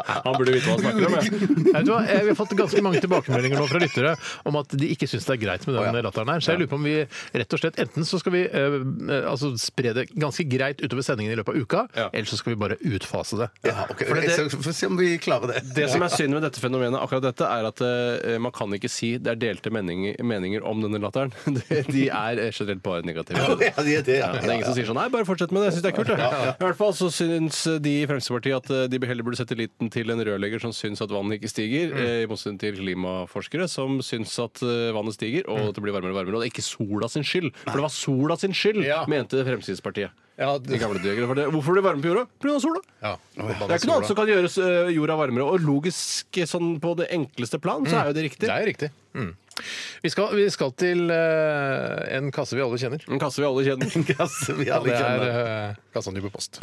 B: han burde vite hva han snakker om. ja.
A: Jeg vet hva, eh, Vi har fått ganske mange tilbakemeldinger nå fra lyttere om at de ikke syns det er greit med den latteren her. Så jeg lurer på om vi rett og slett enten så skal vi eh, eh, altså spre det ganske greit utover sendingen i løpet av uka,
B: Ja.
A: eller så skal vi bare utfase det.
C: Ja, ok.
B: For det-
C: Jeg skal- Få se om vi klarer det.
B: Det som er synd med dette fenomenet, akkurat dette, er at eh, man kan ikke si det er delte meninger, meninger om denne latteren. De de er eh, generelt bare negative.
C: Ja, det er det, ja.
B: Det er ingen som sier sånn Nei, bare fortsett med det. Jeg syns det er kult. det». I hvert fall så syns de i Fremskrittspartiet at eh, de heller burde sette liten til en rørlegger som syns at vannet ikke stiger,
C: Mm.
B: eh, i motsetning til klimaforskere som syns at eh, vannet stiger
C: Mm.
B: og at det blir varmere og varmere. Og det er ikke sola sin skyld, for det var sola sin skyld,
A: Ja.
B: mente Fremskrittspartiet.
A: Ja,
B: De gamle døgene, for det, hvorfor blir det varme på jorda? Pga. sola. Det er ikke noe annet som kan gjøre eh, jorda varmere. Og logisk sånn på det enkleste plan, så er jo det riktig.
A: Det er jo riktig. Mm. Vi, skal, vi skal til eh, en kasse vi alle kjenner.
B: En kasse vi alle kjenner.
C: Gass, vi alle
A: Det er
C: kjenner.
A: eh, kassa Ny på post.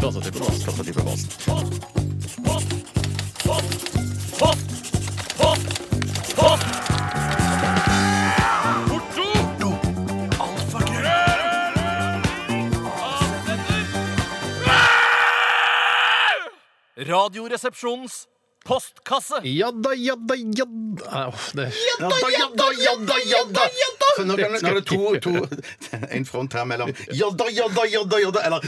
M: Radioresepsjonens postkasse.
A: Jadda, jadda, jadda Nei, uff, det-
C: Jadda, jadda, jadda! Så nå kan nå er det to, to En front her mellom jadda, jadda, jadda, jadda, eller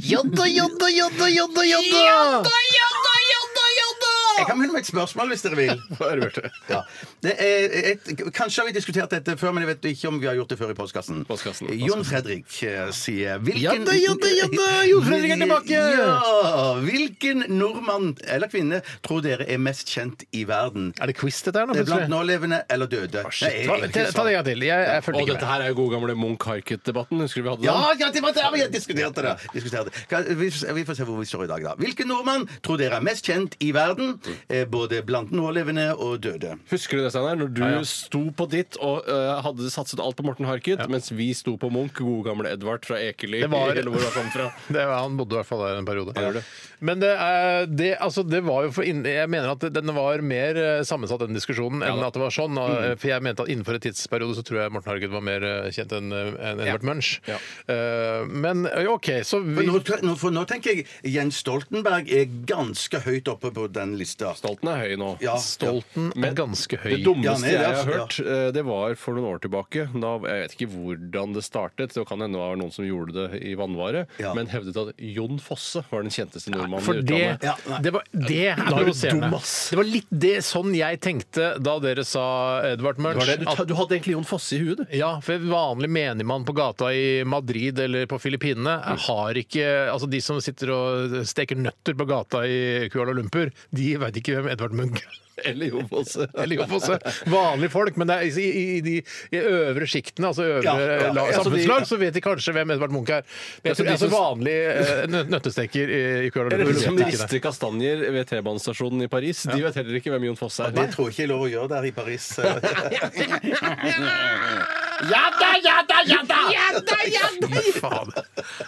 A: Jadda, jadda, jadda, jadda, jadda!
C: Jadda, jadda, jadda, jadda! Jeg kan begynne med et spørsmål, hvis dere vil. Ja. Det er et, kanskje har vi diskutert dette før, men jeg vet ikke om vi har gjort det før i postkassen.
B: Postkassen, postkassen.
C: Jon Fredrik eh, sier hvilken
A: Jadda, jadda, jadda, Jon Fredrik er tilbake!
C: Ja! Hvilken nordmann eller kvinne tror dere er mest kjent i verden?
A: Er det quiz dette her nå?
C: Det er
A: plutselig?
C: blant nålevende eller døde? Nei, jeg-
A: Ta,
C: jeg-
A: ta, ta det en gang til. Jeg, jeg
B: Og
A: fulgte ikke
B: dette
A: med.
B: her er jo god gamle Munch-Harket-debatten. Husker du vi hadde
C: Ja,
B: den?
C: ja, det var der vi diskuterte det! Diskuterte det. Kan- Vi, vi får se hvor vi står i dag, da. Hvilken nordmann tror dere er mest kjent i verden? eh, Både blant nålevende og døde.
B: Husker du det, Steinar? Når du sto på ditt og eh, hadde satset alt på Morten Harket, mens vi sto på Munch, gode gamle Edvard fra Ekely,
A: Det var-
B: eller hvor han kom fra.
A: Det var, han bodde i hvert fall der en periode.
B: gjorde det.
A: Men det, er- det, altså, det var jo for inn, Jeg mener at den var mer eh, sammensatt, den diskusjonen, enn at det var sånn. Og,
B: Mm.
A: eh, For jeg mente at innenfor en tidsperiode så tror jeg Morten Harket var mer eh, kjent enn enn Edvard Munch.
B: Ja.
A: Eh, men eh, OK, så vi
C: Men nå, tør- nå, for nå tenker jeg Jens Stoltenberg er ganske høyt oppe på den lista.
B: Stolten er høy nå.
C: Ja.
A: Stolten er ganske høy.
B: Det dummeste
C: Ja, nei, det er-
B: jeg har hørt, eh, det var for noen år tilbake. Da, jeg vet ikke hvordan det startet, det kan hende det var noen som gjorde det i vannvare,
C: Ja.
B: men hevdet at Jon Fosse var den kjenteste nordmannen
A: For
B: i
A: det,
B: utlandet.
C: Ja, nei.
A: det, var, det er
B: du
A: provoserende.
B: dum, ass.
A: Det var litt det sånn jeg tenkte da dere sa Edvard
B: Det var
A: Munch.
B: det. Du, ta-
A: at-
B: du hadde egentlig Jon Fosse i huet, du.
A: Ja, for en vanlig menigmann på gata i Madrid eller på Filippinene har ikke Altså, de som sitter og steker nøtter på gata i Kuala Lumpur, de veit ikke hvem Edvard Munch er.
B: Eller Jon Fosse.
A: Eller jo, også vanlige folk, men det er i, i, i de i øvre sjiktene, altså øvre
C: Ja, ja, ja.
A: la-
C: Altså, de-
A: samfunnslag, så vet de kanskje hvem Edvard Munch er. Men jeg
B: Altså,
A: tror
B: de
A: altså,
B: som-
A: vanlig eh, nø- nøttesteker i, i Kuala
B: Eller
A: Lumpur
B: de som
A: vet ikke det.
B: rister kastanjer ved T-banestasjonen i Paris. De vet heller ikke hvem Jon Fosse er.
C: Det tror jeg ikke er lov å gjøre der i Paris. eh.
A: Faen.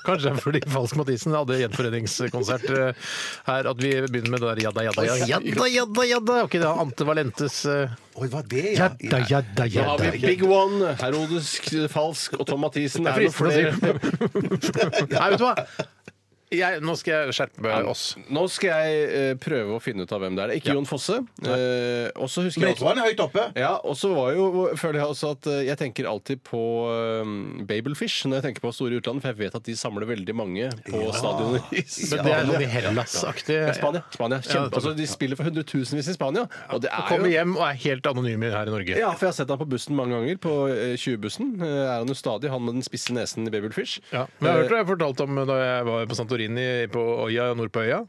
A: Kanskje det er fordi Falsk Mathisen hadde gjenforeningskonsert eh, her at vi begynner med det der jadda, jadda, jadda, jadda, jadda, jadda. Ok, det er Ante Valentes eh,
C: Oi, var det, ja?
A: jadda,
C: ja.
A: jadda,
B: Da har
A: jadda.
B: vi Big One, Herodes Falsk og Tom Mathisen. Er det noe flere?
A: Nei, vet du hva? Jeg, nå skal jeg skjerpe meg oss.
B: Nå skal jeg eh, prøve å finne ut av hvem det er. Det er Ikke Jon Fosse. Eh, og så husker jeg
C: Jeg tror
B: også
C: han er høyt oppe.
B: ja, og så var jo, føler jeg også at eh, jeg tenker alltid på eh, Babelfish når jeg tenker på store utlandet, for jeg vet at de samler veldig mange på stadioner
A: Men det
B: i
A: er
B: Spania.
A: sånn i Hellas-aktig.
B: Ja, Spania. Spania.
A: Ja,
B: Kjempe, altså, de spiller for hundretusenvis i Spania. Og det er
A: Kommer
B: jo
A: hjem og er helt anonyme her i Norge.
B: Ja, for jeg har sett han på bussen mange ganger. På eh, 20-bussen eh, er han jo stadig han med den spisse nesen i Babelfish.
A: Ja. Men
B: Eh,
A: jeg hørte jeg fortalte om da jeg var på Santorini på øya nord på øya.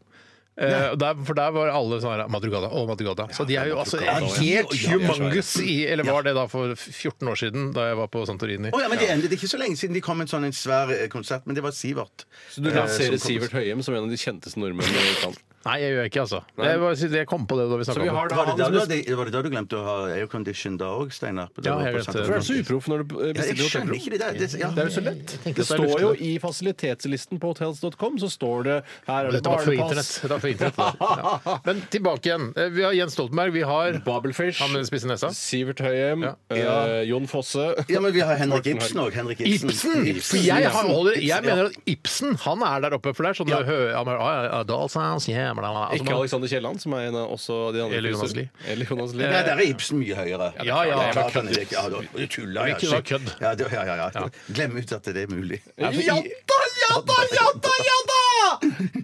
A: Eh, og der, for der var alle sånn her Madrugada og Madrugada. Så de er jo altså helt humongous i Eller var det da for 14 år siden, da jeg var på Santorini?
C: Å ja, men det, endte- det er ikke så lenge siden de kom med en sånn en svær eh, konsert, men det var Sivert.
B: Så du lanserer Sivert Høyem som en av de kjenteste nordmennene i utlandet.
A: Nei, jeg gjør ikke altså.
C: Nei.
A: Det var det jeg kom på det da vi
C: Så
A: snakka
C: vi
A: om
C: har da
A: det.
C: var, det da, du- var det da du glemte å ha aircondition da òg, Steinar?
A: Ja, jeg glemte det.
B: Hvorfor er du så uproff når du eh,
C: Ja, jeg
B: bestiller
C: skjønner
B: hotellrom?
C: ikke det der. Det, ja.
B: Det er jo så lett.
A: tenker
B: Det
A: at det er
B: står jo
A: luftelig.
B: i fasilitetslisten på hotels.com, så står det her er det
A: Dette var for internett.
B: barnepass.
A: Dette var for internett da. ja. Men tilbake igjen. Eh, Vi har Jens Stoltenberg. Vi har
B: Babelfish.
A: han med den spisse nesa.
B: Sivert Høyem.
A: Ja. Altså,
B: eh,
C: Ja.
B: Jon Fosse.
C: ja, men vi har Henrik Ibsen òg. Henrik Ibsen.
A: For jeg, har- holder, jeg mener at Ibsen han er der oppe, for det er sånn ja. altså,
B: Ikke Alexander Kielland, som er en av også de andre.
A: Eller Jonas
B: frisørene.
A: Lie. Eh,
B: Eller Jonas Lie.
C: Nei, der er Ibsen mye høyere.
A: Ja, ja,
C: det er klart
A: kødd.
C: han er ikke- ja, da- Du tuller, ja.
A: Hvilken var
C: shit.
A: kødd?
C: Ja, det- ja, ja, ja. Glem ut at det er mulig.
B: Ja, for i-
C: ja da, ja da, ja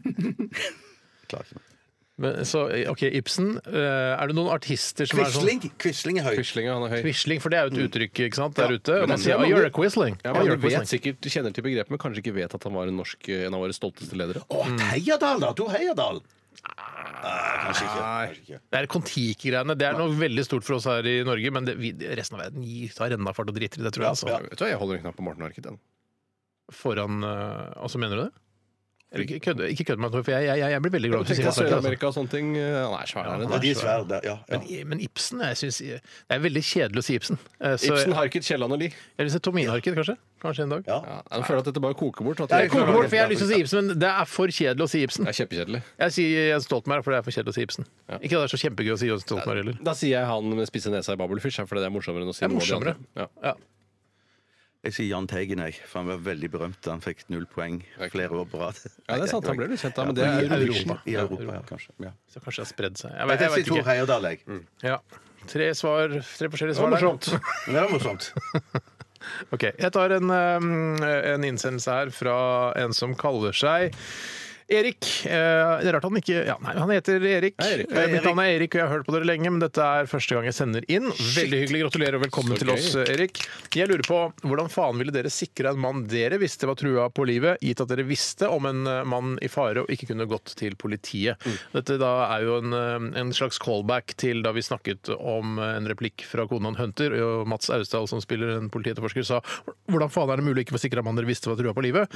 C: da! Klarer ikke mer.
A: Men, så, ok, Ibsen. eh, Er det noen artister som er sånn
C: Quisling Quisling er høy.
B: Quisling, han er høy.
A: Quisling, for det er jo et uttrykk ikke sant, der
C: Ja.
A: ute. Og
C: Men
A: man
C: det
A: sier
B: er
A: «Ah,
B: mange-
A: you're a Quisling.
B: Ja,
A: Ah,
B: men
A: you're
B: du
A: a
B: vet
A: Quisling.
B: sikkert, du kjenner til begrepet, men kanskje ikke vet at han var en, norsk, en av våre stolteste ledere.
C: Å, Heyerdahl, da! Du Heyerdahl! Nei, kanskje ikke. Kanskje ikke.
A: Det er Kon-Tiki-greiene. Det er noe veldig stort for oss her i Norge, men det, vi, resten av verden gir, tar rennafart og driter i det, tror jeg. Altså.
B: Vet du hva, Jeg holder en knapp på Morten Harket. den.
A: Foran eh, Altså, mener du det? Eller Ikke kødde ikke kødde meg, for jeg, jeg, jeg blir veldig glad for
B: Tenk deg
A: Sivert Høyem, altså.
B: Sør-Amerika og sånne ting. eh, Han er svær.
C: Ja, de er svære der. Ja, ja.
A: Men, men Ibsen jeg synes, Det er veldig kjedelig å si Ibsen. Eh, Så,
B: Ibsen,
A: Ibsen
B: Harket, Kielland og Lie.
A: jeg vil si Tomine Harket, kanskje. Kanskje en dag.
C: Ja.
B: Ja, jeg føler at dette bare koker bort. at
A: Det
B: vi-
A: er kokebord, for jeg har lyst til å si Ibsen, men det er for kjedelig å si Ibsen.
B: Det er kjempekjedelig.
A: Jeg sier Jens Stoltenberg, for det er for kjedelig å si Ibsen. Ikke at det er så kjempegøy å si Jens Stoltenberg heller.
B: Da sier jeg han med spisse nesa i Babelfish, for det er morsommere enn å si
A: Det er
B: noe av de
A: morsommere.
B: andre. Ja.
A: Ja.
C: Jeg sier Jahn Teigen, jeg. For han var veldig berømt. Han fikk null poeng flere år på rad.
B: Ja, det er sant. Han ble litt kjent da, men det
A: Ja,
B: er
A: i
B: Eurovision.
A: Europa.
C: I Europa, ja, kanskje. Ja.
A: Så kanskje det har spredd seg. Jeg
C: Jeg,
A: vet, jeg vet
C: sier Tor
A: ikke.
C: Heyerdahl, jeg.
A: Ja. Tre svar, tre forskjellige
B: Det var
A: svar der.
B: morsomt.
C: Men det var morsomt.
A: Ok, Jeg tar en, eh, en innsendelse her fra en som kaller seg Erik. Eh, Det er rart han ikke ja, Nei, han heter Erik.
B: Hei, Erik.
A: Eh, Mitt navn er Erik, og jeg har hørt på dere lenge, men dette er første gang jeg sender inn. Veldig hyggelig. Gratulerer og velkommen
B: Så
A: til
B: gøy.
A: oss, eh, Erik. Jeg lurer på hvordan faen ville dere sikra en mann dere visste var trua på livet, gitt at dere visste om en eh, mann i fare og ikke kunne gått til politiet? Dette da er jo en, eh, en slags callback til da vi snakket om eh, en replikk fra konen Hunter, og Mats Austdal som spiller en politietterforsker, sa hvordan faen er det mulig å ikke få sikra en mann dere visste var trua på livet?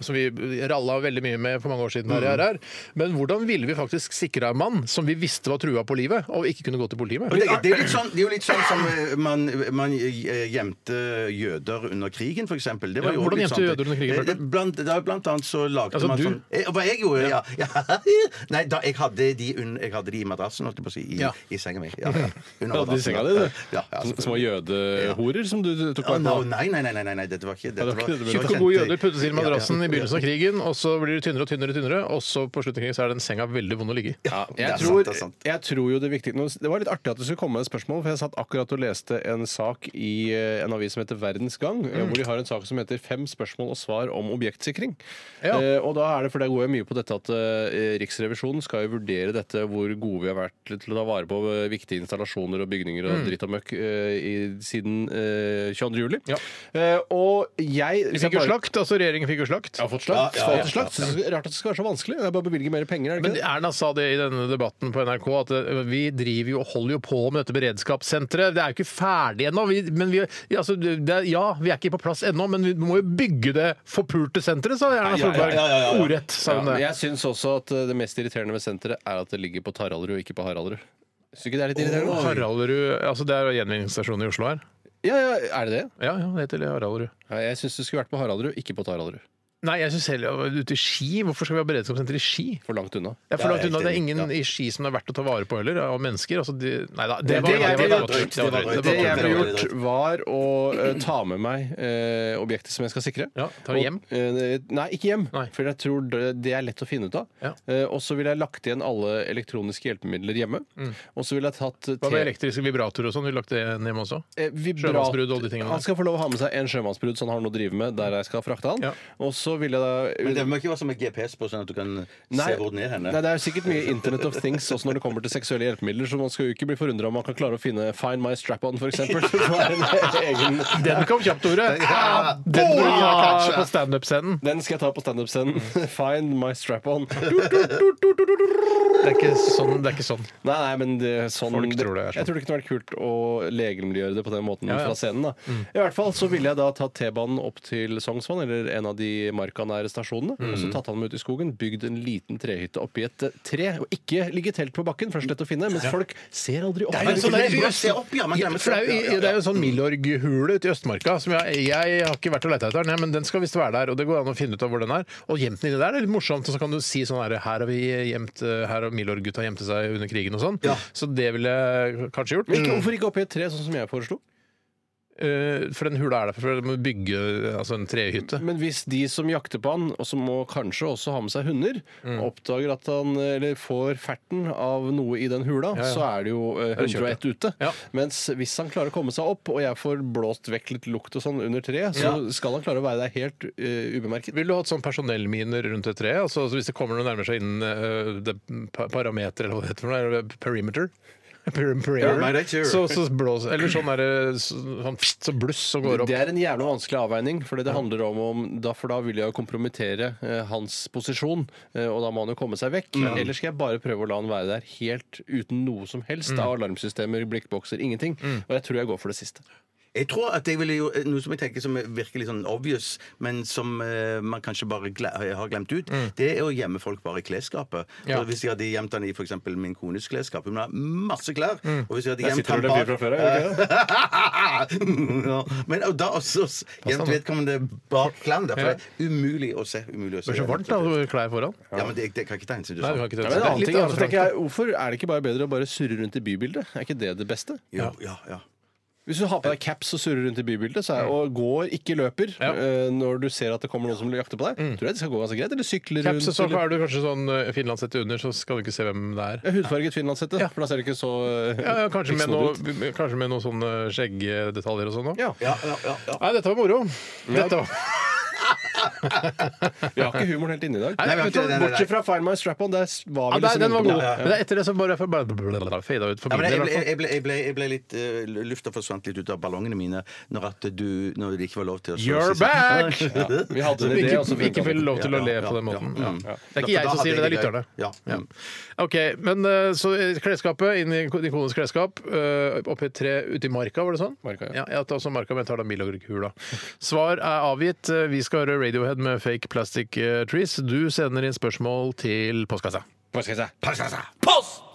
A: Som vi ralla veldig mye med for mange år siden. her i RR. Men hvordan ville vi faktisk sikra en mann som vi visste var trua på livet, og ikke kunne gå til politiet med?
C: Og Det, det, er litt sånn, det er jo litt sånn som eh, man, man eh, gjemte jøder under krigen, for eksempel. Det var
A: Ja,
C: jo
A: hvordan
C: litt
A: gjemte
C: sånn-
A: jøder under krigen, Bjarte?
C: Eh, Blant, da, blant annet så lagde
A: Altså,
C: man
A: du?
C: sånn eh, Hva jeg gjorde? Ja. ja. Nei, da, jeg, hadde de un, jeg hadde de i madrassen, holdt jeg på å si. I,
A: Ja.
C: i senga mi. Ja, ja. Under
B: Ja, de
C: madrassen,
B: senga di, du.
C: Ja, ja,
B: Sånne Små jødehorer som du tok
C: Å,
B: vare
C: no,
B: på.
C: nei, nei, nei, nei, nei, nei, dette var ikke
B: det var ikke det du ville
C: kjente-
A: Tjukke og gode jøder puttes inn i madrassen i begynnelsen av krigen, og så blir de tynnere og tynnere, og tynnere, og så på slutten av krigen så er den senga veldig vond å ligge i.
B: Ja,
C: det er
B: jeg,
C: sant,
B: tror,
C: det er sant.
B: jeg tror jo det viktige nå- Det var litt artig at det skulle komme et spørsmål, for jeg satt akkurat og leste en sak i eh, en avis som heter Verdens Gang,
A: Mm.
B: eh, hvor de har en sak som heter 'Fem spørsmål og svar om objektsikring'.
A: Ja.
B: Eh, og da er det, for det går jo mye på dette at eh, Riksrevisjonen skal jo vurdere dette, hvor gode vi har vært til- til å ta vare på eh, viktige installasjoner og
A: Mm.
B: bygninger og dritt og møkk eh, i- siden eh, 22. juli.
A: Ja.
B: Eh, og jeg
A: Vi fikk jo slakt, altså regjeringen fikk jo slakt.
B: Jeg har fått slakt.
C: Ja, ja, ja.
B: Fått slakt. Så det er Rart at det skal være så vanskelig. Det er bare å bevilge mer penger. Er det
A: Men
B: ikke det?
A: Erna sa det i denne debatten på NRK, at eh, vi driver jo og holder jo på med dette beredskapssenteret. Det er jo ikke ferdig ennå. Vi, men vi, altså, det, er- ja, vi er ikke på plass ennå, men vi må jo bygge det forpulte senteret, sa Erna
B: Ja, ja,
A: Solberg.
C: ja, ja, ja, ja.
A: Ordrett, sa
B: Ja,
A: hun
B: men
A: det.
B: jeg syns også at eh, det mest irriterende med senteret er at det ligger på Taraldrud og ikke på Haraldrud. Syns du ikke det er litt irriterende?
A: Haraldrud altså Det er jo gjenvinningsstasjonen i Oslo her.
B: Ja, ja, er det det?
A: Ja, ja, det heter Haraldrud.
B: Ja, jeg syns det skulle vært på Haraldrud, ikke på Taraldrud.
A: Nei, jeg syns heller ute i Ski. Hvorfor skal vi ha beredskapssenter i Ski?
B: For langt unna.
A: Det er for
C: Ja,
A: langt
C: helt
A: unna. Det er
C: enig,
A: ingen i Ski som det er verdt å ta vare på heller, av mennesker. Altså, de, nei da. Det
B: Det-
A: var
B: det-
A: det
B: det-
A: var drøyt. Det var drøyt.
B: Det
A: Det
B: jeg ville
A: var drøyt.
B: gjort, var å eh, ta med meg eh, objektet som jeg skal sikre.
A: Ja, ta det hjem?
B: Og, eh, nei, ikke hjem.
A: Nei.
B: For jeg tror det det er lett å finne ut av.
A: Ja.
B: Eh, og så ville jeg lagt igjen alle elektroniske hjelpemidler hjemme. Og så ville jeg tatt
A: Mm. Hva med
B: te-
A: elektriske vibratorer og sånn? Vil du lagt det hjem også?
B: Eh, vibrat-
A: Sjømannsbrudd og de tingene der.
B: Han skal få lov å ha med seg en sjømannsbrud som han har noe å drive med der jeg skal frakte han.
A: Ja.
B: Og så vil jeg da
C: Men det må ikke være som en GPS på, sånn at du kan se hvor den er henne.
B: nei, det er jo sikkert mye Internet of Things også når det kommer til seksuelle hjelpemidler, så man skal jo ikke bli forundra om man kan klare å finne Find My Strap-On, for eksempel. som er en egen-
A: Den kom kjapt, Tore!
B: Ja,
A: Den burde vi
B: boa!
A: ha på standup-scenen.
B: Den skal jeg ta på standup-scenen. Find My Strap-On.
A: Det er ikke sånn. Det er ikke sånn.
B: Nei, nei, men det, sånn,
A: Folk tror det er sånn.
B: Jeg tror det kunne vært kult å legemliggjøre det på den måten
A: Ja, Mm. ja.
B: fra scenen. da I hvert fall så ville jeg da tatt T-banen opp til Sognsvann, eller en av de markanære stasjonene. Og
A: Mm.
B: så tatt han dem ut i skogen, bygd en liten trehytte oppi et eh, tre. Og ikke ligge i telt på bakken, for det er slett å finne, mens folk ser aldri opp.
C: Det er
B: Nei,
C: jo
B: ikke
C: sånn
B: det.
C: der- Man ser opp, ja, man glemmer
A: for det er jo,
C: opp, ja, ja, ja.
A: det er jo en sånn Milorg-hule ute i Østmarka som jeg, jeg har ikke vært og leita etter, den, men den skal visst være der. Og det går an å finne ut av hvor den er. Og gjemt den inni der det er litt morsomt, og så kan du si sånn her Her har vi gjemt eh, Her har Milorg-gutta gjemte seg under krigen og sånn. Så det ville jeg kanskje gjort.
B: Men ikke, hvorfor ikke oppi et tre, sånn som jeg foreslo?
A: Eh, For den hula er der for å bygge eh, altså en trehytte.
B: Men hvis de som jakter på han, og som må kanskje også ha med seg hunder,
A: Mm.
B: oppdager at han eller får ferten av noe i den hula,
A: Ja, ja.
B: så er det jo eh,
A: det kjørt,
B: 101 ute.
A: Ja.
B: Mens hvis han klarer å komme seg opp, og jeg får blåst vekk litt lukt og sånn under treet, så skal han klare å være der helt eh, ubemerket.
A: Vil du ha et sånn personellminer rundt et tre? Altså, altså hvis det kommer noen nærmere seg innen eh, det pa- parameter, eller hva det heter for noe, eh, perimeter? Per
C: Ja, nei, det er
A: perimeter.
C: ikke-
A: Så, så blås Eller sånn derre sånn, pst, så bluss som går opp.
B: Det er en jævla vanskelig avveining, for det handler om, om da, for da vil jeg jo kompromittere eh, hans posisjon, eh, og da må han jo komme seg vekk. Eller skal jeg bare prøve å la han være der helt uten noe som
A: Mm.
B: helst av alarmsystemer, blikkbokser, ingenting? Og jeg tror jeg går for det siste.
C: Jeg tror at jeg ville jo, eh, Noe som jeg tenker som er virkelig sånn obvious, men som eh, man kanskje bare gle har glemt ut, det er å gjemme folk bare i klesskapet.
A: Mm. Ja.
C: Og Hvis jeg hadde gjemt han i for eksempel min kones klesskap Hun har masse klær.
A: Mm.
C: Og hvis jeg hadde
B: Der
C: gjemt
B: sitter
C: han
B: vel en Eh, fyr fra før,
C: Ja. Men og da også s- gjemt vedkommende bak klærne. Derfor er det umulig å se. Umulig å
A: Det
C: se.
A: blir så varmt da, du klær foran.
C: Ja, men det, det kan ikke ta hensyn til
A: Nei, du kan
C: sånn.
A: ikke ta
B: Ja, men en annen
A: Litt
B: ting, altså,
A: annet
B: tenker jeg, hvorfor er det ikke bare bedre å bare surre rundt i bybildet? Er ikke det det beste?
C: Ja, ja, ja.
B: Hvis du har på deg caps og surrer rundt i bybildet, så er, og går, ikke løper,
A: Mm. Ja. Mm.
B: eh, når du ser at det kommer noen som jakter på deg, tror jeg det skal gå ganske greit. Eller sykler rundt.
A: Caps, og så
B: eller-
A: er du kanskje sånn eh, finlandshette under, så skal du ikke se hvem det er.
B: Ja, Hudfarget finlandshette, for da ser du ikke så eh,
A: Ja, ja, kanskje, med noe,
B: riksnodig ut.
A: kanskje med noen sånne skjeggdetaljer og sånn òg.
B: Ja.
C: ja, ja, ja, ja.
A: Nei, dette var moro. Dette var
B: Vi har ikke humoren helt inne i dag.
A: Nei,
C: vi har
B: vet du,
C: ikke det, nei, nei.
B: Bortsett fra Find My Strap-On, der s- var
A: ja,
B: vi
A: der,
B: liksom
A: Den var
B: inne på
A: god.
B: noe.
A: Men det er etter det så bare fada ut. For
C: Ja,
A: min
C: men
A: del, i
C: jeg,
A: hvert
C: ble,
A: fall.
C: jeg, ble, jeg, ble, jeg ble litt eh, Lufta forsvant litt ut av ballongene mine når, at du, når det ikke var lov til å så-
A: You're
C: si-
A: back!
C: Ja.
B: Vi hadde en
A: Vi
B: idé,
A: ikke,
B: og så
A: vi
B: funket
A: ikke
B: det.
A: får lov til å
C: sånn Ja,
A: le
C: ja,
A: på den
C: ja, Mm.
A: måten.
C: ja.
A: Ja. Det er ikke
C: Ja,
A: jeg
C: for
A: som
C: da
A: sier det, det
C: hadde
A: er
C: jeg
A: lytterne.
C: det. Ja. Mm.
A: Ja. OK. Men eh, så klesskapet inn i din kones klesskap. eh, Oppi et tre ute i marka, var det sånn?
B: Marka,
A: ja.
B: ja.
A: Jeg tar også marka, men jeg tar da Milorg-hula. Svar er avgitt. Eh, Vi skal høre Radiohead med Fake Plastic eh, Trees. Du sender inn spørsmål til postkassa.
B: Hva skal jeg si?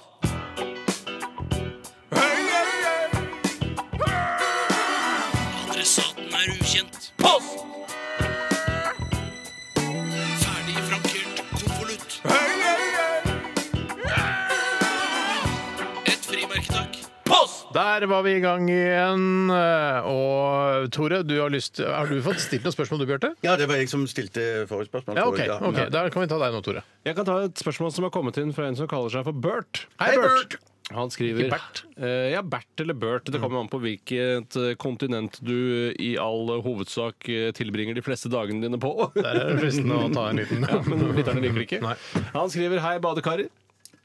A: Der var vi i gang igjen. eh, Og Tore, du har, lyst, har du fått stilt noen spørsmål du, Bjarte?
C: Ja, det var jeg som stilte forrige spørsmål.
A: Ja,
C: tror
A: OK.
C: jeg,
A: ok. Da kan vi ta deg nå, Tore.
B: Jeg kan ta et spørsmål som har kommet inn fra en som kaller seg for Bert.
A: Hei, Bert.
B: Han skriver
A: Ikke Bert.
B: Eh, ja, Bert eller Bert. Det kommer an på hvilket eh, kontinent du eh, i all hovedsak eh, tilbringer de fleste dagene dine på.
A: Der er det fristende å ta en liten
B: Ja, men lytterne liker det ikke.
A: Nei.
B: Han skriver 'Hei, badekarer'.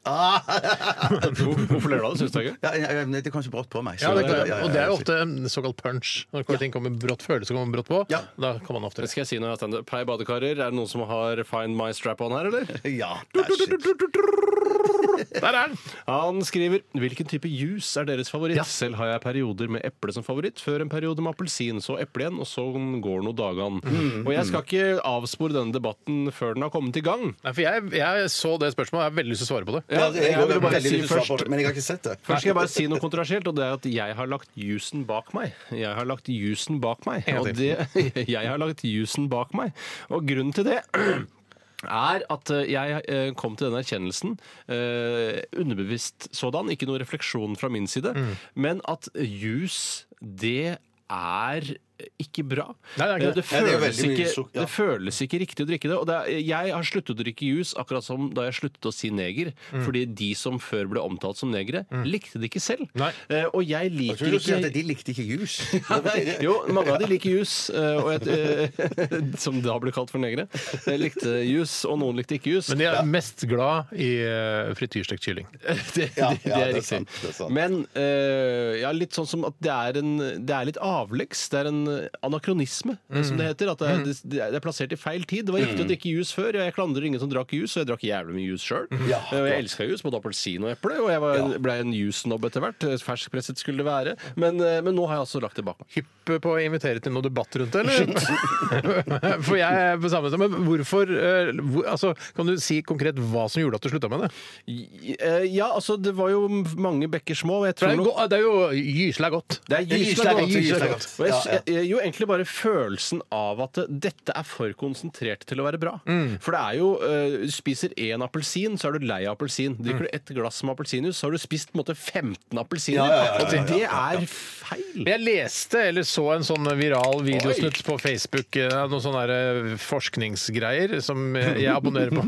B: Hvor- Hvorfor ler du av det? Syns du det er gøy?
C: Ja, ja, ja, men det kom så brått på meg. så-
A: Ja, det,
C: ja, ja, ja,
A: og det er jo
C: ja.
A: ofte en såkalt punch. Når ting kommer brått, følelser kommer brått på,
C: Ja.
A: da kan man ofte
B: Det skal jeg si når jeg har standup. Hei, badekarer. Er det noen som har Find My Strap-On her, eller?
C: Ja, det er shit.
A: Der er den!
B: Han skriver Hvilken type juice er deres favoritt? Selv har jeg perioder med eple som favoritt, før en periode med appelsin, så eple igjen, og sånn går nå dagene.
A: Mm.
B: Og jeg skal ikke avspore denne debatten før den har kommet i gang.
A: Nei, for jeg, jeg så det spørsmålet, og jeg har veldig lyst til å svare på det.
C: Ja,
B: Jeg-
C: jeg
B: jeg vil
C: har
B: bare
C: veldig
B: si
C: lyst til å svare
B: først-
C: på det, Men jeg har ikke sett det.
B: Først skal jeg bare si noe kontroversielt, og det er at jeg har lagt jusen bak meg. Jeg har lagt jusen bak meg.
A: En gang
B: Og det, jeg har lagt jusen bak meg. Og grunnen til det er at eh, jeg eh, kom til den erkjennelsen, eh, underbevisst sådan, ikke noe refleksjon fra min side,
A: Mm.
B: men at jus, det er ikke bra.
A: Nei, det er ikke det.
B: Eh,
C: Nei, det er jo
B: føles
C: veldig mye
B: ikke,
C: sukk- ja.
B: det føles ikke riktig å drikke det. Og det er, jeg har sluttet å drikke jus, akkurat som da jeg sluttet å si neger.
C: Mm.
B: Fordi de som før ble omtalt som negere, likte det ikke selv.
A: Nei.
B: Eh, og jeg
C: Jeg Mm. tror
B: liker
C: du sier at
B: ikke
C: de likte ikke jus.
B: jo, mange av de liker jus, eh, og jeg, eh, som da ble kalt for negere. eh, Likte jus, og noen likte ikke jus.
A: Men de er mest glad i eh, frityrstekt kylling.
B: det,
C: Ja,
B: det, det
C: ja,
B: er
C: det er
B: riktig.
C: sant, det er sant.
B: Men eh, ja, litt sånn som at det er, en, det er litt avleggs. Det er en eh, anakronisme, eh, som det heter. At det,
C: Mm.
B: er- det, det er plassert i feil tid. Det var riktig å drikke juice før. Jeg klandrer ingen som drakk juice, og jeg drakk jævlig mye juice sjøl.
C: Ja,
B: og jeg elska juice, både appelsin og eple, og jeg var, ble en juice-snobb etter hvert. eh, Ferskpresset skulle det være. Men, eh, men nå har jeg altså lagt det bak meg.
A: Hypp på å invitere til noe debatt rundt det, eller? For jeg er på samme sted, men hvorfor eh, hvor, altså, Kan du si konkret hva som gjorde at du slutta med det?
B: I- eh, Ja, altså, det var jo mange bekker små, og jeg
A: For
B: tror
A: det er,
B: nok
A: go- det er jo gysla godt.
B: Det er gysla
C: gysla
B: godt.
C: godt,
B: det er
C: gysla
B: gysla godt.
C: godt.
B: Og jeg,
C: Ja, ja.
B: jeg, jeg, jo, egentlig bare følelsen av at dette er for konsentrert til å være bra.
C: Mm.
B: For det er jo eh, Du spiser én appelsin, så er du lei av appelsin. Drikker du ett glass med appelsinjuice, så har du spist på en måte 15 appelsiner.
C: Mm. Ja, ja, ja, ja,
B: Og Det er feil.
A: Jeg leste eller så en sånn viral videosnutt på Facebook, eh, noen sånne der, eh, forskningsgreier som eh, jeg abonnerer på.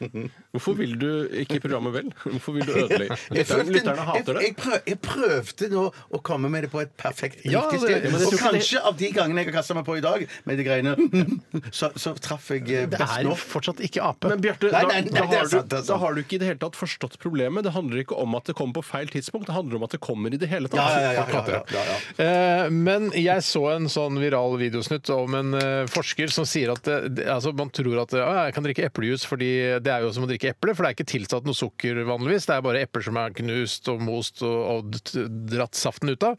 B: Hvorfor vil du ikke programmet vel? Hvorfor vil du ødelegge?
C: Jeg, følte-
B: Lytterne, lytterne hater
C: jeg,
B: det.
C: jeg, prøv, jeg prøvde nå å komme med det på et perfekt
A: Ja, det-
C: riktig sted.
A: ja, men jeg
C: og
A: tror ikke
C: kanskje av de gangene jeg har kasta meg på i dag med de greiene, så, så traff jeg eh,
A: Det
C: best
A: er
C: nå.
A: fortsatt ikke ape.
B: Men Bjarte,
C: Nei,
B: da,
C: nei, nei,
B: da,
C: det er
B: har du,
C: sant, det er sant.
B: da har du ikke i det hele tatt forstått problemet. Det handler ikke om at det kommer på feil tidspunkt, det handler om at det kommer i det hele tatt.
C: Ja, ja, ja, ja, ja, ja, ja.
A: Eh, Men jeg så en sånn viral videosnutt om en eh, forsker som sier at det, det, altså man tror at ja, jeg kan drikke eplejus fordi det er jo som å drikke eple, for det er ikke tilsatt noe sukker vanligvis. Det er bare epler som er knust og most og, og d- dratt saften ut av.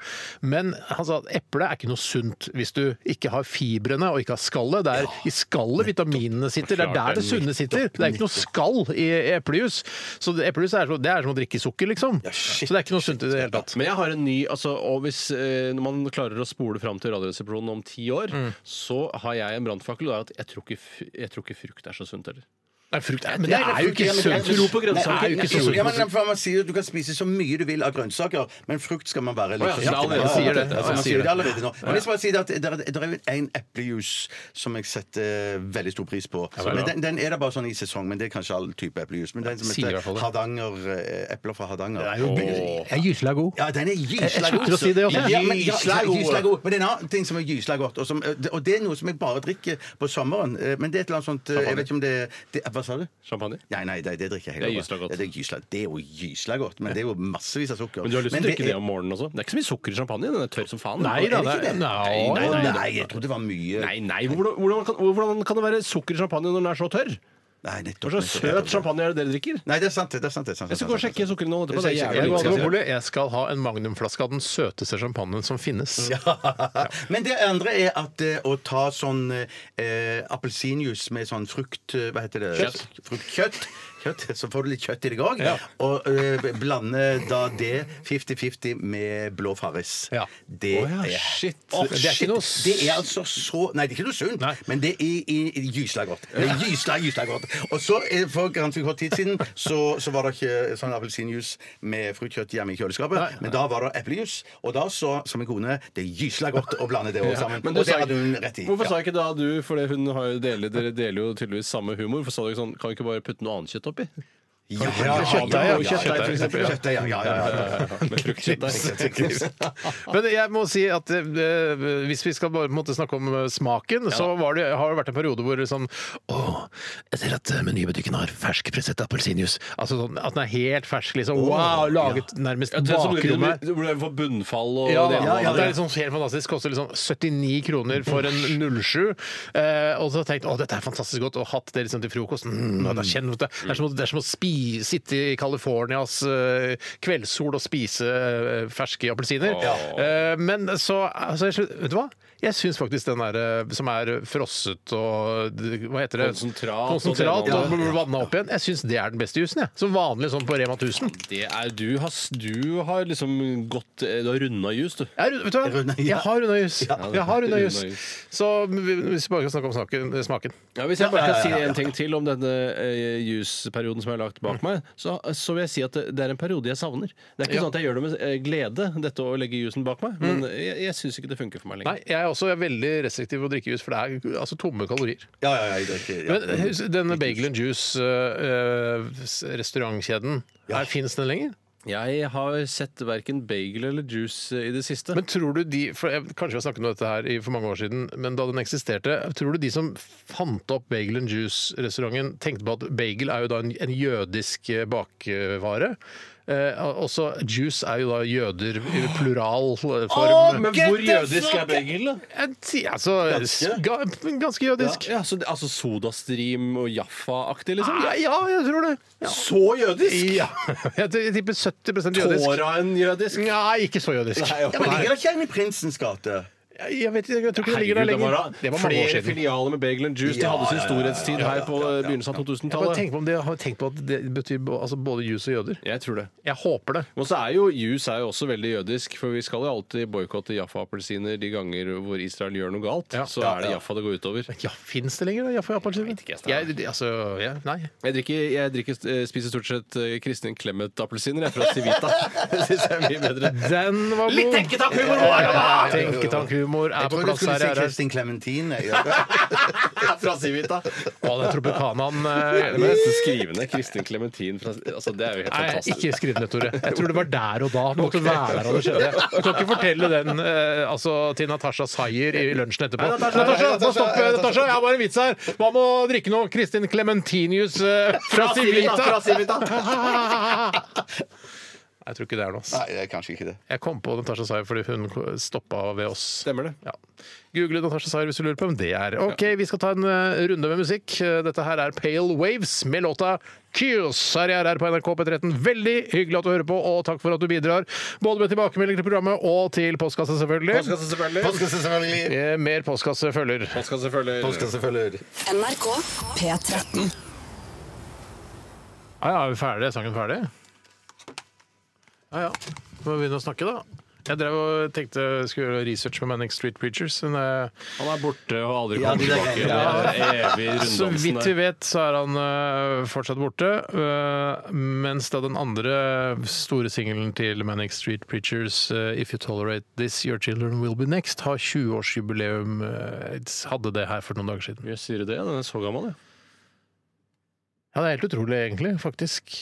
A: Men han sa at eple er ikke noe sunt hvis du ikke har fibrene og ikke har skallet. Det er i skallet vitaminene sitter. Det er der det sunne sitter. Det er ikke noe skall i i eplejus. Så det- eplejus er, som- det er som å drikke sukker, liksom. Så det er ikke noe sunt i det hele tatt.
B: Men jeg har en ny altså, og hvis, eh, Når man klarer å spole fram til Radioresepsjonen om ti år,
A: Mm.
B: så har jeg en brannfakkel. og det er at Jeg, tror ikke f- jeg tror ikke frukt er så sunt heller.
A: Nei, frukt er, men det er jo ikke
B: Jeg
A: sunt.
B: tror på grønnsaker.
A: Det er jo ikke så
C: Ja, men
A: sunt.
C: for man sier jo Du kan spise så mye du vil av grønnsaker, men frukt skal man være litt
B: Å ja, så det er allerede-
C: Ja, ja, ja,
B: sier det.
C: ja,
B: Ja,
C: man
B: sier
C: sier
B: det.
C: det allerede nå. Men jeg skal bare si det at det er- det er jo en eplejus som jeg setter veldig stor pris på. Men den, den er det bare sånn i sesong, men det er kanskje all type eplejus. Men den som
A: Sier i
C: heter
A: hvert fall det.
C: Hardanger, eh, epler fra Hardanger
A: Jeg gysla god.
C: ja, den er
A: Jeg
C: gysla
A: slutter å si det også, jeg.
C: Ja, men, ja,
A: Gysla god.
C: gysla god. men det er en annen ting som er gysla godt, og, som, og det er noe som jeg bare drikker på sommeren. eh, Men det er et eller annet sånt eh, Jeg vet ikke om det, det Hva sa du?
B: Champagne?
C: Nei, nei, det, det drikker jeg
B: Det er
C: heller
B: gysla godt.
C: Ja, Det er, gysla, det er jo gysla godt, men det er jo massevis av sukker.
B: Men du har lyst til å drikke det
C: er-
B: om morgenen også? Det er ikke så mye sukker i champagne. Den er tørr som faen.
A: Nei da,
B: Er det ikke
A: det er-
B: det? Nei,
A: Nei,
B: nei, nei.
C: nei, jeg trodde det var mye
B: Nei, nei. Hvordan, hvordan, kan, hvordan kan det være sukker i champagne når den er så tørr?
C: Nei,
B: Hva
C: nettopp.
B: slags
C: nettopp, nettopp.
B: søt champagne er det dere drikker?
C: Nei, det er sant. det det er sant, det er sant.
B: Jeg skal gå og sjekke sukkerinnholdet etterpå. Det er
A: Jeg,
B: jævlig
A: går aldri
B: lite
A: på
B: sukker.
A: bolig. jeg skal ha en magnumflaske av den søteste champagnen som finnes.
C: Men det andre er at eh, å ta sånn eh, appelsinjuice med sånn frukt eh, Hva heter det?
B: Kjøtt.
C: Fruktkjøtt. Kjøtt, så får du litt kjøtt i deg òg. Og eh, blande da det 50-50 med blå farris.
A: Ja.
C: Det
A: Å ja,
C: er
A: shit.
C: Å,
A: Det er ikke noe s-
C: Det er altså så Nei, det er ikke noe sunt,
A: Nei.
C: men det er i, i gysla godt. Det er gysla, gysla godt. Og så, eh, for ganske kort tid siden, så, så var det ikke sånn appelsinjuice med fruktkjøtt hjemme i kjøleskapet, men da var det eplejus, og da så, som en kone, det er gysla godt å blande det også sammen.
B: Men du
C: og det
B: sa
C: hadde
B: ikke-
C: hun rett i.
B: Hvorfor
C: Ja.
B: sa ikke da du, for det- hun har jo deler, dere deler jo tydeligvis samme humor, for sa du ikke sånn Kan vi ikke bare putte noe annet kjøtt oppi?
C: Ja,
B: Ja,
A: kjøttdeig, ja.
B: og Kjøttdeig, for eksempel. Ja.
C: Kjøttdeig, ja, ja, ja, ja.
B: Med fruktkjøttdeig.
A: Men jeg må si at eh, hvis vi skal bare på en måte snakke om eh, smaken, så var det, har det vært en periode hvor det sånn Å, jeg ser at eh, menybutikken har ferskpresset appelsinjuice. Altså sånn at den er helt fersk, liksom. Wow! Laget nærmest
B: Ja, det som blir- det
A: bakrommet.
B: blir- det blir for bunnfall og
A: Ja,
B: det ene
A: ja,
B: og det
A: ja,
B: andre.
A: det er liksom helt fantastisk. Koster liksom 79 kroner for en 07. Eh, og så har jeg tenkt å, dette er fantastisk godt, og hatt det liksom til frokost. Mm, og da kjenner du det. Det er som, å- det er som å spi, sitte i Californias eh, kveldssol og spise eh, ferske appelsiner. Eh, men så altså, jeg skjønner- Vet du hva? Jeg syns faktisk den der eh, som er frosset og d- Hva heter det?
B: Konsentrat og det
A: Konsentrat
B: ene og
A: og vanna opp igjen. Jeg syns det er den beste jusen, jeg. Som vanlig sånn på Rema 1000.
B: Det er, du, har, du har liksom gått eh, Du har runda jus, du.
A: Jeg, vet du hva?
C: Runda, ja.
A: Jeg har runda jus. Jeg har runda jus.
B: Runda jus.
A: Så vi- hvis vi bare kan snakke om saken, eh, smaken
B: Ja, Mm. hvis jeg bare kan si en ting til om denne eh, jusperioden som jeg har lagt bak meg, så, så vil jeg si at det, det er en periode jeg savner. Det er ikke
A: Ja.
B: sånn at jeg gjør det med eh, glede, dette å legge jusen bak meg, men jeg, jeg syns ikke det funker for meg lenger.
A: Nei, jeg er også veldig restriktiv på å drikke jus, for det er altså tomme kalorier.
C: Ja, ja, ja, jeg drikker, ja.
A: Men hus- denne eh, Bagel and eh, Juice-restaurantkjeden, fins den lenger?
B: Jeg har sett verken bagel eller juice eh, i det siste.
A: Men tror du de for jeg, Kanskje vi har snakket om dette her i- for mange år siden, men da den eksisterte, tror du de som fant opp Bagel and Juice-restauranten, tenkte på at bagel er jo da en, en jødisk eh, bakevare? Eh, også juice er jo da jøder i eh, pluralform.
J: Å, men hvor jødisk er Begel, da?
A: Altså,
J: Ganske?
A: ga, ganske jødisk.
B: Ja, så, det- altså Sodastream og Jaffa-aktig, liksom?
A: Ja, ja, jeg tror det. Ja.
J: Så jødisk!
A: Ja, jeg t- jeg tipper 70 jødisk.
J: Tåraen jødisk.
A: Nei, ikke så jødisk.
J: Nei, ok.
C: Ja, men Ligger det ikke en i Prinsens gate?
A: Jeg vet ikke, jeg tror ikke Mm, det ligger der
J: Herregud, det
A: lenger.
J: var da
A: Det var mange år
B: Flere
A: siden.
B: filialer med Bagel and Juice. De
C: Ja,
B: hadde sin
C: ja, ja,
B: storhetstid
C: ja, ja,
B: her på
C: ja, ja, ja.
B: begynnelsen av
A: Bare
B: 2000-tallet.
A: tenk på om de har tenkt på at det betyr bo- altså både jus og jøder.
B: Jeg tror det.
A: Jeg håper det.
B: Og så er jo juice er jo også veldig jødisk, for vi skal jo alltid boikotte Jaffa-appelsiner de ganger hvor Israel gjør noe galt.
A: Ja.
B: Så
A: Ja,
B: er det Jaffa det går utover.
A: Ja, Fins det lenger, da? Jaffa appelsin?
B: Jeg vet ikke, jeg
A: Jeg, altså, ja, nei.
B: Jeg, drikker, jeg drikker, eh, spiser stort sett eh, Kristin Clemet-appelsiner jeg, fra Civita. Det syns jeg er mye bedre.
A: Den var god.
B: Litt tenketakhumor
A: Ja,
B: var det,
A: ja,
B: da!
A: ja, Tenketakhumor er
C: Jeg
A: på
C: trodde du
A: plass
C: skulle
A: her.
C: si
A: her, her.
C: Kristin Clementine. Ja.
B: fra Civita.
A: Å, den tropicanaen
B: Jeg
A: eh,
B: må nesten skrive ned Kristin Clementin fra altså, Det er jo helt
A: Nei,
B: fantastisk.
A: ikke skriv ned, Tore. Jeg tror det var der og da. Du måtte være der og det skjedde. Du kan ikke fortelle den eh, altså, til Natasha Sayer i lunsjen etterpå. Nei, Natasha, må stoppe, Natasha. Jeg har bare en vits her. Hva med å drikke noe Kristin Clementinius eh, fra Civita? Nei, Jeg tror ikke det er noe. ass.
C: Nei, det er kanskje ikke det.
A: Jeg kom på Natasha Sayer fordi hun stoppa ved oss.
B: Stemmer det.
A: Ja. Google Natasha Sayer hvis du lurer på hvem det er. Ok, Vi skal ta en eh, runde med musikk. Eh, Dette her er Pale Waves med låta Kyos. Her er jeg på NRK P13. Veldig hyggelig at du hører på, og takk for at du bidrar. Både med tilbakemeldinger til programmet og til postkassa, selvfølgelig.
B: Postkasse selvfølgelig.
C: Postkasse selvfølgelig.
A: Eh, Mer postkasse følger.
B: Postkasse selvfølgelig.
C: Postkasse selvfølgelig.
E: NRK P13.
A: Ja, ja, er vi ferdig? Er sangen ferdig? Ja, ja. Må vi begynne å snakke, da. Jeg drev og tenkte jeg skulle gjøre research med Manic Street Preachers. Men eh,
B: Han er borte og aldri
C: Ja,
B: kommet
C: det er-
B: tilbake. Det er evig
A: Så
B: runddansen
A: vidt vi
B: der.
A: vet, så er han øh, fortsatt borte. øh, mens da den andre store singelen til Manic Street Preachers, øh, 'If You Tolerate This, Your Children Will Be Next', har 20-årsjubileum. øh, hadde det her for noen dager siden.
B: Jøss, sier du det? Den er så gammel, ja.
A: Ja, Det er helt utrolig, egentlig. Faktisk.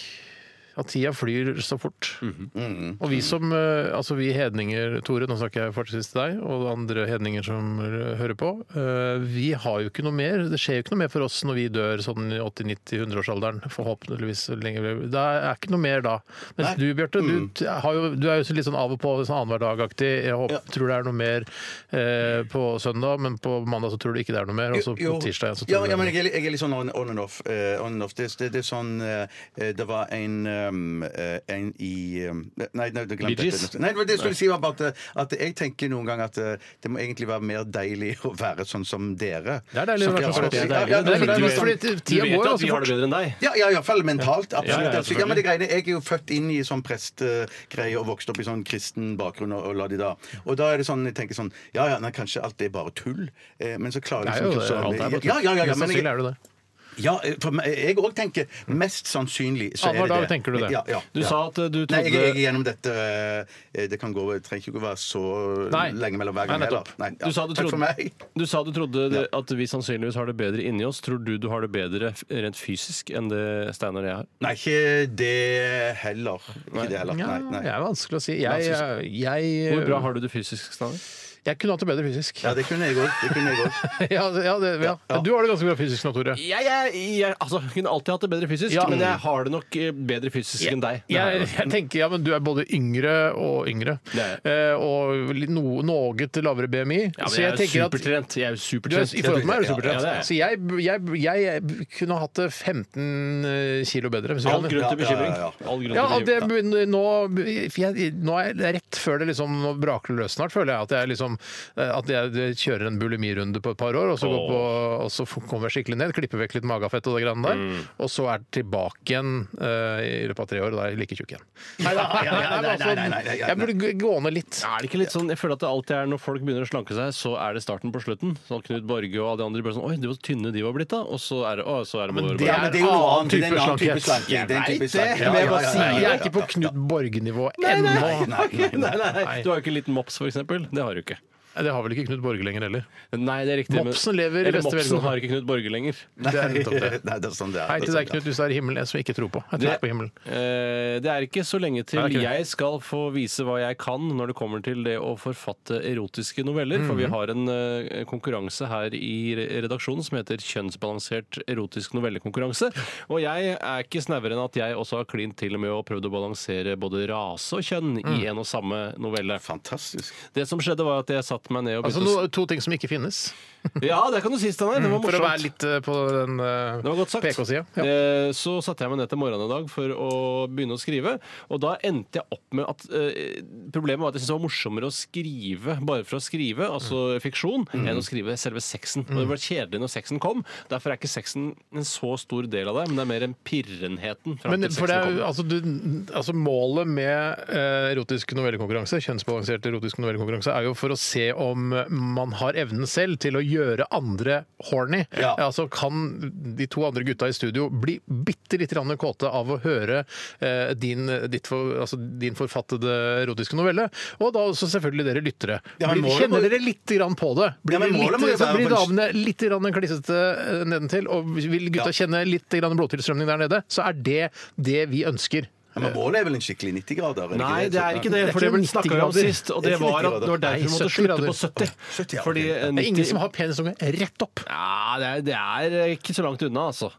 A: At tida flyr så fort.
C: Mm.
A: Og vi som, øh, altså vi hedninger, Tore, nå snakker jeg fortsatt til deg, og andre hedninger som øh, hører på, øh, vi har jo ikke noe mer. Det skjer jo ikke noe mer for oss når vi dør sånn i 80-90-100-årsalderen, forhåpentligvis. så lenge vi- Det er ikke noe mer da. Mens du, Bjarte,
C: Mm.
A: du, t- har jo, du er jo så litt sånn av og på, sånn annenhver dag-aktig. Jeg håper, tror det er noe mer eh, på søndag, men på mandag så tror du ikke det er noe mer, og så
C: Jo,
A: på tirsdag så tror du
C: ja,
A: det
C: ja,
A: er noe
C: men
A: mer.
C: jeg, er litt- jeg er litt sånn on, on and off. eh, on and off. Det, det, det er sånn eh, Det var en, um, eh, en i um, Nei, nei, du
A: Bee
C: glemte
A: Gees?
C: det. Nei, det var det jeg skulle si var bare at, at jeg tenker noen ganger at eh, det må egentlig være mer deilig å være sånn som dere.
A: Det er deilig å
C: Som
A: være
C: dere
A: sånn som
C: har-
A: dere.
C: Ja, ja,
A: Det er
C: det er
A: litt
C: deilig.
A: mest fordi t-
B: Du
A: tida
B: vet
A: går
B: jo
A: jo
B: at vi
A: så
B: har
A: fort.
B: det bedre enn deg.
C: Ja, ja, iallfall mentalt. Absolutt.
B: Ja, ja,
C: altså, ja, men det greiene, Jeg er jo født inn i sånn prestegreie og vokst opp i sånn kristen bakgrunn. Og, og la de da Og da er det sånn, jeg tenker sånn Ja ja, nei, kanskje alt det er bare tull. Eh, men så klarer
A: Det
C: jeg
A: er jo
C: liksom
A: det.
C: ikke å-
A: Alt er bare tull.
C: ja, ja, ja, ja,
A: Mest
C: men jeg,
A: sannsynlig er det det.
C: ja, eh, for meg- jeg òg tenker mest sannsynlig så
A: Annenhver
C: er det
A: dag
C: det.
A: tenker du det.
C: Ja, ja,
B: Du
C: ja.
B: sa at eh, du
C: Nei,
B: trodde
C: jeg, jeg er gjennom dette eh, Det kan gå, det trenger ikke å være så
A: Nei.
C: lenge mellom
A: Nei,
C: hver gang heller.
A: nettopp.
C: Nei, ja.
B: Du sa du
C: Takk for
B: trodde,
C: meg.
B: du sa du trodde det, at vi sannsynligvis har det bedre inni oss. Tror du du har det bedre f- rent fysisk enn det Steinar og jeg har?
C: Nei, ikke det heller. Ikke det heller.
A: Ja,
C: Nei, nei.
A: det er vanskelig å si. Jeg, eh, jeg, jeg,
B: Hvor bra har du det fysisk, Steinar?
A: jeg kunne hatt det bedre fysisk.
C: Ja, det kunne jeg òg. Det kunne jeg òg.
A: ja, det- ja, det, ja. Du har det ganske bra fysisk nå, Tore.
B: Jeg, jeg, jeg altså, kunne alltid hatt det bedre fysisk,
A: Ja.
B: men jeg har det nok eh, bedre fysisk enn deg. Det har
A: Jeg,
B: jeg.
A: jeg tenker, ja, men Du er både yngre og yngre.
B: Det
A: Eh, og litt no, noe lavere BMI.
B: ja,
A: så
B: men jeg
A: jeg
B: er
A: tenker at
B: supertrent. Jeg er
A: du
B: jo
A: er,
B: supertrent.
A: I forhold til meg er du
B: Ja,
A: supertrent.
B: ja, det er jeg.
A: Så jeg, jeg, jeg kunne hatt det 15 eh, kilo bedre. Hvis jeg
B: All
A: hadde-
B: grunn til
C: Ja, ja, ja,
B: bekymring.
C: ja.
B: All grunn
A: Ja,
B: til
A: det,
B: bekymring.
A: nå, for jeg, nå er det rett før det liksom nå braker det løs snart, føler jeg. At jeg, liksom, at jeg eh, kjører en bulimirunde på et par år, og så, går på, og så kommer jeg skikkelig ned. Klipper vekk litt magafett og det greiene der.
C: Mm.
A: Og så er det tilbake igjen eh, i løpet av tre år, og da er jeg like tjukk igjen. Nei, nei,
C: nei, nei, nei, nei, nei, nei.
A: Jeg burde gå- gå ned litt.
B: Er det ikke litt sånn, jeg føler at det alltid er Når folk begynner å slanke seg, så er det starten på slutten. Sånn Knut Borge og alle de andre bare sånn Oi, det var tynne de var blitt, da. Og så er det, å, så er det bare
A: det
C: Ja,
A: er
C: men det er
A: en
C: jo noe
A: annen
C: annet. Det er en
A: type
C: annen type
A: slankhet.
C: slanking. Det er en type slanking.
A: Men jeg
C: Ja,
A: bare
C: ja, ja,
A: sier, jeg
C: ja,
A: er ikke på
C: ja, ja.
A: Knut Borge-nivå ennå.
C: Nei, nei, nei.
B: Nei, nei, nei. Du har jo ikke liten mops, for eksempel. Det har du ikke.
A: Det har vel ikke Knut Borge lenger heller.
B: Nei, det er riktig. men-
A: Mopsen lever i
B: Eller
A: beste
B: Mopsen
A: velgående.
B: har ikke Knut Borge lenger.
A: Nei, det er nettopp det.
C: Nei, det er sånn det er.
A: Hei
C: Det
A: til deg,
C: er sånn det er.
A: Knut, hvis du er i himmelen. Jeg som ikke tror på. Jeg tror
B: Det,
A: ikke på himmelen.
B: eh, det er ikke så lenge til
A: Nei, det er ikke det.
B: jeg skal få vise hva jeg kan når det kommer til det å forfatte erotiske noveller. For
A: Mhm.
B: vi har en eh, konkurranse her i re- redaksjonen som heter Kjønnsbalansert erotisk novellekonkurranse. Og jeg er ikke snauere enn at jeg også har klint til med å prøvd å balansere både rase og kjønn
A: Mm.
B: i en og samme novelle.
C: Fantastisk.
B: Det som skjedde, var at jeg satte meg ned og
A: Altså
B: begynte
A: no, to ting som ikke finnes.
B: å s- Ja, det kan du si, Steinar. Det var
A: For å være
B: morsomt.
A: litt eh, på den eh,
B: Det var godt sagt.
A: PK-sida. Ja.
B: Eh, Så satte jeg meg ned til morgenen i dag for å begynne å skrive. Og da endte jeg opp med at eh, problemet var at jeg syntes det var morsommere å skrive bare for å skrive,
A: Mm.
B: altså fiksjon, enn å skrive selve sexen. Og det var kjedelig når sexen kom. Derfor er ikke sexen en så stor del av det, men det er mer en pirrenheten fram
A: Men
B: til
A: for det er,
B: sexen
A: jo-
B: kom.
A: altså, du, altså Målet med eh, erotisk novellekonkurranse, kjønnsbalansert erotisk novellekonkurranse, er jo for å se om man har evnen selv til å gjøre andre horny.
C: Ja.
A: Altså Kan de to andre gutta i studio bli bitte litt grann kåte av å høre eh, din, ditt for, altså, din forfattede erotiske novelle? Og da også selvfølgelig dere lyttere.
C: Ja, men
A: Blir-
C: målet må-
A: Kjenner dere litt grann på det? Blir,
C: Ja, men målet
A: litt,
C: må jo
A: så
C: være
A: blir
C: å få en-
A: damene litt grann klissete eh, nedentil, og vil gutta
C: Ja.
A: kjenne litt grann blodtilstrømning der nede, så er det det vi ønsker.
C: Ja, men målet er vel en skikkelig 90-grader? er
B: Nei, det er ikke det, for
A: Det
B: det
A: er
B: ble
A: ikke
B: snakka vi
A: 90
B: om
A: grader.
B: sist, og det
C: Det er ikke
B: var at det var
C: 90
B: derfor vi
A: Nei,
B: måtte
A: 70
B: slutte
A: grader.
B: på 70.
C: 70, ja, ok.
B: Fordi
C: Det er
A: Det er ingen
B: 90
A: som har penistunge rett opp.
B: Ja, det er, det er ikke så langt unna, altså.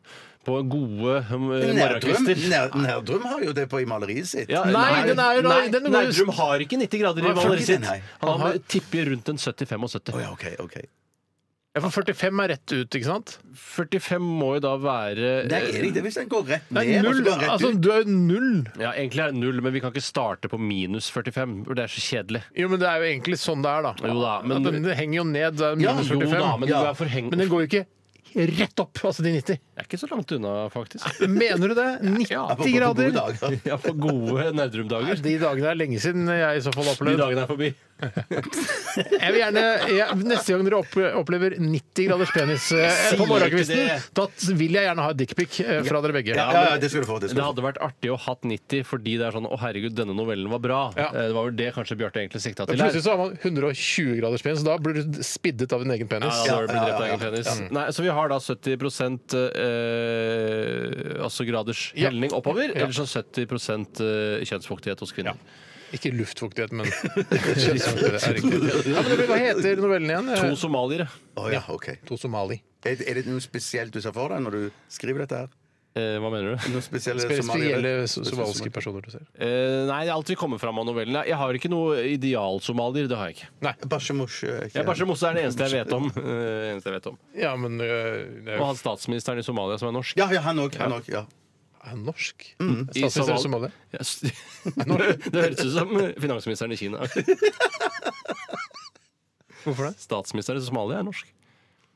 B: På gode eh,
C: Nærdrum,
B: morgenkvister.
C: nær, nærdrum har jo det på i maleriet sitt.
B: Ja,
A: Nei, den er jo da-
B: nei,
A: den går jo-
B: Nærdrum har ikke 90 grader i
C: Nei, for
B: maleriet
C: ikke det,
B: sitt.
C: nei.
B: Han har- tipper rundt en 70-75.
C: Å ja, OK. ok
A: Ja, for 45 er rett ut, ikke sant?
B: 45 må jo da være
C: Nei, er det ikke det hvis den går rett
A: Det
C: ned?
A: er
C: og så
A: null.
C: går den rett
A: Altså,
C: ut?
A: du er jo null.
B: Ja, Egentlig er det null, men vi kan ikke starte på minus 45. for Det er så kjedelig.
A: Jo, men det er jo egentlig sånn det er, da.
B: Jo da, men-
A: At den, den henger jo ned. Det er
B: Ja,
A: minus
B: jo
A: 45.
B: da, Altså, men det er forheng-
A: men den går jo ikke rett opp, altså de 90.
B: Det er ikke så langt unna, faktisk.
A: Mener du det? 90
B: Ja,
C: På- på- på gode
A: grader?
C: dager.
B: Ja, for gode Nærdrum-dager.
A: De dagene er lenge siden jeg i så fall har
B: De
A: opplevd.
B: dagene er forbi.
A: Jeg vil gjerne, jeg, Neste gang dere opp, opplever 90 graders penis eh,
B: Sier
A: på morgenkvisten,
B: ikke det.
A: da vil jeg gjerne ha dickpic eh, fra dere begge.
C: Ja, ja, det skal du få. Det
B: Det
C: skal du få.
B: hadde vært artig å hatt 90 fordi det er sånn 'Å, herregud, denne novellen var bra'.
A: Ja.
B: Eh, Det var vel det kanskje Bjarte egentlig sikta
A: Ja,
B: til. her.
A: Plutselig så har man 120 graders penis, da blir du spiddet av din egen penis.
B: Ja, da har du blitt drept av egen penis. Nei, så vi har da 70 eh, altså graders
A: Ja.
B: helning oppover,
A: Ja.
B: eller så 70 eh, kjønnsfuktighet hos kvinner.
A: Ikke luftfuktighet, men kjønnsfuktighet. er riktig. Ja, men det blir- Hva heter novellen igjen?
B: To
A: Eh,
B: somaliere.
C: Å ja, ok.
A: To somali.
C: Er, er det noe spesielt du ser for deg når du skriver dette her?
B: Eh, hva mener du?
C: Noe spesielle
A: Spesielle
C: somaliere?
A: so- somaliske personer du ser.
B: Eh, nei, det er alt vi kommer fram av novellen. Jeg har ikke noe idealsomalier. Det har jeg ikke.
C: Barsemosje. er ikke-
B: Jeg Barse Mosse er den eneste jeg vet om. Eh, eneste jeg vet om.
A: Ja, men øh, det er
B: Og
A: jo
B: han statsministeren i Somalia som er norsk.
C: Ja, ja, han òg. Han òg, ja.
A: er han norsk.
B: Mm. I
A: Statsminister i Somalia.
B: Ja, s- det høres ut som finansministeren i Kina.
A: Hvorfor det?
B: Statsministeren i Somalia er norsk.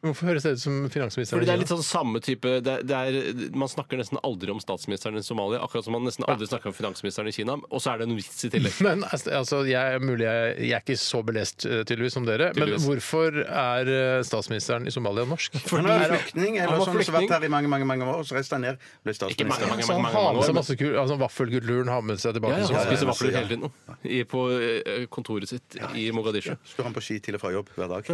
A: Hvorfor høres det ut som finansministeren?
B: Fordi det er litt sånn samme type det er, det er, Man snakker nesten aldri om statsministeren i Somalia, akkurat som man nesten aldri snakker om finansministeren i Kina. Og så er det en vits i tillegg.
A: Men altså, jeg, er mulig, jeg, jeg er ikke så belest eh, tydeligvis som dere, men
B: Tydeligvis.
A: hvorfor er eh, statsministeren i Somalia norsk? Er
C: Han var
A: det-
C: flyktning
B: Han
C: eller
B: var
C: sånn som har
B: flyktning.
C: vært her i mange mange, mange år, og så reiste han ned og ble
B: Ikke mange,
C: statsminister.
B: mange,
A: Så han
B: mange, mange,
A: har med seg
B: år. men-
A: masse kul, altså Vaffelkulturen har med seg
B: Ja,
A: tilbake.
B: ja,
A: som
B: han
C: ja,
B: spiser
C: ja,
B: vafler
C: ja.
B: hele tiden nå. I, på eh, kontoret sitt i Mogadishu.
C: Står han på ski til og fra jobb hver dag?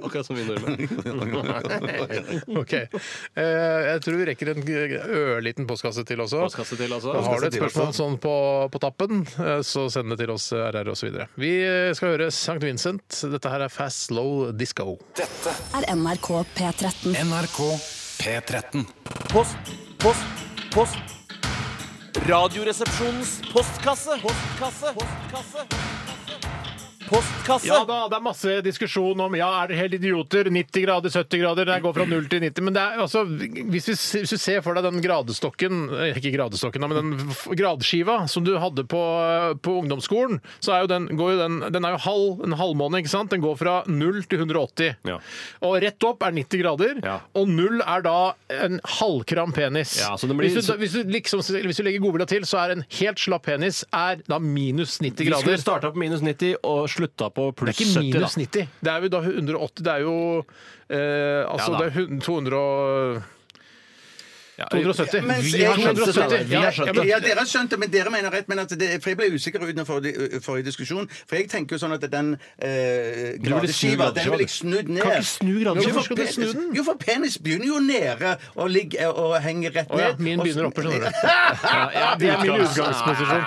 B: Akkurat som vi nordmenn.
A: Ok. Eh, jeg tror vi rekker en g- ørliten postkasse til også.
B: Postkasse til, altså.
A: Da Har du et
C: Postkasse til
A: spørsmål
C: også.
A: sånn på, på tappen, eh, så send det til oss eh, RR osv. Vi eh, skal høre St. Vincent. Dette her er Fast Slow Disco.
E: er NRK P13.
F: NRK P13.
M: Post, post, post. Radioresepsjonens postkasse. Postkasse. Postkasse. Postkasse.
A: Ja da, det er masse diskusjon om ja, er dere helt idioter? 90 grader, 70 grader, det går fra 0 til 90. Men det er altså Hvis, vi, hvis du ser for deg den gradestokken eh, Ikke gradestokken, da, men den f- gradeskiva som du hadde på, eh, på ungdomsskolen, så er jo den, går jo den, den er jo halv, en halvmåne, ikke sant? Den går fra 0 til 180.
B: Ja.
A: Og rett opp er 90 grader,
B: Ja.
A: og 0 er da en halvkram penis.
B: Ja, så den blir-
A: hvis, du, da- hvis, du liksom, hvis du legger godvilja til, så er en helt slapp penis er da minus 90
B: Vi skulle
A: grader.
B: starta på minus 90 og slutta på
A: Det er
B: pluss
A: ikke
B: 70. da.
A: minus 90. Det er jo da 180 Det er jo eh, Altså,
B: Ja da.
A: det er hun- 200 og 270.
C: Mens
A: Vi
C: jeg
A: har skjønt
C: skjønte
A: det.
C: det.
A: Vi har skjønt det.
C: Ja, dere har skjønt det, men dere mener rett. Men at det, for jeg ble usikker under forrige, eh, forrige diskusjon. For jeg tenker jo sånn at den eh,
B: snu
C: gradeskiva, den vil
B: gradeskiva,
C: jeg snu
B: du.
C: ned.
B: Kan ikke snu gradeskiva.
C: Jo, for
B: Hvorfor skal du
C: penis-
B: snu den?
C: Jo, for penis begynner jo nede og, ligger, eh, og henger rett
A: Å
C: ned.
A: ja, min
C: Og-
A: begynner oppe, skjønner du. Ja, det er min utgangsposisjon.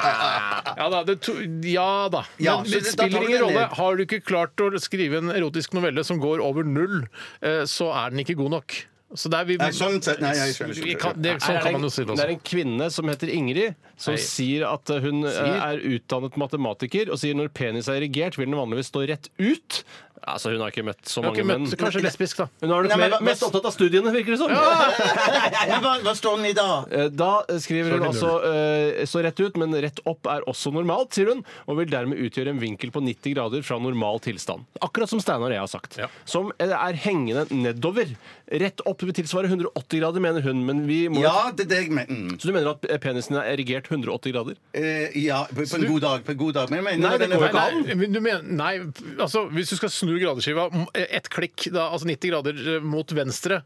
A: Ja da. Det to, ja da. Men
C: Ja, så
A: det
C: det- da tar
A: spiller
C: vi
A: ingen
C: den
A: rolle.
C: ned.
A: Har du ikke klart å skrive en erotisk novelle som går over null, eh, så er den ikke god nok. Så der vi,
C: Nei, sånn sett- nei, jeg skjønner, skjønner.
A: vi kan, det,
B: Her
A: sånn
B: er
A: kan
B: det en-
A: man jo si det
B: Det er
A: også.
B: en kvinne som heter Ingrid, som
A: Nei.
B: sier at eh, hun eh, er utdannet matematiker, og sier når penis er erigert, vil den vanligvis stå rett ut. Altså, hun har ikke møtt
A: Du
B: så
A: har
B: mange
A: ikke
B: menn.
A: møtt Kanskje lesbisk, da.
B: Hun har nok
C: Nei, men
B: mer-
C: hva-
B: mest opptatt av studiene, virker det som.
C: Men hva, hva står den i da?
B: Eh, Da skriver hun altså eh, så rett ut, men rett opp er også normalt, sier hun, og vil dermed utgjøre en vinkel på 90 grader fra normal tilstand. Akkurat som Steinar og jeg har sagt.
A: Ja.
B: Som eh, er hengende nedover. Rett opp vil tilsvare 180 grader, mener hun, men vi må
C: Ja, det er det jeg mener. Mm.
B: Så du mener at penisen er erigert 180 grader?
C: Eh, ja, på, på en god dag. På en god dag. Men jeg mener,
B: Nei, det
C: den er
B: går
C: for
B: ikke an.
C: kald.
A: Nei, men du mener, nei, altså hvis du skal snu gradeskiva m- ett klikk, da, altså 90 grader eh, mot venstre,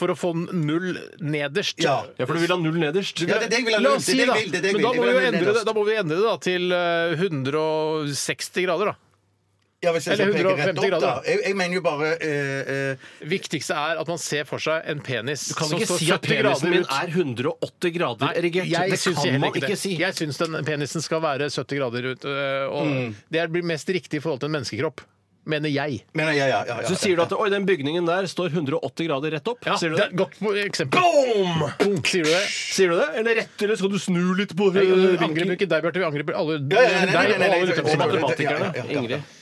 A: for å få null nederst
C: Ja.
B: Ja, for du vil ha null nederst.
C: Ja, det er det jeg vil ha
A: La
C: null.
A: oss
C: Det
A: si,
C: er det jeg
A: da.
C: vil, det er det
A: Men
C: jeg vil.
A: da
C: Jeg
A: må, vi
C: vil
A: jo
C: ha null
A: endre det,
C: nederst.
A: da må vi endre det da, til eh, 160 grader, da.
C: Ja, hvis jeg skal
A: Eller
C: peke rett
A: 150
C: opp,
A: grader,
C: da.
A: da.
C: Jeg, jeg mener jo bare eh, eh,
A: viktigste er at man ser for seg en penis
B: Du kan
A: som
B: ikke
A: står
B: si at
A: 70
B: penisen
A: grader
B: min
A: ut.
B: er 180 grader
A: Nei,
B: erigert.
A: jeg
B: det
A: syns
B: kan
A: heller
B: man ikke,
A: det.
B: si.
A: Jeg syns den penisen skal være 70 grader ut. øh, Og Det blir mest riktig i forhold til en menneskekropp, mener jeg.
C: mener jeg, ja, ja, ja,
B: Så sier du at oi, den bygningen der står 180 grader rett opp.
A: Ja,
B: sier du
A: det
B: det?
A: er et godt eksempel. Boom! sier du det?
B: Sier du det? Eller rett, eller skal du snu litt på
A: Nei, Vi
B: vinkelen?
A: angriper ikke deg, Bjarte. Vi angriper alle
C: Ja, ja, nei, nei,
A: deg og
C: nei, nei, nei,
A: alle
C: nei,
A: lytterne
B: Og
A: som
C: nei, nei,
A: er-
C: nei,
B: matematikerne.
C: Ja, ja, ja, ja.
B: Ingrid.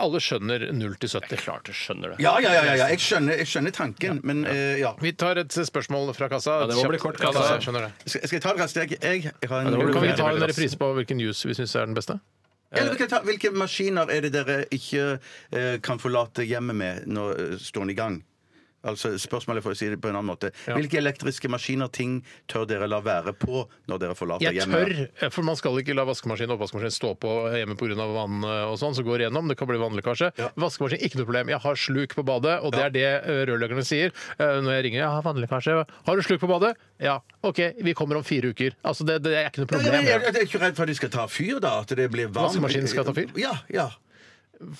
A: Alle skjønner 0 til 70.
B: Klart du skjønner det.
C: Ja, ja, ja, ja, ja. Jeg, skjønner, jeg skjønner tanken, men eh, ja.
A: Vi tar et spørsmål fra kassa.
B: Ja, det må bli
A: Kjapt.
B: kort,
A: Ja,
B: kassa.
A: da, jeg skjønner det.
C: Skal, skal jeg ta det raskt? Jeg, jeg, jeg har en,
B: det må bli
A: Kan vi
B: veldig,
A: ta en
B: veldig raskt.
A: reprise på hvilken juice vi syns er den beste?
C: Eller vi kan ta, hvilke maskiner er det dere ikke eh, kan forlate hjemmet med når eh, stående i gang? Altså Spørsmålet for å si det på en annen måte. Hvilke elektriske maskiner, ting, tør dere la være på når dere forlater
A: Jeg
C: hjemmet?
A: tør, for man skal ikke la vaskemaskin og oppvaskmaskin stå på hjemme pga. vann og sånn, så går det gjennom. Det kan bli vannlekkasje.
C: Ja.
A: Vaskemaskin, ikke noe problem. Jeg har sluk på badet, og det er det eh, rørleggerne sier eh, når jeg ringer. Jeg har vannlekkasje. Har du sluk på badet? Ja. OK, vi kommer om fire uker. Altså, det, det er ikke noe
C: Ja, men jeg,
A: problem.
C: jeg er ikke redd for at de skal ta fyr, da. At det blir varmt.
A: Vaskemaskinen skal ta fyr?
C: Ja, ja.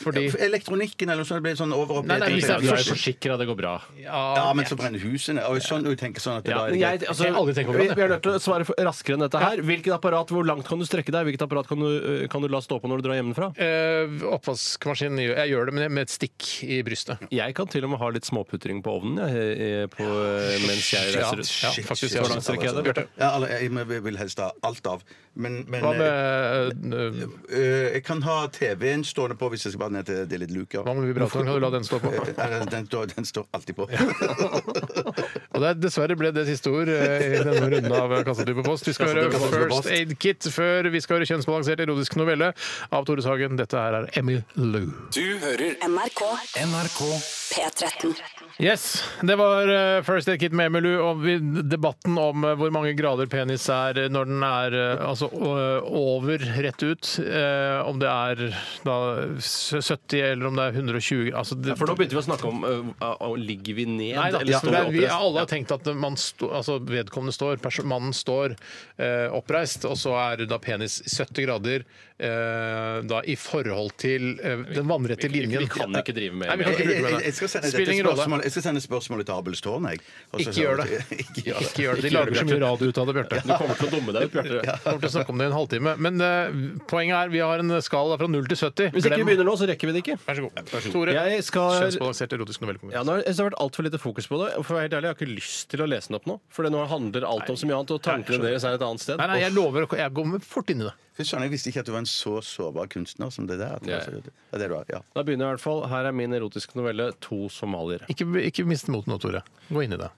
A: Fordi
C: Elektronikken eller noe sånt. Det blir sånn
A: Nei, nei,
C: overopphetet.
A: hvis det er
B: Du er
A: først-
B: jo forsikra, det går bra.
C: Ja, men så brenner husene. Og sånn, og jeg tenker sånn at det
B: Ja,
C: da er
B: men
C: det greit.
B: jeg, altså,
A: Jeg har aldri tenkt over
B: vi,
A: det.
B: vi er nødt til å svare for- raskere enn dette her. Hvilket apparat, Hvor langt kan du strekke deg? Hvilket apparat kan du, eh, kan du la stå på når du drar hjemmefra?
A: eh, oppvaskmaskinen gjør- Jeg gjør det med- med et stikk i brystet.
B: Jeg kan til og med ha litt småputring på ovnen jeg, eh, på, eh, mens jeg
A: Ja,
B: reiser
A: ja,
B: rundt.
A: faktisk.
B: Så langt strekker jeg det, Bjarte.
C: Ja, alle, jeg må- jeg vil helst ha alt av. Men, men
A: Hva med, eh,
C: eh, jeg kan ha TV-en stående på hvis jeg skal bare ned til det litt luker.
A: hva med vibratoren? Kan du la den stå på?
C: Eh, Den, står- den står alltid på.
A: Og det er, dessverre ble det siste ord eh, i denne runden av Kassatype post. Vi skal høre First Aid Kit før vi skal høre kjønnsbalansert erotisk novelle av Tore Sagen. Dette her er Emmy Lou.
E: NRK
F: NRK
E: P13.
A: Yes, det var eh, First Aid Kit med Emmy Lou. Og vi, debatten om eh, hvor mange grader penis er når den er eh, altså o- over, rett ut. eh, Om det er da 70 eller om det er 120 altså det,
B: For nå begynte vi å snakke om eh, å- å- ligger vi ned,
A: Nei, da,
B: eller står
A: men
B: vi
A: vi
B: oppreist?
A: alle har tenkt at man sto, altså vedkommende står, perso- mannen står eh, oppreist, og så er da penis 70 grader eh, da i forhold til eh, den vannrette
B: Vi-
A: linjen.
B: Vi kan ikke drive med
A: Nei, vi kan
C: Jeg,
A: ikke
C: jeg,
A: bruke
C: jeg,
A: det.
C: jeg, skal sende
A: Spiller
C: dette
A: ingen rolle.
C: spørsmålet, jeg skal sende spørsmålet til Abelstårn. Jeg. Og så-
A: Ikke gjør det.
C: Ikke gjør det.
A: Ikke gjør det. De lager så mye radio ut av det, Bjarte.
B: Du kommer til å dumme deg ut, Bjarte.
A: Vi kommer til å snakke om det i en halvtime. Men eh, poenget er vi har en skala fra 0 til 70.
B: Hvis ikke vi
A: Glem-
B: begynner nå, så rekker vi det ikke.
A: Vær så god. Tore,
B: Jeg skal
A: kjønnsbalansert erotisk novellekonkurranse.
B: Ja, nå har jeg synes det har vært altfor lite fokus på det. og For å være helt ærlig, Jeg har ikke lyst til å lese den opp nå. For det nå handler alt om så mye annet, og tankene deres er et annet sted.
A: Nei, nei, jeg lover. å- Jeg går fort inn i det.
C: Fy søren, jeg visste ikke at du var en så sårbar kunstner som det der. At det var
B: Ja, ja.
C: så- Ja, det du er, ja.
B: Da begynner jeg i hvert fall. Her er min erotiske novelle 'To somaliere'.
A: Ikke, ikke mist motet nå, Tore. Gå inn i det.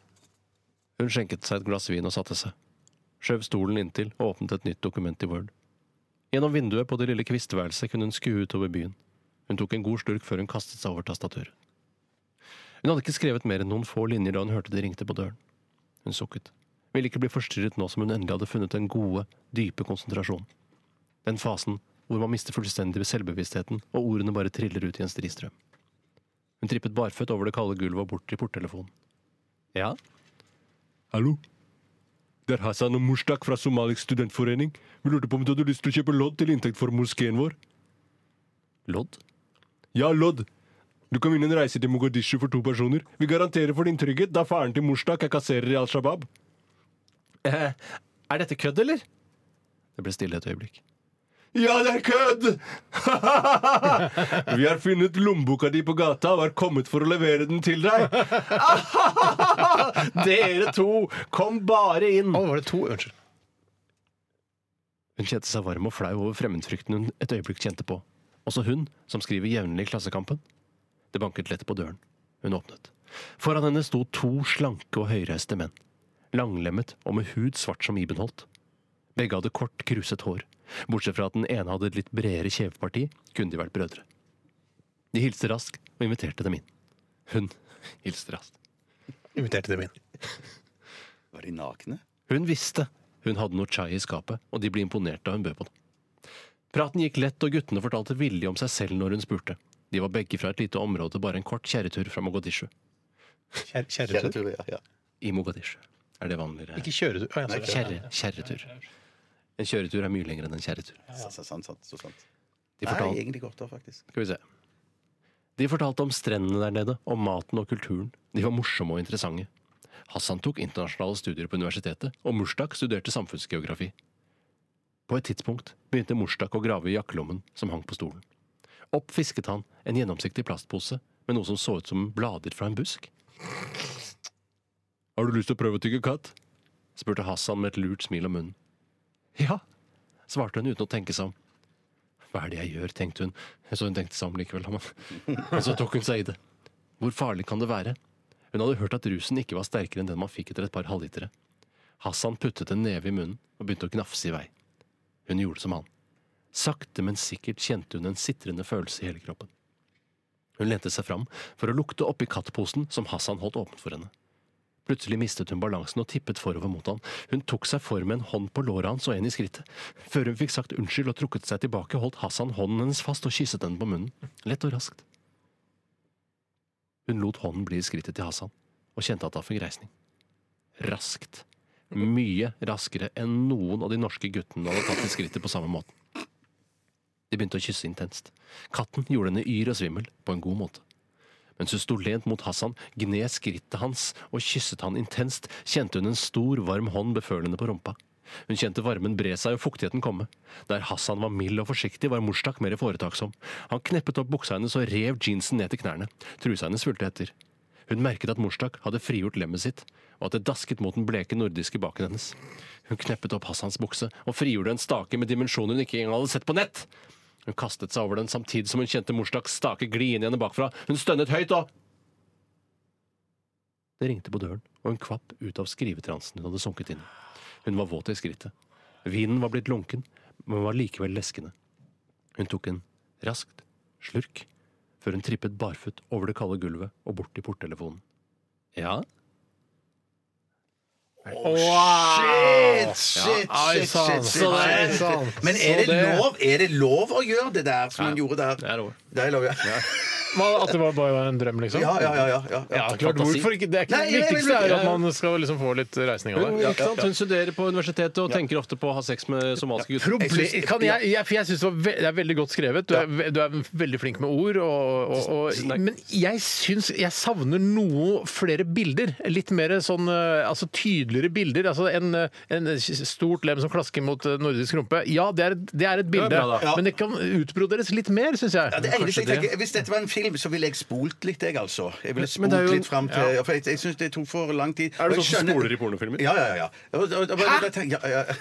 B: Hun skjenket seg et glass vin og satte seg. Skjøv stolen inntil og åpnet et nytt dokument i Word. Gjennom vinduet på det lille kvistværelset kunne hun skue utover byen. Hun tok en god slurk før hun kastet seg over tastaturet. Hun hadde ikke skrevet mer enn noen få linjer da hun hørte det ringte på døren. Hun sukket. Ville ikke bli forstyrret nå som hun endelig hadde funnet den gode, dype konsentrasjonen. Den fasen hvor man mister fullstendig selvbevisstheten, og ordene bare triller ut i en stri strøm. Hun trippet barføtt over det kalde gulvet og bort til porttelefonen. Ja?
N: Hallo? Det er Hassan og Mushtaq fra Somalisk studentforening. Vi lurte på om du hadde lyst til å kjøpe lodd til inntekt for moskeen vår? Lodd? Ja, lodd. Du kan vinne en reise til Mogadishu for to personer. Vi garanterer for din trygghet, da faren til Mushtaq er kasserer i Al Shabaab. Eh, er dette kødd, eller?
B: Det ble stille et øyeblikk.
N: Ja, det er kødd! Vi har funnet lommeboka di på gata og har kommet for å levere den til deg. Dere to, kom bare inn!
A: Å, var det to? Unnskyld.
B: Hun kjente seg varm og flau over fremmedfrykten hun et øyeblikk kjente på. Også hun, som skriver jevnlig i Klassekampen. Det banket lett på døren. Hun åpnet. Foran henne sto to slanke og høyreiste menn. Langlemmet og med hud svart som ibenholt. Begge hadde kort, kruset hår. Bortsett fra at den ene hadde et litt bredere kjeveparti, kunne de vært brødre. De hilste raskt og inviterte dem inn. Hun hilste raskt.
A: Inviterte dem inn.
C: Var de nakne?
B: Hun visste hun hadde noe chai i skapet, og de ble imponert da hun bød på det. Praten gikk lett, og guttene fortalte villig om seg selv når hun spurte. De var begge fra et lite område, bare en kort kjerretur fra Mogadishu.
A: Kjerretur?
C: ja, ja.
B: I Mogadishu. Er det vanligere?
A: Ikke kjøretur. Å, ja,
B: Nei,
A: sorry.
B: kjerre, kjerretur. En kjøretur er mye lengre enn en kjerretur.
C: Så, så, sant, sant, så sant.
B: De
C: Nei,
B: fortalte,
C: egentlig godt da, faktisk.
B: skal vi se. De fortalte om strendene der nede, om maten og kulturen. De var morsomme og interessante. Hassan tok internasjonale studier på universitetet, og Mushtak studerte samfunnsgeografi. På et tidspunkt begynte Mushtak å grave i jakkelommen som hang på stolen. Opp fisket han en gjennomsiktig plastpose med noe som så ut som blader fra en busk.
N: Har du lyst til å prøve å tygge katt?
B: spurte Hassan med et lurt smil om munnen. Ja, svarte hun uten å tenke seg om. Hva er det jeg gjør, tenkte hun, så hun tenkte seg om likevel. Men men så tok hun seg i det. Hvor farlig kan det være? Hun hadde hørt at rusen ikke var sterkere enn den man fikk etter et par halvlitere. Hassan puttet en neve i munnen og begynte å gnafse i vei. Hun gjorde som han. Sakte, men sikkert kjente hun en sitrende følelse i hele kroppen. Hun lente seg fram for å lukte oppi kattposen som Hassan holdt åpen for henne. Plutselig mistet hun balansen og tippet forover mot han. Hun tok seg for med en hånd på låret hans og en i skrittet. Før hun fikk sagt unnskyld og trukket seg tilbake, holdt Hassan hånden hennes fast og kysset henne på munnen, lett og raskt. Hun lot hånden bli i skrittet til Hassan og kjente at han fikk reisning. Raskt. Mye raskere enn noen av de norske guttene hadde tatt i skrittet på samme måten. De begynte å kysse intenst. Katten gjorde henne yr og svimmel på en god måte. Mens hun sto lent mot Hassan, gned skrittet hans og kysset han intenst, kjente hun en stor, varm hånd befølende på rumpa. Hun kjente varmen bre seg og fuktigheten komme. Der Hassan var mild og forsiktig, var Mustak mer foretaksom. Han kneppet opp buksa hennes og rev jeansen ned til knærne. Trusa hennes fulgte etter. Hun merket at Mustak hadde frigjort lemmet sitt, og at det dasket mot den bleke nordiske baken hennes. Hun kneppet opp Hassans bukse og frigjorde en stake med dimensjoner hun ikke engang hadde sett på nett! Hun kastet seg over den samtidig som hun kjente Murstaks stake gli inn i henne bakfra. Hun stønnet høyt og Det ringte på døren, og hun kvapp ut av skrivetransen hun hadde sunket inn i. Hun var våt i skrittet. Vinen var blitt lunken, men var likevel leskende. Hun tok en raskt slurk før hun trippet barføtt over det kalde gulvet og bort til porttelefonen. Ja?
C: Shit, shit, shit,
A: sann.
C: shit, shit,
A: Så det-
C: shit.
A: sann.
C: Men
A: Så
C: er det,
A: det-
C: lov, er det lov å gjøre det der som man gjorde der?
B: Det er over.
C: Det er lov, ja. Ja,
A: Hva, At det var bare var en drøm, liksom?
C: ja, ja. ja, ja.
A: Ja, klart,
B: Fantasi.
A: hvorfor ikke? Det er ikke
C: Nei,
A: det
C: jeg vil-
A: viktigste er jo at
B: jeg-
A: man skal liksom få litt reisning av det.
B: Hun, ikke sant? hun studerer på universitetet og tenker ofte på å ha sex med somaliske gutter.
A: Proble kan jeg, jeg, for jeg syns det, var ve det er veldig godt skrevet. Du er, ve- du er veldig flink med ord. Og, og, og, men jeg syns jeg savner noe flere bilder. Litt mer sånn eh, altså tydeligere bilder. Altså en, eh, en stort lem som klasker mot eh, nordisk rumpe. Ja, det er, det er et bilde,
B: bra,
C: da.
A: men det kan utbroderes litt mer, syns jeg.
C: Ja, det eneste jeg tenker, Hvis dette var en film, så ville jeg spolt litt, jeg, altså. Jeg ville
N: Men
C: spolt
N: det er jo-
C: litt frem til ja. For jeg, jeg syns det tok for lang tid.
N: Er
C: Og
N: det sånn
C: jeg
N: som
C: skjønner-
N: spoler i pornofilmer?
C: Ja, ja, ja. Og- og- og- og- da tenker jeg- ja, ja.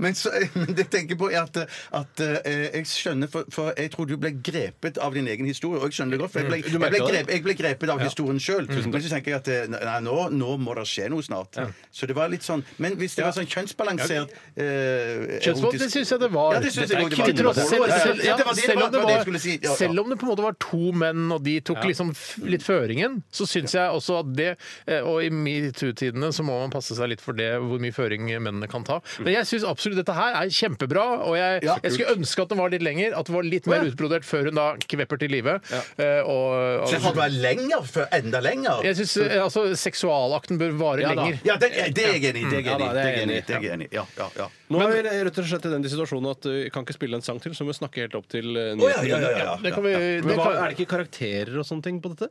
C: Men, så, men det jeg tenker på er at, at eh, jeg skjønner for, for jeg tror du ble grepet av din egen historie. Og jeg skjønner det godt, for jeg ble, jeg ble,
N: Mm. merker det.
C: grepet, jeg ble grepet av historien sjøl. Men så tenker jeg at eh, nei, nå, nå må det skje noe snart. Så det var litt sånn Men hvis det var sånn kjønnsbalansert eh,
A: Kjønnsvold, det
C: erotisk-
A: syns jeg det var.
C: Ja, det syns
A: Det
C: jeg
A: er
C: også
A: ikke-
C: det var.
A: til tross- selv-
C: Ja, ja,
A: selv-
C: ja,
A: ja,
C: det var det-
A: Selv om
C: det
A: det
C: var det jeg
A: var-
C: skulle si. Ja, ja.
A: selv om det på en måte var to menn, og de tok liksom f- litt føringen, så syns jeg også at det eh, Og i metoo-tidene så må man passe seg litt for det, hvor mye føring mennene kan ta. Men jeg syns absolutt absolutt. Dette her er kjempebra, og jeg,
O: Ja,
A: jeg skulle ønske at den var litt lenger, at den var litt mer utbrodert før hun da kvepper til live. Eh, og-
C: Så har du vært lenger før? Enda lenger?
A: Jeg syns eh, altså, seksualakten bør vare
C: Ja da.
A: lenger.
C: Ja, det, det er jeg enig i. Det er jeg
B: Ja da,
C: enig
B: det
C: i.
B: er
C: Det er jeg enig i.
B: enig i.
C: Det er jeg enig i. Ja, ja, ja.
B: Nå er vi rett og slett i den situasjonen at uh, vi kan ikke spille en sang til, så vi må snakke helt opp til uh,
C: Å, ja, ja, ja, ja, ja.
A: Det kan vi
B: Men
A: det
B: hva,
A: kan,
B: er det ikke karakterer og sånne ting på dette?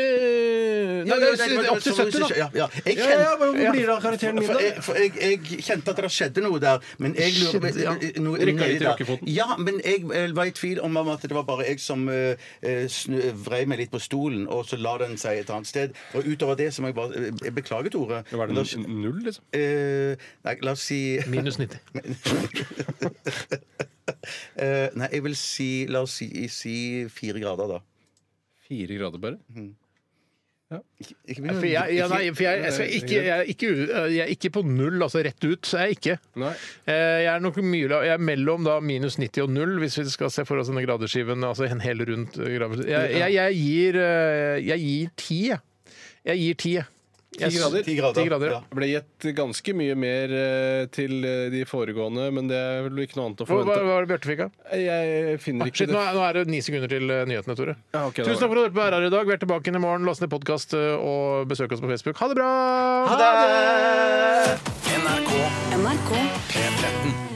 A: Eh, Nei, det er opp til 70, da.
C: Ja, ja. Jeg
B: Ja,
C: kjente-
B: ja, men hvor blir det av karakteren min,
C: For jeg,
B: da?
C: for jeg, jeg kjente at det skjedde noe der. Men jeg lurer
B: Skjedde, ja.
C: eh, noe
B: Rykket
C: nedi
B: litt i
C: der.
B: rakkefoten.
C: Ja, men jeg eh, var i tvil om at det var bare jeg som eh, eh, snu- vrei meg litt på stolen, og så la den seg et annet sted. Og utover det så må jeg bare eh, jeg Beklager, Tore.
B: Var det n- null, liksom?
C: Eh, nei, la oss si
A: Minus 90.
C: Eh, Nei, jeg vil si La oss si, si fire grader, da.
B: Fire grader bare?
C: Ikke- ikke
A: Nei,
C: begynn å-
A: For jeg, Äh, ja, nei, for jeg, jeg, skal ikke, jeg, er ikke, u- jeg er ikke på null, altså rett ut. Så jeg er ikke.
B: Nei.
A: Eh, Jeg er nok mye la- jeg er mellom da minus 90 og null, hvis vi skal se for oss denne gradeskiven. Altså en hel rundt eh, gradeskive. Jeg, jeg, jeg gir eh, Jeg gir ti, jeg. Jeg gir ti, jeg. Jeg s-
B: grader?
C: Ti grader,
A: Ti grader.
C: ja.
A: ja.
B: Det ble gitt ganske mye mer eh, til eh, de foregående, men det er vel ikke noe annet å
A: Hva, hva
B: forvente.
A: var det Bjarte fikk av?
B: Jeg finner
A: Ah,
B: ikke
A: shit, nå,
B: det.
A: er, nå er det ni sekunder til eh, nyhetene, Tore.
B: Ja, ok, da
A: Tusen takk for
B: var
A: at du hørte på RR i dag. Vi er tilbake inn i morgen. Last ned podkast og besøk oss på Facebook. Ha det bra!
C: Ha det!
E: NRK P13.